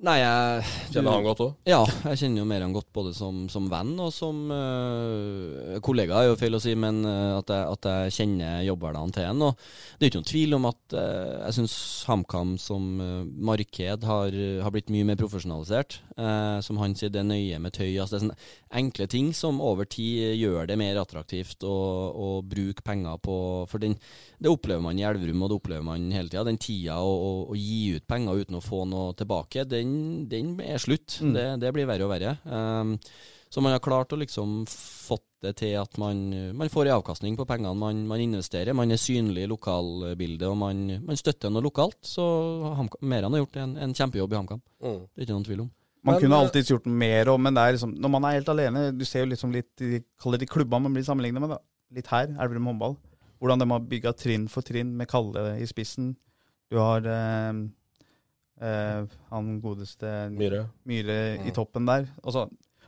[SPEAKER 5] Nei, jeg
[SPEAKER 3] Kjenner han godt òg?
[SPEAKER 5] Ja, jeg kjenner jo Meran godt både som, som venn og som øh, kollega, er jo feil å si, men øh, at, jeg, at jeg kjenner jobbhverdagen til han. Og det er jo ikke noen tvil om at øh, jeg syns HamKam som øh, marked har, har blitt mye mer profesjonalisert. Eh, som han sier, det er nøye med tøy. Altså det er sånne enkle ting som over tid gjør det mer attraktivt å, å bruke penger på For den, det opplever man i Elverum, og det opplever man hele tida. Den tida å, å, å gi ut penger uten å få noe tilbake, den, den er slutt. Det, det blir verre og verre. Um, så man har klart å liksom fått det til at man, man får en avkastning på pengene man, man investerer. Man er synlig i lokalbildet, og man, man støtter noe lokalt. Så HamKam- Meran har gjort en, en kjempejobb i HamKam.
[SPEAKER 3] Mm.
[SPEAKER 5] Det er ikke noen tvil om.
[SPEAKER 6] Man
[SPEAKER 3] Men,
[SPEAKER 6] kunne
[SPEAKER 3] eh,
[SPEAKER 6] alltids gjort mer òg, men det er liksom, når man er helt alene Du ser jo liksom litt i kall det de klubbene man blir sammenlignet med. da. Litt her, Elverum håndball. Hvordan de har bygga trinn for trinn med Kalle i spissen. Du har eh, eh, han godeste
[SPEAKER 3] Myhre.
[SPEAKER 6] Myhre i toppen der. Altså,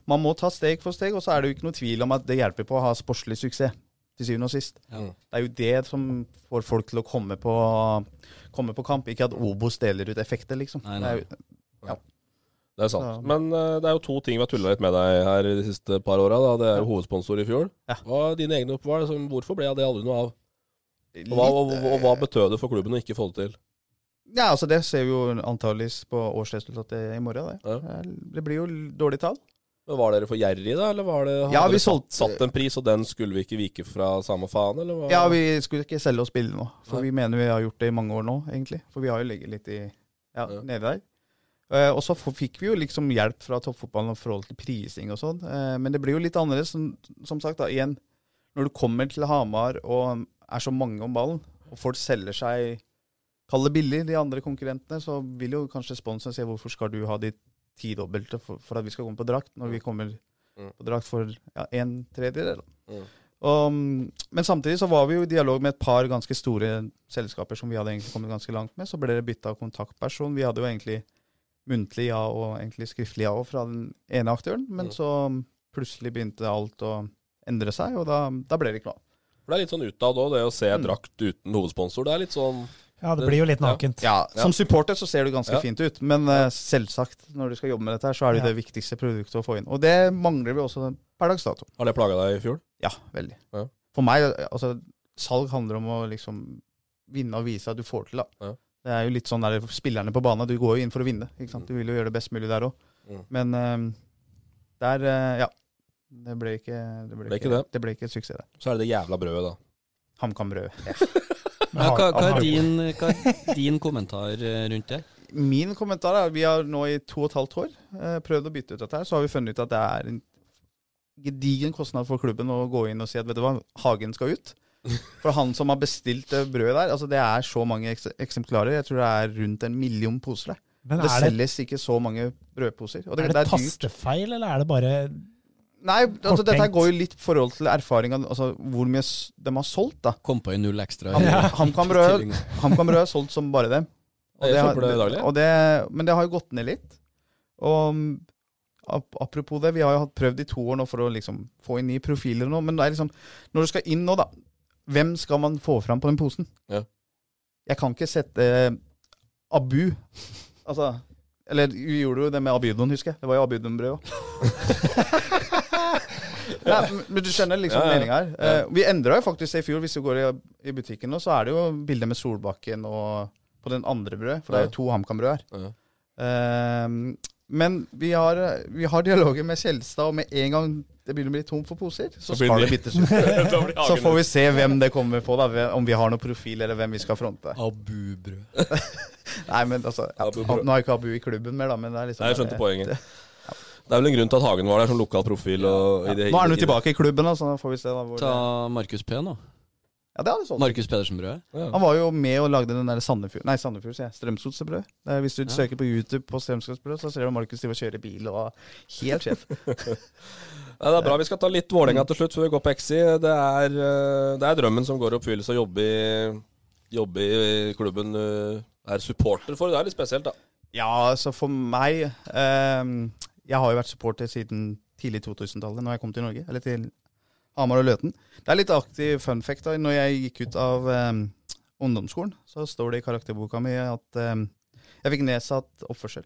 [SPEAKER 6] man må ta steg for steg, og så er det jo ikke noe tvil om at det hjelper på å ha sportslig suksess. til syvende og sist.
[SPEAKER 5] Ja.
[SPEAKER 6] Det er jo det som får folk til å komme på, komme på kamp. Ikke at Obos deler ut effekter, liksom.
[SPEAKER 5] Nei, nei.
[SPEAKER 6] Det er jo-
[SPEAKER 3] Det er sant.
[SPEAKER 6] Ja.
[SPEAKER 3] Men eh, det er jo to ting vi har tulla litt med deg her de siste par åra. da. Det er jo hovedsponsor i fjor.
[SPEAKER 6] Ja.
[SPEAKER 3] Hva er dine egne oppvar? Som, hvorfor ble det aldri noe av? Og hva, og, og
[SPEAKER 6] eh,
[SPEAKER 3] hva betød det for klubben å ikke få det til?
[SPEAKER 6] Ja, altså Det ser vi jo antageligvis på årsresultatet i morgen. Det,
[SPEAKER 3] Ja.
[SPEAKER 6] det blir jo dårlig tall.
[SPEAKER 3] Men Var dere for gjerrige, da? Eller var det, hadde
[SPEAKER 6] Ja, vi
[SPEAKER 3] dere satt,
[SPEAKER 6] solgte-
[SPEAKER 3] satt en pris, og den skulle vi ikke vike fra samme faen, eller hva?
[SPEAKER 6] Ja, vi skulle ikke selge og spille nå. For
[SPEAKER 3] Nei.
[SPEAKER 6] vi mener vi har gjort det i mange år nå, egentlig. For vi har jo ligget litt i ja,
[SPEAKER 3] Ja.
[SPEAKER 6] nede der. Eh, og så f- fikk vi jo liksom hjelp fra toppfotballen i forhold til prising og sånn. Eh, men det blir jo litt annerledes, som, som sagt, da, igjen. Når du kommer til Hamar og er så mange om ballen, og folk selger seg Kall det billig, de andre konkurrentene, så vil jo kanskje sponsoren se hvorfor skal du ha de tidobbelte for, for at vi skal komme på drakt, når vi kommer
[SPEAKER 3] Mm.
[SPEAKER 6] på drakt for ja, en tredjedel. da.
[SPEAKER 3] Mm.
[SPEAKER 6] Og, mm, men samtidig så var vi jo i dialog med et par ganske store selskaper som vi hadde egentlig kommet ganske langt med. Så ble det bytta kontaktperson. Vi hadde jo egentlig muntlig ja og egentlig skriftlig ja også fra den ene aktøren, men
[SPEAKER 3] Mm.
[SPEAKER 6] så plutselig begynte alt å endre seg, og da, da ble det ikke noe av.
[SPEAKER 3] For det er litt sånn utad òg, det å se
[SPEAKER 6] Mm.
[SPEAKER 3] drakt uten hovedsponsor. Det er litt sånn
[SPEAKER 4] Ja, det blir jo litt
[SPEAKER 3] Ja.
[SPEAKER 4] nakent.
[SPEAKER 6] Ja,
[SPEAKER 3] Ja.
[SPEAKER 6] Som supporter så ser du ganske
[SPEAKER 3] Ja.
[SPEAKER 6] fint ut, men eh, selvsagt, når du skal jobbe med dette, her, så er det jo
[SPEAKER 4] Ja.
[SPEAKER 6] det viktigste produktet å få inn. Og det mangler vi også per dags dato.
[SPEAKER 3] Har det plaga deg i fjor?
[SPEAKER 6] Ja, veldig.
[SPEAKER 3] Ja.
[SPEAKER 6] For meg, altså, salg handler om å liksom vinne og vise at du får til, da.
[SPEAKER 3] Ja.
[SPEAKER 6] Det er jo litt sånn der spillerne på banen, du går jo inn for å vinne, ikke sant. Du vil jo gjøre det best mulig der òg.
[SPEAKER 3] Mm.
[SPEAKER 6] Men eh, der, eh, ja. Det ble ikke det ble,
[SPEAKER 3] Ble ikke
[SPEAKER 6] ikke,
[SPEAKER 3] det.
[SPEAKER 6] det ble ikke et suksess, det.
[SPEAKER 3] Så er det det jævla brødet, da.
[SPEAKER 6] HamKam Brød.
[SPEAKER 5] Ja, hva, hva, er din, hva er din kommentar eh, rundt det?
[SPEAKER 6] Min kommentar er at vi har nå i to og et halvt år eh, prøvd å bytte ut dette her, så har vi funnet ut at det er en gedigen kostnad for klubben å gå inn og si at vet du hva, Hagen skal ut. For han som har bestilt det brødet der, altså det er så mange eks eksemplarer. Jeg tror det er rundt en million poser der.
[SPEAKER 4] Men
[SPEAKER 6] Det
[SPEAKER 4] er det,
[SPEAKER 6] selges ikke så mange brødposer. Og det,
[SPEAKER 4] er
[SPEAKER 6] det
[SPEAKER 4] det
[SPEAKER 6] er dyrt.
[SPEAKER 4] tastefeil, eller er det bare
[SPEAKER 6] Nei, altså dette her
[SPEAKER 4] korttenkt?
[SPEAKER 6] går jo litt i forhold til erfaringa, altså hvor mye s- de har solgt, da.
[SPEAKER 5] Kom på en null ekstra.
[SPEAKER 6] Ham-
[SPEAKER 5] i-
[SPEAKER 6] HamKam Brød
[SPEAKER 5] tilling.
[SPEAKER 6] HamKam Rød er solgt som bare det.
[SPEAKER 3] Jeg
[SPEAKER 6] har-
[SPEAKER 3] Eh, kjøper det daglig.
[SPEAKER 6] og <laughs> det- men det har jo gått ned litt. Og mm, ap- apropos det, vi har jo hatt prøvd i to år nå for å liksom få inn nye profiler nå, men det er liksom Når du skal inn nå, da, hvem skal man få fram på den posen?
[SPEAKER 3] Ja.
[SPEAKER 6] Jeg kan ikke sette eh, Abu Altså Eller vi gjorde jo det med Abydon, husker jeg. Det var jo Abydon-brød òg.
[SPEAKER 3] <laughs>
[SPEAKER 6] men du skjønner liksom
[SPEAKER 3] Ja, ja.
[SPEAKER 6] meninga her. Eh, vi endra jo faktisk det i fjor. Hvis du går i, i butikken nå, så er det jo bilder med Solbakken og på den andre brødet, for det er jo to HamKam-brød her.
[SPEAKER 3] Ja.
[SPEAKER 6] Ehm, men vi har, vi har dialoger med Kjelstad, og med en gang det begynner å bli tomt for poser, så
[SPEAKER 3] Så blir
[SPEAKER 6] skal
[SPEAKER 3] det
[SPEAKER 6] det
[SPEAKER 3] ny.
[SPEAKER 6] byttes ut.
[SPEAKER 3] <laughs> Da blir
[SPEAKER 6] Så
[SPEAKER 3] Hagen
[SPEAKER 6] får vi se hvem det kommer på, da, om vi har noen profil, eller hvem vi skal fronte.
[SPEAKER 5] Abu-brød.
[SPEAKER 6] Nei, men altså ja,
[SPEAKER 3] Abu-
[SPEAKER 6] Nå har ikke Abu i klubben mer, da, men det er liksom
[SPEAKER 3] Nei, jeg skjønte poenget. Det er vel en grunn til at Hagen var der som lokal profil. Og i det,
[SPEAKER 6] Nå er han
[SPEAKER 3] i
[SPEAKER 6] jo
[SPEAKER 3] det-
[SPEAKER 6] tilbake i klubben, da, så da får vi se da hvor
[SPEAKER 5] Ta Markus P nå.
[SPEAKER 6] Ja, det hadde sånn.
[SPEAKER 5] Markus Pedersen-brødet.
[SPEAKER 6] Han var jo med og lagde den der Sandefjord Nei, Sandefjord, sier jeg. Strømsgodsbrød. Det er- Hvis du søker på YouTube på Strømsgodsbrød, så ser du Markus drive og kjøre bil og Helt sjef.
[SPEAKER 3] Nei, det er bra. Vi skal ta litt Vålerenga til slutt før vi går på Exi. Det er, eh, det er drømmen som går i oppfyllelse å jobbe i, jobbe i klubben du er supporter for. Det er litt spesielt, da.
[SPEAKER 6] Ja, altså for meg ehm, Jeg har jo vært supporter siden tidlig 2000-tallet, når jeg kom til Norge. Eller til Hamar og Løten. Det er litt aktiv fun fact. da, Når jeg gikk ut av ehm, ungdomsskolen, så står det i karakterboka mi at ehm, jeg fikk nedsatt oppførsel.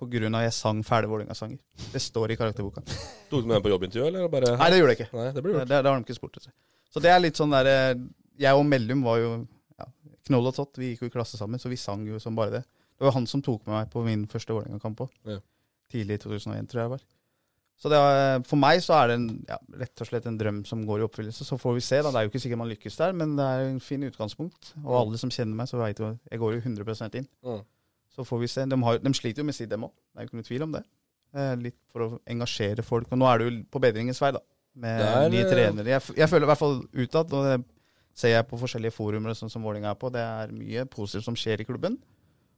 [SPEAKER 6] På grunn av jeg sang fæle Vålerenga-sanger. Det står i karakterboka.
[SPEAKER 3] Tok du med den på jobbintervju, eller bare
[SPEAKER 6] Nei, det gjorde jeg ikke.
[SPEAKER 3] Nei, det blir
[SPEAKER 6] Det,
[SPEAKER 3] gjort.
[SPEAKER 6] det har de ikke spurt etter. Så det er litt sånn derre Jeg og Mellum var jo ja, knoll og tott. Vi gikk jo i klasse sammen, så vi sang jo som bare det. Det var han som tok med meg på min første Vålerenga-kamp òg.
[SPEAKER 3] Ja.
[SPEAKER 6] Tidlig i 2001, tror jeg det var. Så det er, for meg så er det en, ja, rett og slett en drøm som går i oppfyllelse. Så får vi se. da, Det er jo ikke sikkert man lykkes der, men det er en fin utgangspunkt. Og alle som kjenner meg, så vet jo at jeg går jo 100 inn.
[SPEAKER 3] Mm.
[SPEAKER 6] Så får vi se. De, har, de sliter jo med sitt, dem òg. Det er jo ikke noe tvil om det. Eh, litt for å engasjere folk. Og nå er det jo på bedringens vei, da. Med
[SPEAKER 3] Det er,
[SPEAKER 6] nye
[SPEAKER 3] eh,
[SPEAKER 6] trenere. Jeg, f- jeg føler i hvert fall utad, og det ser jeg på forskjellige forumer og sånn som Vålerenga er på, det er mye positivt som skjer i klubben.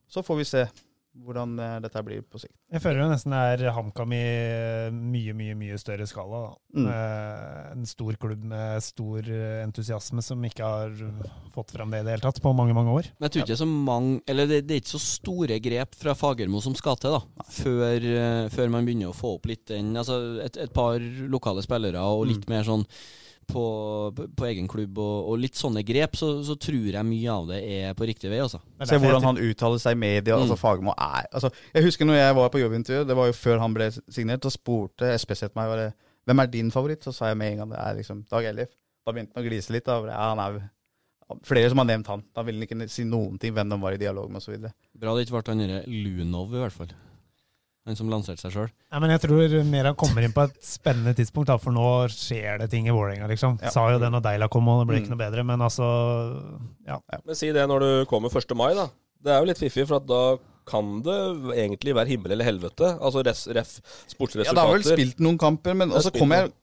[SPEAKER 6] Så får vi se hvordan eh, dette blir på sikt.
[SPEAKER 4] Jeg føler jo nesten det er HamKam i eh, mye, mye mye større skala. da.
[SPEAKER 6] Mm.
[SPEAKER 4] Eh, En stor klubb med stor eh, entusiasme som ikke har fått fram det i det hele tatt på mange, mange år.
[SPEAKER 5] Men jeg tror ikke det er så mange Eller det, det er ikke så store grep fra Fagermo som skal til, da. Før, eh, før man begynner å få opp litt den Altså et, et par lokale spillere og litt mer sånn på, på, på egen klubb og, og litt sånne grep, så, så tror jeg mye av det er på riktig vei, altså.
[SPEAKER 6] Se hvordan han uttaler seg i media. Altså Fagermo er altså, Jeg husker når jeg var på jobbintervju, det var jo før han ble signert, så spurte SPZ meg bare, hvem er din favoritt, så sa jeg med en gang det er liksom Dag Ellif. Da begynte han å glise litt. Da, bare, ja, han er jo- flere som har nevnt han. Da ville han ikke si noen ting hvem de var i dialog med osv.
[SPEAKER 5] Bra det ikke ble han derre Lunov, i hvert fall. Han som lanserte seg sjøl.
[SPEAKER 4] Nei, men jeg tror mer han kommer inn på et spennende tidspunkt, da, for nå skjer det ting i Vålerenga, liksom.
[SPEAKER 6] Ja.
[SPEAKER 4] Sa jo det når Deila kom, og det ble ikke
[SPEAKER 6] Mm.
[SPEAKER 4] noe bedre, men altså Ja.
[SPEAKER 3] Men si det når du kommer 1. mai, da. Det er jo litt fiffig, for at da kan det egentlig være himmel eller helvete. Altså res, ref,
[SPEAKER 6] Ja, det har vel
[SPEAKER 3] sportsresultater.
[SPEAKER 6] spilt noen kamper,
[SPEAKER 3] Det
[SPEAKER 6] men
[SPEAKER 3] er
[SPEAKER 6] også
[SPEAKER 3] spilt
[SPEAKER 6] kommer jeg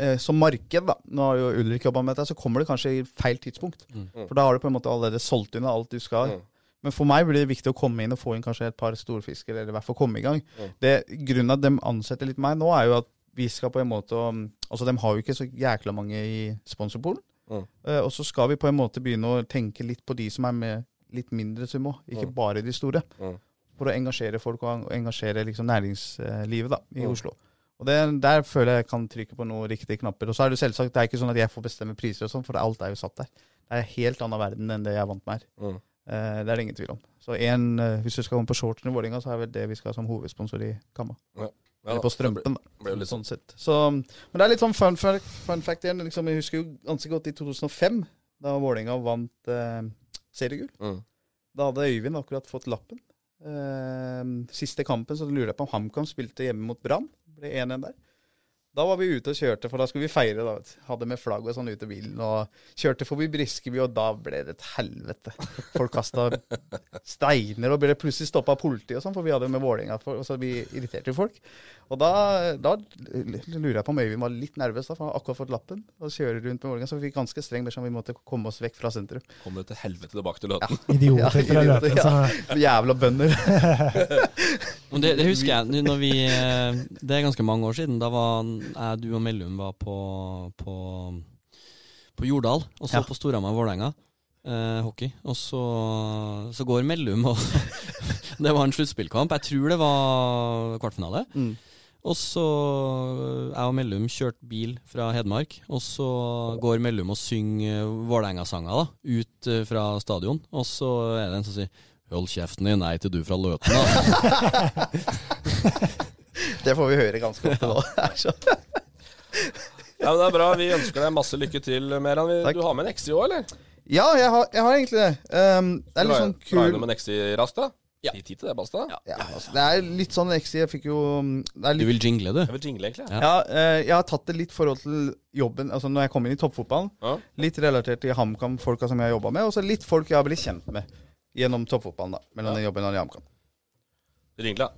[SPEAKER 6] eh, som marked, da. Nå har jo Ulrik jobba med dette, så kommer det kanskje i feil tidspunkt. For da har du på en måte allerede solgt unna alt du skal. Men for meg blir det viktig å komme inn og få inn kanskje et par storfisker, eller i hvert fall komme i gang. Det, grunnen til at de ansetter litt meg nå, er jo at vi skal på en måte å- Altså, de har jo ikke så jækla mange i sponsorpoolen.
[SPEAKER 3] Mm.
[SPEAKER 6] Eh, og så skal vi på en måte begynne å tenke litt på de som er med litt mindre sum òg, ikke bare de store. For å engasjere folk og en- og engasjere liksom næringslivet da, i Oslo. Og det, Der føler jeg jeg kan trykke på noen riktige knapper. Og så er det selvsagt, det er ikke sånn at jeg får bestemme priser og sånn, for alt er jo satt der. Det er en helt annen verden enn det jeg er vant med her.
[SPEAKER 3] Mm.
[SPEAKER 6] Eh, det er det ingen tvil om. Så en, eh, hvis du skal komme på shorten i Vålerenga, så er vel det vi skal ha som hovedsponsor i Kamma.
[SPEAKER 3] Ja,
[SPEAKER 6] Eller på strømpen, da.
[SPEAKER 3] det ble jo litt sånn.
[SPEAKER 6] Sånn sett. Så, men det er litt sånn fun, fact- fun fact igjen. Liksom, jeg husker jo ganske godt i 2005, da Vålerenga vant eh, seriegull.
[SPEAKER 3] Mm.
[SPEAKER 6] Da hadde Øyvind akkurat fått lappen. Eh, siste kampen så lurer jeg på om HamKam spilte hjemme mot Brann. Ble 1-1 der. Da var vi ute og kjørte, for da skulle vi feire. da, vet du. Hadde med flagg og sånn ute i bilen. og Kjørte forbi Briskeby, og da ble det et helvete. Folk kasta steiner, og ble plutselig stoppa av politiet og sånn, for vi hadde med Vålerenga, for- og så vi irriterte jo folk. Og da, da lurer jeg på om Øyvind var litt nervøs, da, for han hadde akkurat fått lappen. Og kjører rundt med Vålerenga, så vi fikk ganske streng beskjed om vi måtte komme oss vekk fra sentrum.
[SPEAKER 3] Kom det til helvete tilbake til Løten.
[SPEAKER 6] <laughs> Ja,
[SPEAKER 4] Idioter fra
[SPEAKER 6] idioter,
[SPEAKER 4] løpet,
[SPEAKER 6] ja.
[SPEAKER 4] så
[SPEAKER 6] Jævla bønder.
[SPEAKER 5] Men Det, det husker jeg når vi eh, Det er ganske mange år siden. Da var jeg, du og Mellum var på, på, på Jordal, og så
[SPEAKER 6] Ja.
[SPEAKER 5] på Storhamar Vålerenga. Eh, hockey. Og så, så går Mellum, og <laughs> det var en sluttspillkamp. Jeg tror det var kvartfinale.
[SPEAKER 6] Mm.
[SPEAKER 5] Og så eh, Jeg og Mellum kjørte bil fra Hedmark, og så går Mellum og synger Vålerenga-sanger da, ut eh, fra stadion. Og så er det en som sier 'Hold kjeften din, nei til du fra Løten', da.
[SPEAKER 6] Det får vi høre ganske ofte nå. Det er sånn. så-
[SPEAKER 3] Ja, men det er bra. Vi ønsker deg masse lykke til, Meran. Vi-
[SPEAKER 6] Takk.
[SPEAKER 3] Du har med en ekse i år, eller?
[SPEAKER 6] Ja, jeg har, jeg har egentlig det. Um, det er litt sånn
[SPEAKER 3] Dra- Dra
[SPEAKER 6] kul
[SPEAKER 3] innom en ekse raskt, da?
[SPEAKER 5] Ja.
[SPEAKER 3] Gi tid til det, Basta.
[SPEAKER 6] ja, altså, Det er litt sånn XI. Jeg fikk jo mm, det er
[SPEAKER 5] Du
[SPEAKER 6] litt,
[SPEAKER 5] vil jingle, du?
[SPEAKER 3] Jeg vil jingle, egentlig.
[SPEAKER 5] Ja.
[SPEAKER 6] ja, eh, Jeg har tatt det litt i forhold til jobben, altså når jeg kom inn i toppfotballen.
[SPEAKER 3] Ja.
[SPEAKER 6] Litt relatert til HamKam-folka som jeg har jobba med, og så litt folk jeg har blitt kjent med gjennom toppfotballen. da, mellom den jobben og HamKam.
[SPEAKER 3] Ringle.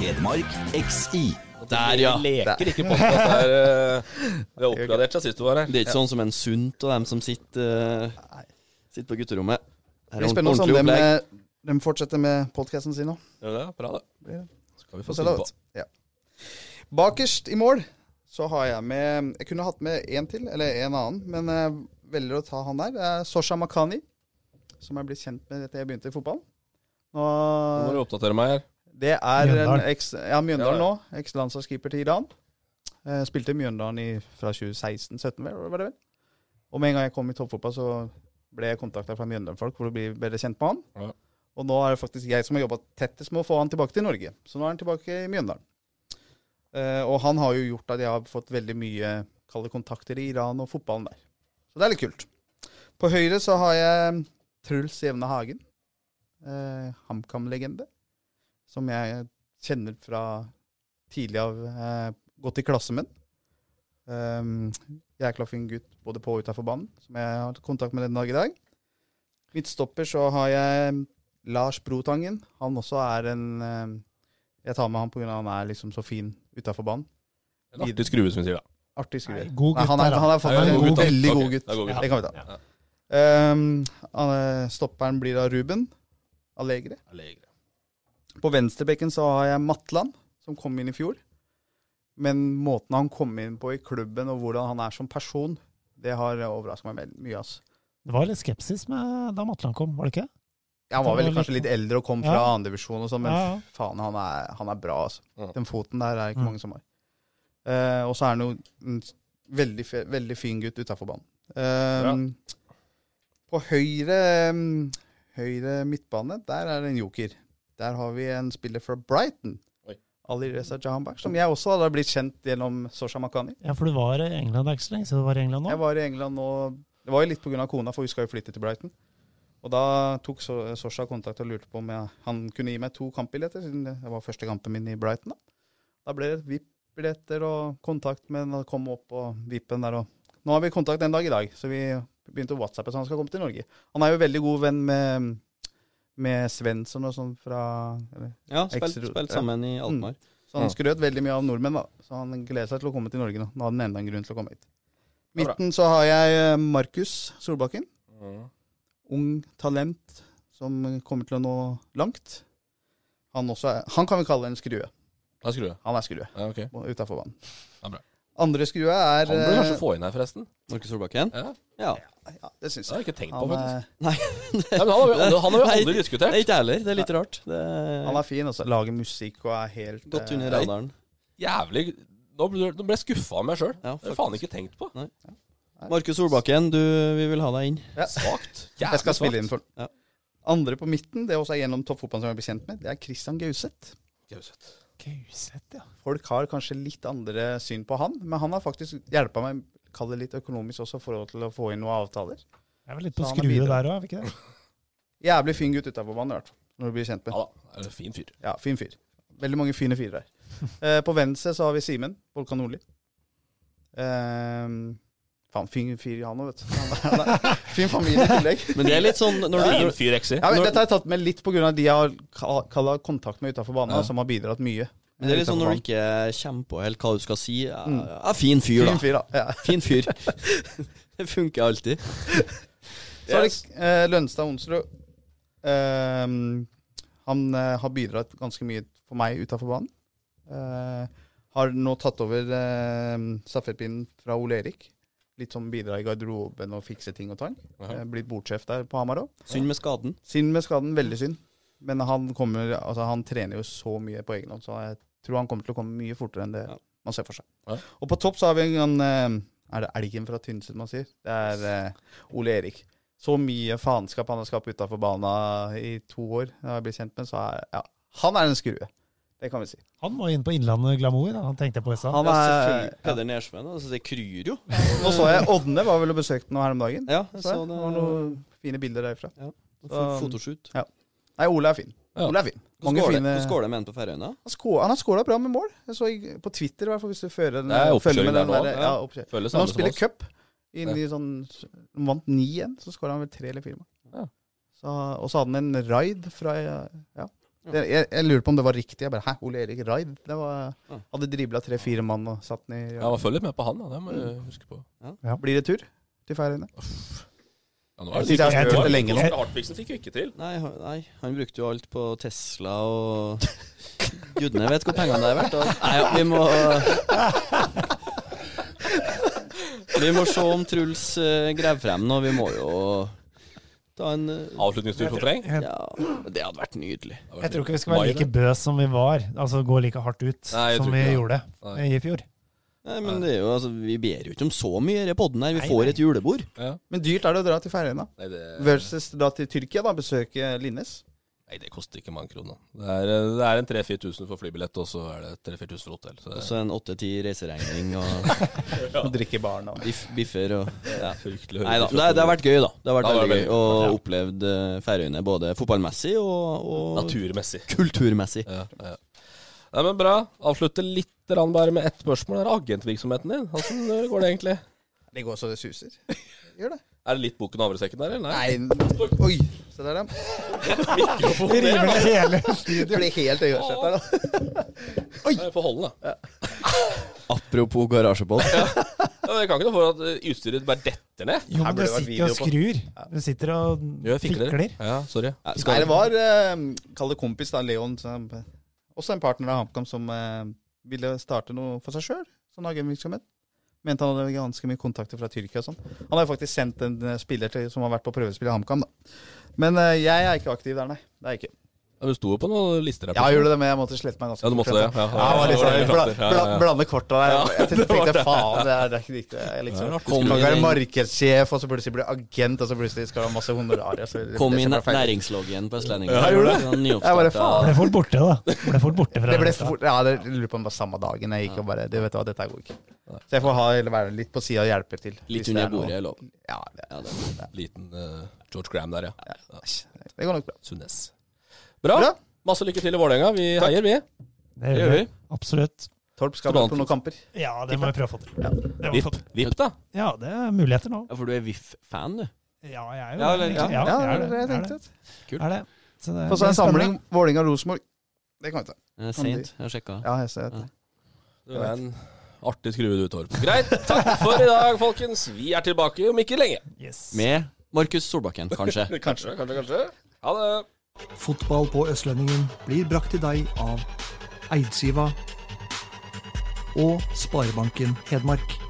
[SPEAKER 2] Hedmark XI.
[SPEAKER 5] Der, ja.
[SPEAKER 3] Vi leker ikke podcast her. eh, Vi har oppgradert seg sist du var her.
[SPEAKER 5] Det er ikke sånn som en sunt og dem som sitter, eh, sitter på gutterommet. Her
[SPEAKER 6] Det
[SPEAKER 5] er
[SPEAKER 6] blir spennende å se om
[SPEAKER 5] ordentlig
[SPEAKER 6] dem,
[SPEAKER 5] opplegg.
[SPEAKER 6] eh, dem fortsetter med podkasten sin nå.
[SPEAKER 3] Gjør det? Bra, det.
[SPEAKER 6] Blir det.
[SPEAKER 3] Skal vi
[SPEAKER 6] Få
[SPEAKER 3] få
[SPEAKER 6] se
[SPEAKER 3] se
[SPEAKER 6] da,
[SPEAKER 3] på.
[SPEAKER 6] vet du. Ja. Bakerst i mål så har jeg med Jeg kunne hatt med én til, eller en annen, men jeg velger å ta han der. Det er Sosha Makani, som jeg ble kjent med etter jeg begynte i fotballen.
[SPEAKER 3] Nå må
[SPEAKER 6] Og
[SPEAKER 3] du oppdatere meg her.
[SPEAKER 6] det er en
[SPEAKER 4] Mjøndalen.
[SPEAKER 6] eks, ja, Mjøndalen
[SPEAKER 3] Ja,
[SPEAKER 6] nå. Eks-landslagskeeper til Iran. Eh, Spilte i Mjøndalen i, fra 2016-17, var det vel? Og med en gang jeg kom i toppfotball, så ble jeg kontakta fra Mjøndalen-folk for å bli bedre kjent med han.
[SPEAKER 3] Ja.
[SPEAKER 6] Og nå er det faktisk jeg som har jobba tettest med å få han tilbake til Norge. Så nå er han tilbake i Mjøndalen. Eh, og han har jo gjort at jeg har fått veldig mye kalde kontakter i Iran og fotballen der. Så det er litt kult. På høyre så har jeg eh, Truls Jevne Hagen. Eh, HamKam-legende. Som jeg kjenner fra tidlig av eh, gått i klasse med. Um, jækla fin gutt både på og utafor banen, som jeg har hatt kontakt med den dag i dag. Midtstopper så har jeg Lars Brotangen. Han også er en eh, Jeg tar med han pga. han er liksom så fin utafor banen.
[SPEAKER 3] En artig skrue, som vi sier. da.
[SPEAKER 6] Artig
[SPEAKER 4] Nei,
[SPEAKER 6] skruer.
[SPEAKER 4] god
[SPEAKER 6] Nei,
[SPEAKER 4] gutt
[SPEAKER 6] han er,
[SPEAKER 4] der, da.
[SPEAKER 6] han er
[SPEAKER 3] Ja,
[SPEAKER 6] faktisk
[SPEAKER 3] ja,
[SPEAKER 6] en
[SPEAKER 3] god gutt, da.
[SPEAKER 6] veldig
[SPEAKER 3] Ok,
[SPEAKER 6] god gutt.
[SPEAKER 3] det er god gutt.
[SPEAKER 6] Det kan vi ta.
[SPEAKER 3] Ja.
[SPEAKER 6] Ehm, han, eh, stopperen blir da Ruben Allegri. På venstrebekken så har jeg Matland, som kom inn i fjor. Men måten han kom inn på i klubben, og hvordan han er som person, det har overraska meg veldig mye. Altså.
[SPEAKER 4] Det var litt skepsis med da Matland kom, var det ikke?
[SPEAKER 6] Ja, Han var
[SPEAKER 4] Det
[SPEAKER 6] vel
[SPEAKER 4] var
[SPEAKER 6] kanskje
[SPEAKER 4] litt-
[SPEAKER 6] litt eldre og kom fra
[SPEAKER 4] Ja.
[SPEAKER 6] andredivisjon og sånn, men
[SPEAKER 4] Ja, ja.
[SPEAKER 6] faen, han er, han er bra, altså.
[SPEAKER 3] Ja.
[SPEAKER 6] Den foten der er det ikke
[SPEAKER 4] Mm.
[SPEAKER 6] mange som har. Eh, og så er han jo en s- veldig, fe- veldig fin gutt utafor banen. Eh, På høyre, mm, høyre midtbane, der er det en joker. Der har vi en spiller fra Brighton.
[SPEAKER 3] Oi.
[SPEAKER 6] Alireza Jahanbak, som jeg også hadde blitt kjent gjennom Sosha Makani.
[SPEAKER 7] Ja, for du var i England det er ikke så lenge siden du var i England nå.
[SPEAKER 6] Jeg var i England nå Det var jo litt pga. kona, for hun skal jo flytte til Brighton. Og da tok So- Sosha kontakt og lurte på om jeg, han kunne gi meg to kampbilletter, siden det var første kampen min i Brighton. Da, da ble det VIP-billetter og kontakt med han kom opp og VIP-en der og Nå har vi kontakt en dag i dag, så vi begynte å WhatsAppe så han skal komme til Norge. Han er jo veldig god venn med, med Svensson og sånn fra eller,
[SPEAKER 5] Ja, spilt,
[SPEAKER 6] Exeter-
[SPEAKER 5] spilt
[SPEAKER 6] ja.
[SPEAKER 5] sammen i Alkmaar.
[SPEAKER 6] Mm. Så han
[SPEAKER 5] Ja.
[SPEAKER 6] skrøt veldig mye av nordmenn, da. Så han gleder seg til å komme til Norge nå. Nå hadde han enda en grunn til å komme hit.
[SPEAKER 3] Ja, bra.
[SPEAKER 6] Midten så har jeg eh, Markus Solbakken.
[SPEAKER 3] Mhm.
[SPEAKER 6] Ung talent som kommer til å nå langt. Han, også er, han kan vi kalle en skrue.
[SPEAKER 3] Da skrur jeg.
[SPEAKER 6] Han er skrue
[SPEAKER 3] Ja, ok.
[SPEAKER 6] utafor banen.
[SPEAKER 3] Ja, bra.
[SPEAKER 6] Andre skrue er
[SPEAKER 3] Han burde
[SPEAKER 6] eh,
[SPEAKER 3] kanskje få inn her, forresten.
[SPEAKER 5] Markus Solbakken?
[SPEAKER 3] Ja.
[SPEAKER 5] Ja.
[SPEAKER 6] ja, Det syns
[SPEAKER 3] Det har
[SPEAKER 6] jeg.
[SPEAKER 3] jeg ikke tenkt på,
[SPEAKER 6] Han
[SPEAKER 3] faktisk.
[SPEAKER 6] eh, er,
[SPEAKER 3] Nei, men han har vi-
[SPEAKER 6] <laughs>
[SPEAKER 3] han har vi
[SPEAKER 5] Nei,
[SPEAKER 3] aldri diskutert.
[SPEAKER 5] Nei, ikke jeg heller. Det er litt rart. Det
[SPEAKER 6] han
[SPEAKER 5] er
[SPEAKER 6] er fin også. Lager musikk og er helt
[SPEAKER 5] godt
[SPEAKER 6] eh,
[SPEAKER 5] under radaren.
[SPEAKER 3] Jævlig Nå ble, nå ble jeg skuffa av meg sjøl.
[SPEAKER 5] Ja,
[SPEAKER 3] Det har jeg
[SPEAKER 5] faktisk.
[SPEAKER 3] faen ikke tenkt på.
[SPEAKER 5] Markus Solbakken, du, vi vil ha deg inn.
[SPEAKER 6] ja.
[SPEAKER 3] Svakt.
[SPEAKER 6] Jeg skal
[SPEAKER 3] Jævlig
[SPEAKER 6] spille inn
[SPEAKER 3] svakt.
[SPEAKER 6] for den.
[SPEAKER 5] Ja.
[SPEAKER 6] Andre på midten, det er også gjennom toppfotballen som jeg er bekjent med, det er Christian Gauseth.
[SPEAKER 3] Gauseth.
[SPEAKER 4] Gauseth, ja.
[SPEAKER 6] folk har kanskje litt andre syn på han, men han har faktisk hjelpa meg kall det litt økonomisk også i forhold til å få inn noen avtaler.
[SPEAKER 4] Jeg var litt
[SPEAKER 6] Så
[SPEAKER 4] på
[SPEAKER 6] han har
[SPEAKER 4] skrue
[SPEAKER 6] bidratt.
[SPEAKER 4] der òg, er vi ikke det?
[SPEAKER 6] Jævlig fin gutt utafor banen, i hvert fall. Når du blir kjent med.
[SPEAKER 3] Ja da. Det er en fin fyr.
[SPEAKER 6] Ja, fin fyr. Veldig mange fine <laughs> fyrer her. Eh, på venstre så har vi Simen Volkan Nordli. Eh, faen, fin fyr han òg, vet du. Han er- han er- Fin familie i tillegg.
[SPEAKER 5] Men det er litt sånn når du,
[SPEAKER 3] Fin fyr, Exi.
[SPEAKER 6] <laughs> Ja, men Dette har jeg tatt med litt pga. de jeg har ka- kalla kontakt med utafor banen,
[SPEAKER 3] Ja.
[SPEAKER 6] som har bidratt mye.
[SPEAKER 5] Men det er litt sånn
[SPEAKER 6] Utenfor
[SPEAKER 5] når du
[SPEAKER 6] banen.
[SPEAKER 5] ikke kommer på helt hva du skal si. Ja,
[SPEAKER 6] Mm.
[SPEAKER 5] ja, fin fyr,
[SPEAKER 6] Fin
[SPEAKER 5] da.
[SPEAKER 6] fyr, da. Ja.
[SPEAKER 5] Fin fyr. <laughs> Det funker alltid.
[SPEAKER 6] Så er det eh, Lønstad Onsrud. Eh, han eh, har bidratt ganske mye for meg utafor banen. Eh, har nå tatt over eh, stafettpinnen fra Ole Erik. Litt som bidrar i garderoben og fikse ting og tang. Eh, blitt bordsjef der på Hamar òg.
[SPEAKER 5] Synd med skaden.
[SPEAKER 6] Synd med skaden, veldig synd. Men han, kommer, altså, han trener jo så mye på egen hånd, så jeg tror han kommer til å komme mye fortere enn det
[SPEAKER 5] Ja.
[SPEAKER 6] man ser for seg.
[SPEAKER 3] Ja.
[SPEAKER 6] Og på topp så har vi en eh, Er det elgen fra Tynset man sier? Det er eh, Ole Erik. Så mye faenskap han har skapt utafor banen eh, i to år, jeg har blitt kjent med, så er, ja, han er en skrue. Det kan vi si.
[SPEAKER 7] Han må inn på Innlandet Glamour, da. han tenkte jeg på i stad.
[SPEAKER 6] Han
[SPEAKER 5] Ja,
[SPEAKER 6] er,
[SPEAKER 5] selvfølgelig. Peder Nersveen. Altså, det kryr jo.
[SPEAKER 6] nå så jeg Ådne var vel og besøkte noe her om dagen.
[SPEAKER 5] Ja, jeg
[SPEAKER 6] Så
[SPEAKER 5] så
[SPEAKER 6] jeg, det var um, noen
[SPEAKER 5] det.
[SPEAKER 6] fine bilder derfra.
[SPEAKER 5] F- Fotoshoot.
[SPEAKER 6] Nei, Ole er fin.
[SPEAKER 3] Ja.
[SPEAKER 6] Ole er fin. Mange fine-
[SPEAKER 5] Hvordan går det med en på Færøyene?
[SPEAKER 6] Han, skå- han har skåla bra med mål. Jeg så i- på Twitter, i hvert fall, hvis du fører den,
[SPEAKER 3] Det er oppkjøring
[SPEAKER 6] følger med
[SPEAKER 3] der
[SPEAKER 6] den
[SPEAKER 3] nå,
[SPEAKER 6] der,
[SPEAKER 3] ja.
[SPEAKER 6] ja, oppkjøring.
[SPEAKER 3] Føles
[SPEAKER 6] Når han
[SPEAKER 3] samme som
[SPEAKER 6] spiller
[SPEAKER 3] oss.
[SPEAKER 6] cup, inn i sånn, han vant 9-1, så skåra han vel tre eller fire mål.
[SPEAKER 3] Ja.
[SPEAKER 6] Så, og så hadde han en raid fra Ja. Det, jeg, jeg lurer på om det var riktig. Jeg bare, Hæ, Ole Erik Raid? Det var,
[SPEAKER 5] Ja.
[SPEAKER 6] hadde dribla tre-fire mann og satt den i
[SPEAKER 3] Ja, Følg litt med på han, da. Det må du huske på.
[SPEAKER 6] Blir det tur til Færøyene?
[SPEAKER 3] Ja, nå
[SPEAKER 6] Jeg
[SPEAKER 3] er
[SPEAKER 6] synes jeg har hørt det lenge nå.
[SPEAKER 3] Hartvigsen fikk jo ikke til.
[SPEAKER 5] Nei, han- nei, han brukte jo alt på Tesla og Gudene vet hvor pengene er verdt. da. Nei, ja, vi må Vi må se om Truls eh, graver frem noe. Vi må jo ta en eh,
[SPEAKER 3] Avslutningstur for Freng.
[SPEAKER 5] Ja, det hadde vært nydelig.
[SPEAKER 7] Jeg tror ikke vi skal være like bøs som vi var, altså gå like hardt ut
[SPEAKER 3] Nei, jeg
[SPEAKER 7] som
[SPEAKER 3] tror
[SPEAKER 7] vi
[SPEAKER 3] ikke det.
[SPEAKER 7] gjorde
[SPEAKER 3] Nei.
[SPEAKER 7] i fjor.
[SPEAKER 5] Nei, men det er jo, altså, Vi ber jo ikke om så mye i denne podden her. Vi
[SPEAKER 7] Nei,
[SPEAKER 5] får
[SPEAKER 7] nei.
[SPEAKER 5] et julebord.
[SPEAKER 6] Men dyrt er det å dra til Færøyene.
[SPEAKER 3] Nei, det,
[SPEAKER 6] Versus dra til Tyrkia, da, besøke Linnes.
[SPEAKER 3] nei, det koster ikke mange kroner. Det er, det er en 3000-4000 for flybillett, og så er det 3000-4000 for hotell. Så
[SPEAKER 5] Og
[SPEAKER 3] det
[SPEAKER 5] så en åtte-ti reiseregning og
[SPEAKER 6] Og drikke i baren og
[SPEAKER 5] biff, biffer og ja.
[SPEAKER 3] er fryktelig høyt.
[SPEAKER 5] Nei da. Det, det har vært gøy, da. Det har vært
[SPEAKER 3] Det har
[SPEAKER 5] veldig
[SPEAKER 3] vært
[SPEAKER 5] gøy å oppleve Færøyene både fotballmessig og, og
[SPEAKER 3] Naturmessig.
[SPEAKER 5] kulturmessig.
[SPEAKER 3] Ja, ja. Nei, men bra. Avslutte litt grann bare med ett spørsmål. Er agentvirksomheten din? Hvordan går det egentlig?
[SPEAKER 6] Det går så det suser.
[SPEAKER 3] <laughs>
[SPEAKER 6] Gjør det.
[SPEAKER 3] Er det litt boken og havresekken der, eller?
[SPEAKER 6] Nei, oi! Se der, ja.
[SPEAKER 7] Vi river det hele.
[SPEAKER 6] Det blir helt øyersett der, da.
[SPEAKER 3] Nei, Få holde den, da.
[SPEAKER 5] Apropos garasjebåt.
[SPEAKER 3] Ja, men Jeg kan ikke noe for at eh, utstyret bare detter ned.
[SPEAKER 7] Jo,
[SPEAKER 6] Her
[SPEAKER 7] men du
[SPEAKER 6] burde det vært
[SPEAKER 7] sitter og skrur. Du sitter og
[SPEAKER 3] Gjør fikler.
[SPEAKER 7] fikler.
[SPEAKER 3] Ja, sorry.
[SPEAKER 5] Ja,
[SPEAKER 6] Nei,
[SPEAKER 5] skal,
[SPEAKER 6] det var eh, Kall det kompis, da. Leon, som, eh, også en partner av HamKam, som eh, ville starte noe for seg sjøl. Sånn agentvirksomhet. Mente han hadde ganske mye kontakter fra Tyrkia og sånn. Han har jo faktisk sendt en eh, spiller til, som har vært på prøvespill i HamKam, da. Men eh, jeg er ikke aktiv der, nei. Det er jeg ikke.
[SPEAKER 3] Ja, du sto jo på noen lister her.
[SPEAKER 6] Ja, jeg gjorde det, men jeg måtte slette meg ganske
[SPEAKER 3] Ja, du måtte
[SPEAKER 6] fort,
[SPEAKER 3] det, ja. Ja,
[SPEAKER 6] ja, det var litt
[SPEAKER 3] ja,
[SPEAKER 6] sånn,
[SPEAKER 3] ja,
[SPEAKER 6] bla,
[SPEAKER 3] ja,
[SPEAKER 6] bla,
[SPEAKER 3] ja, ja.
[SPEAKER 6] blande korta der.
[SPEAKER 3] Ja, <laughs>
[SPEAKER 6] Jeg
[SPEAKER 3] det var
[SPEAKER 6] tenkte
[SPEAKER 3] det.
[SPEAKER 6] faen, det er, det er ikke riktig. Jeg,
[SPEAKER 5] Ja,
[SPEAKER 6] liksom, du
[SPEAKER 5] <laughs>
[SPEAKER 6] skal
[SPEAKER 5] kom
[SPEAKER 6] ikke være
[SPEAKER 5] inn-
[SPEAKER 6] markedssjef, og så plutselig bli agent, og så plutselig skal du ha masse honorarer. så det-
[SPEAKER 5] Kom
[SPEAKER 6] det
[SPEAKER 5] i
[SPEAKER 6] ser bare feil ut.
[SPEAKER 5] næringsloggen på Østlendingen.
[SPEAKER 6] Ja, jeg gjorde det.
[SPEAKER 5] Sånn
[SPEAKER 6] Jeg bare, faen.
[SPEAKER 5] nyoppstarta
[SPEAKER 7] Ble fort borte, da. Ble fort borte fra
[SPEAKER 6] <laughs> Det ble
[SPEAKER 7] lista.
[SPEAKER 6] fort, ja, det jeg lurer på om det var samme dagen jeg gikk og bare Du vet du hva, dette går ikke. Så jeg får ha, eller være litt på sida og hjelpe til. hvis
[SPEAKER 5] Litt
[SPEAKER 6] det
[SPEAKER 5] under
[SPEAKER 6] er noe.
[SPEAKER 5] bordet, er lov.
[SPEAKER 6] Ja, det,
[SPEAKER 5] Ja, det-
[SPEAKER 3] Liten eh, George Graham der, ja. ja.
[SPEAKER 6] det går nok bra.
[SPEAKER 3] Sundnes. Bra.
[SPEAKER 6] Bra.
[SPEAKER 3] Masse lykke til i Vålerenga. Vi heier, vi.
[SPEAKER 7] Det
[SPEAKER 5] Det
[SPEAKER 7] gjør vi.
[SPEAKER 5] gjør vi.
[SPEAKER 7] Absolutt.
[SPEAKER 6] Torp skal bort på noen kamper.
[SPEAKER 7] Ja, det må vi prøve å få til.
[SPEAKER 6] Ja.
[SPEAKER 7] Det må vi få
[SPEAKER 3] Vipp,
[SPEAKER 7] til.
[SPEAKER 3] Vipp da.
[SPEAKER 7] Ja, det er muligheter nå.
[SPEAKER 5] Ja, for du er VIF-fan, du.
[SPEAKER 7] Ja, jeg er jo
[SPEAKER 5] Ja, eller-
[SPEAKER 7] egentlig-
[SPEAKER 6] Ja,
[SPEAKER 7] jeg er
[SPEAKER 6] det var det jeg
[SPEAKER 7] jeg er
[SPEAKER 6] tenkte.
[SPEAKER 7] det. Er det. Så det
[SPEAKER 6] Og så
[SPEAKER 7] blir
[SPEAKER 6] en samling
[SPEAKER 7] spennende.
[SPEAKER 6] Vålerenga-Rosenborg. Det kan vi ta.
[SPEAKER 5] Eh, Sent, jeg har sjekka.
[SPEAKER 6] Ja, jeg ser det.
[SPEAKER 3] Du er en artig skrue, du, Torp. Greit. Takk for i dag, folkens. Vi er tilbake om ikke lenge.
[SPEAKER 7] Yes.
[SPEAKER 5] Med Markus Solbakken, <laughs> kanskje.
[SPEAKER 3] Kanskje, kanskje, kanskje. Ha det.
[SPEAKER 1] Fotball på Østlendingen blir brakt til deg av Eidsiva og Sparebanken Hedmark.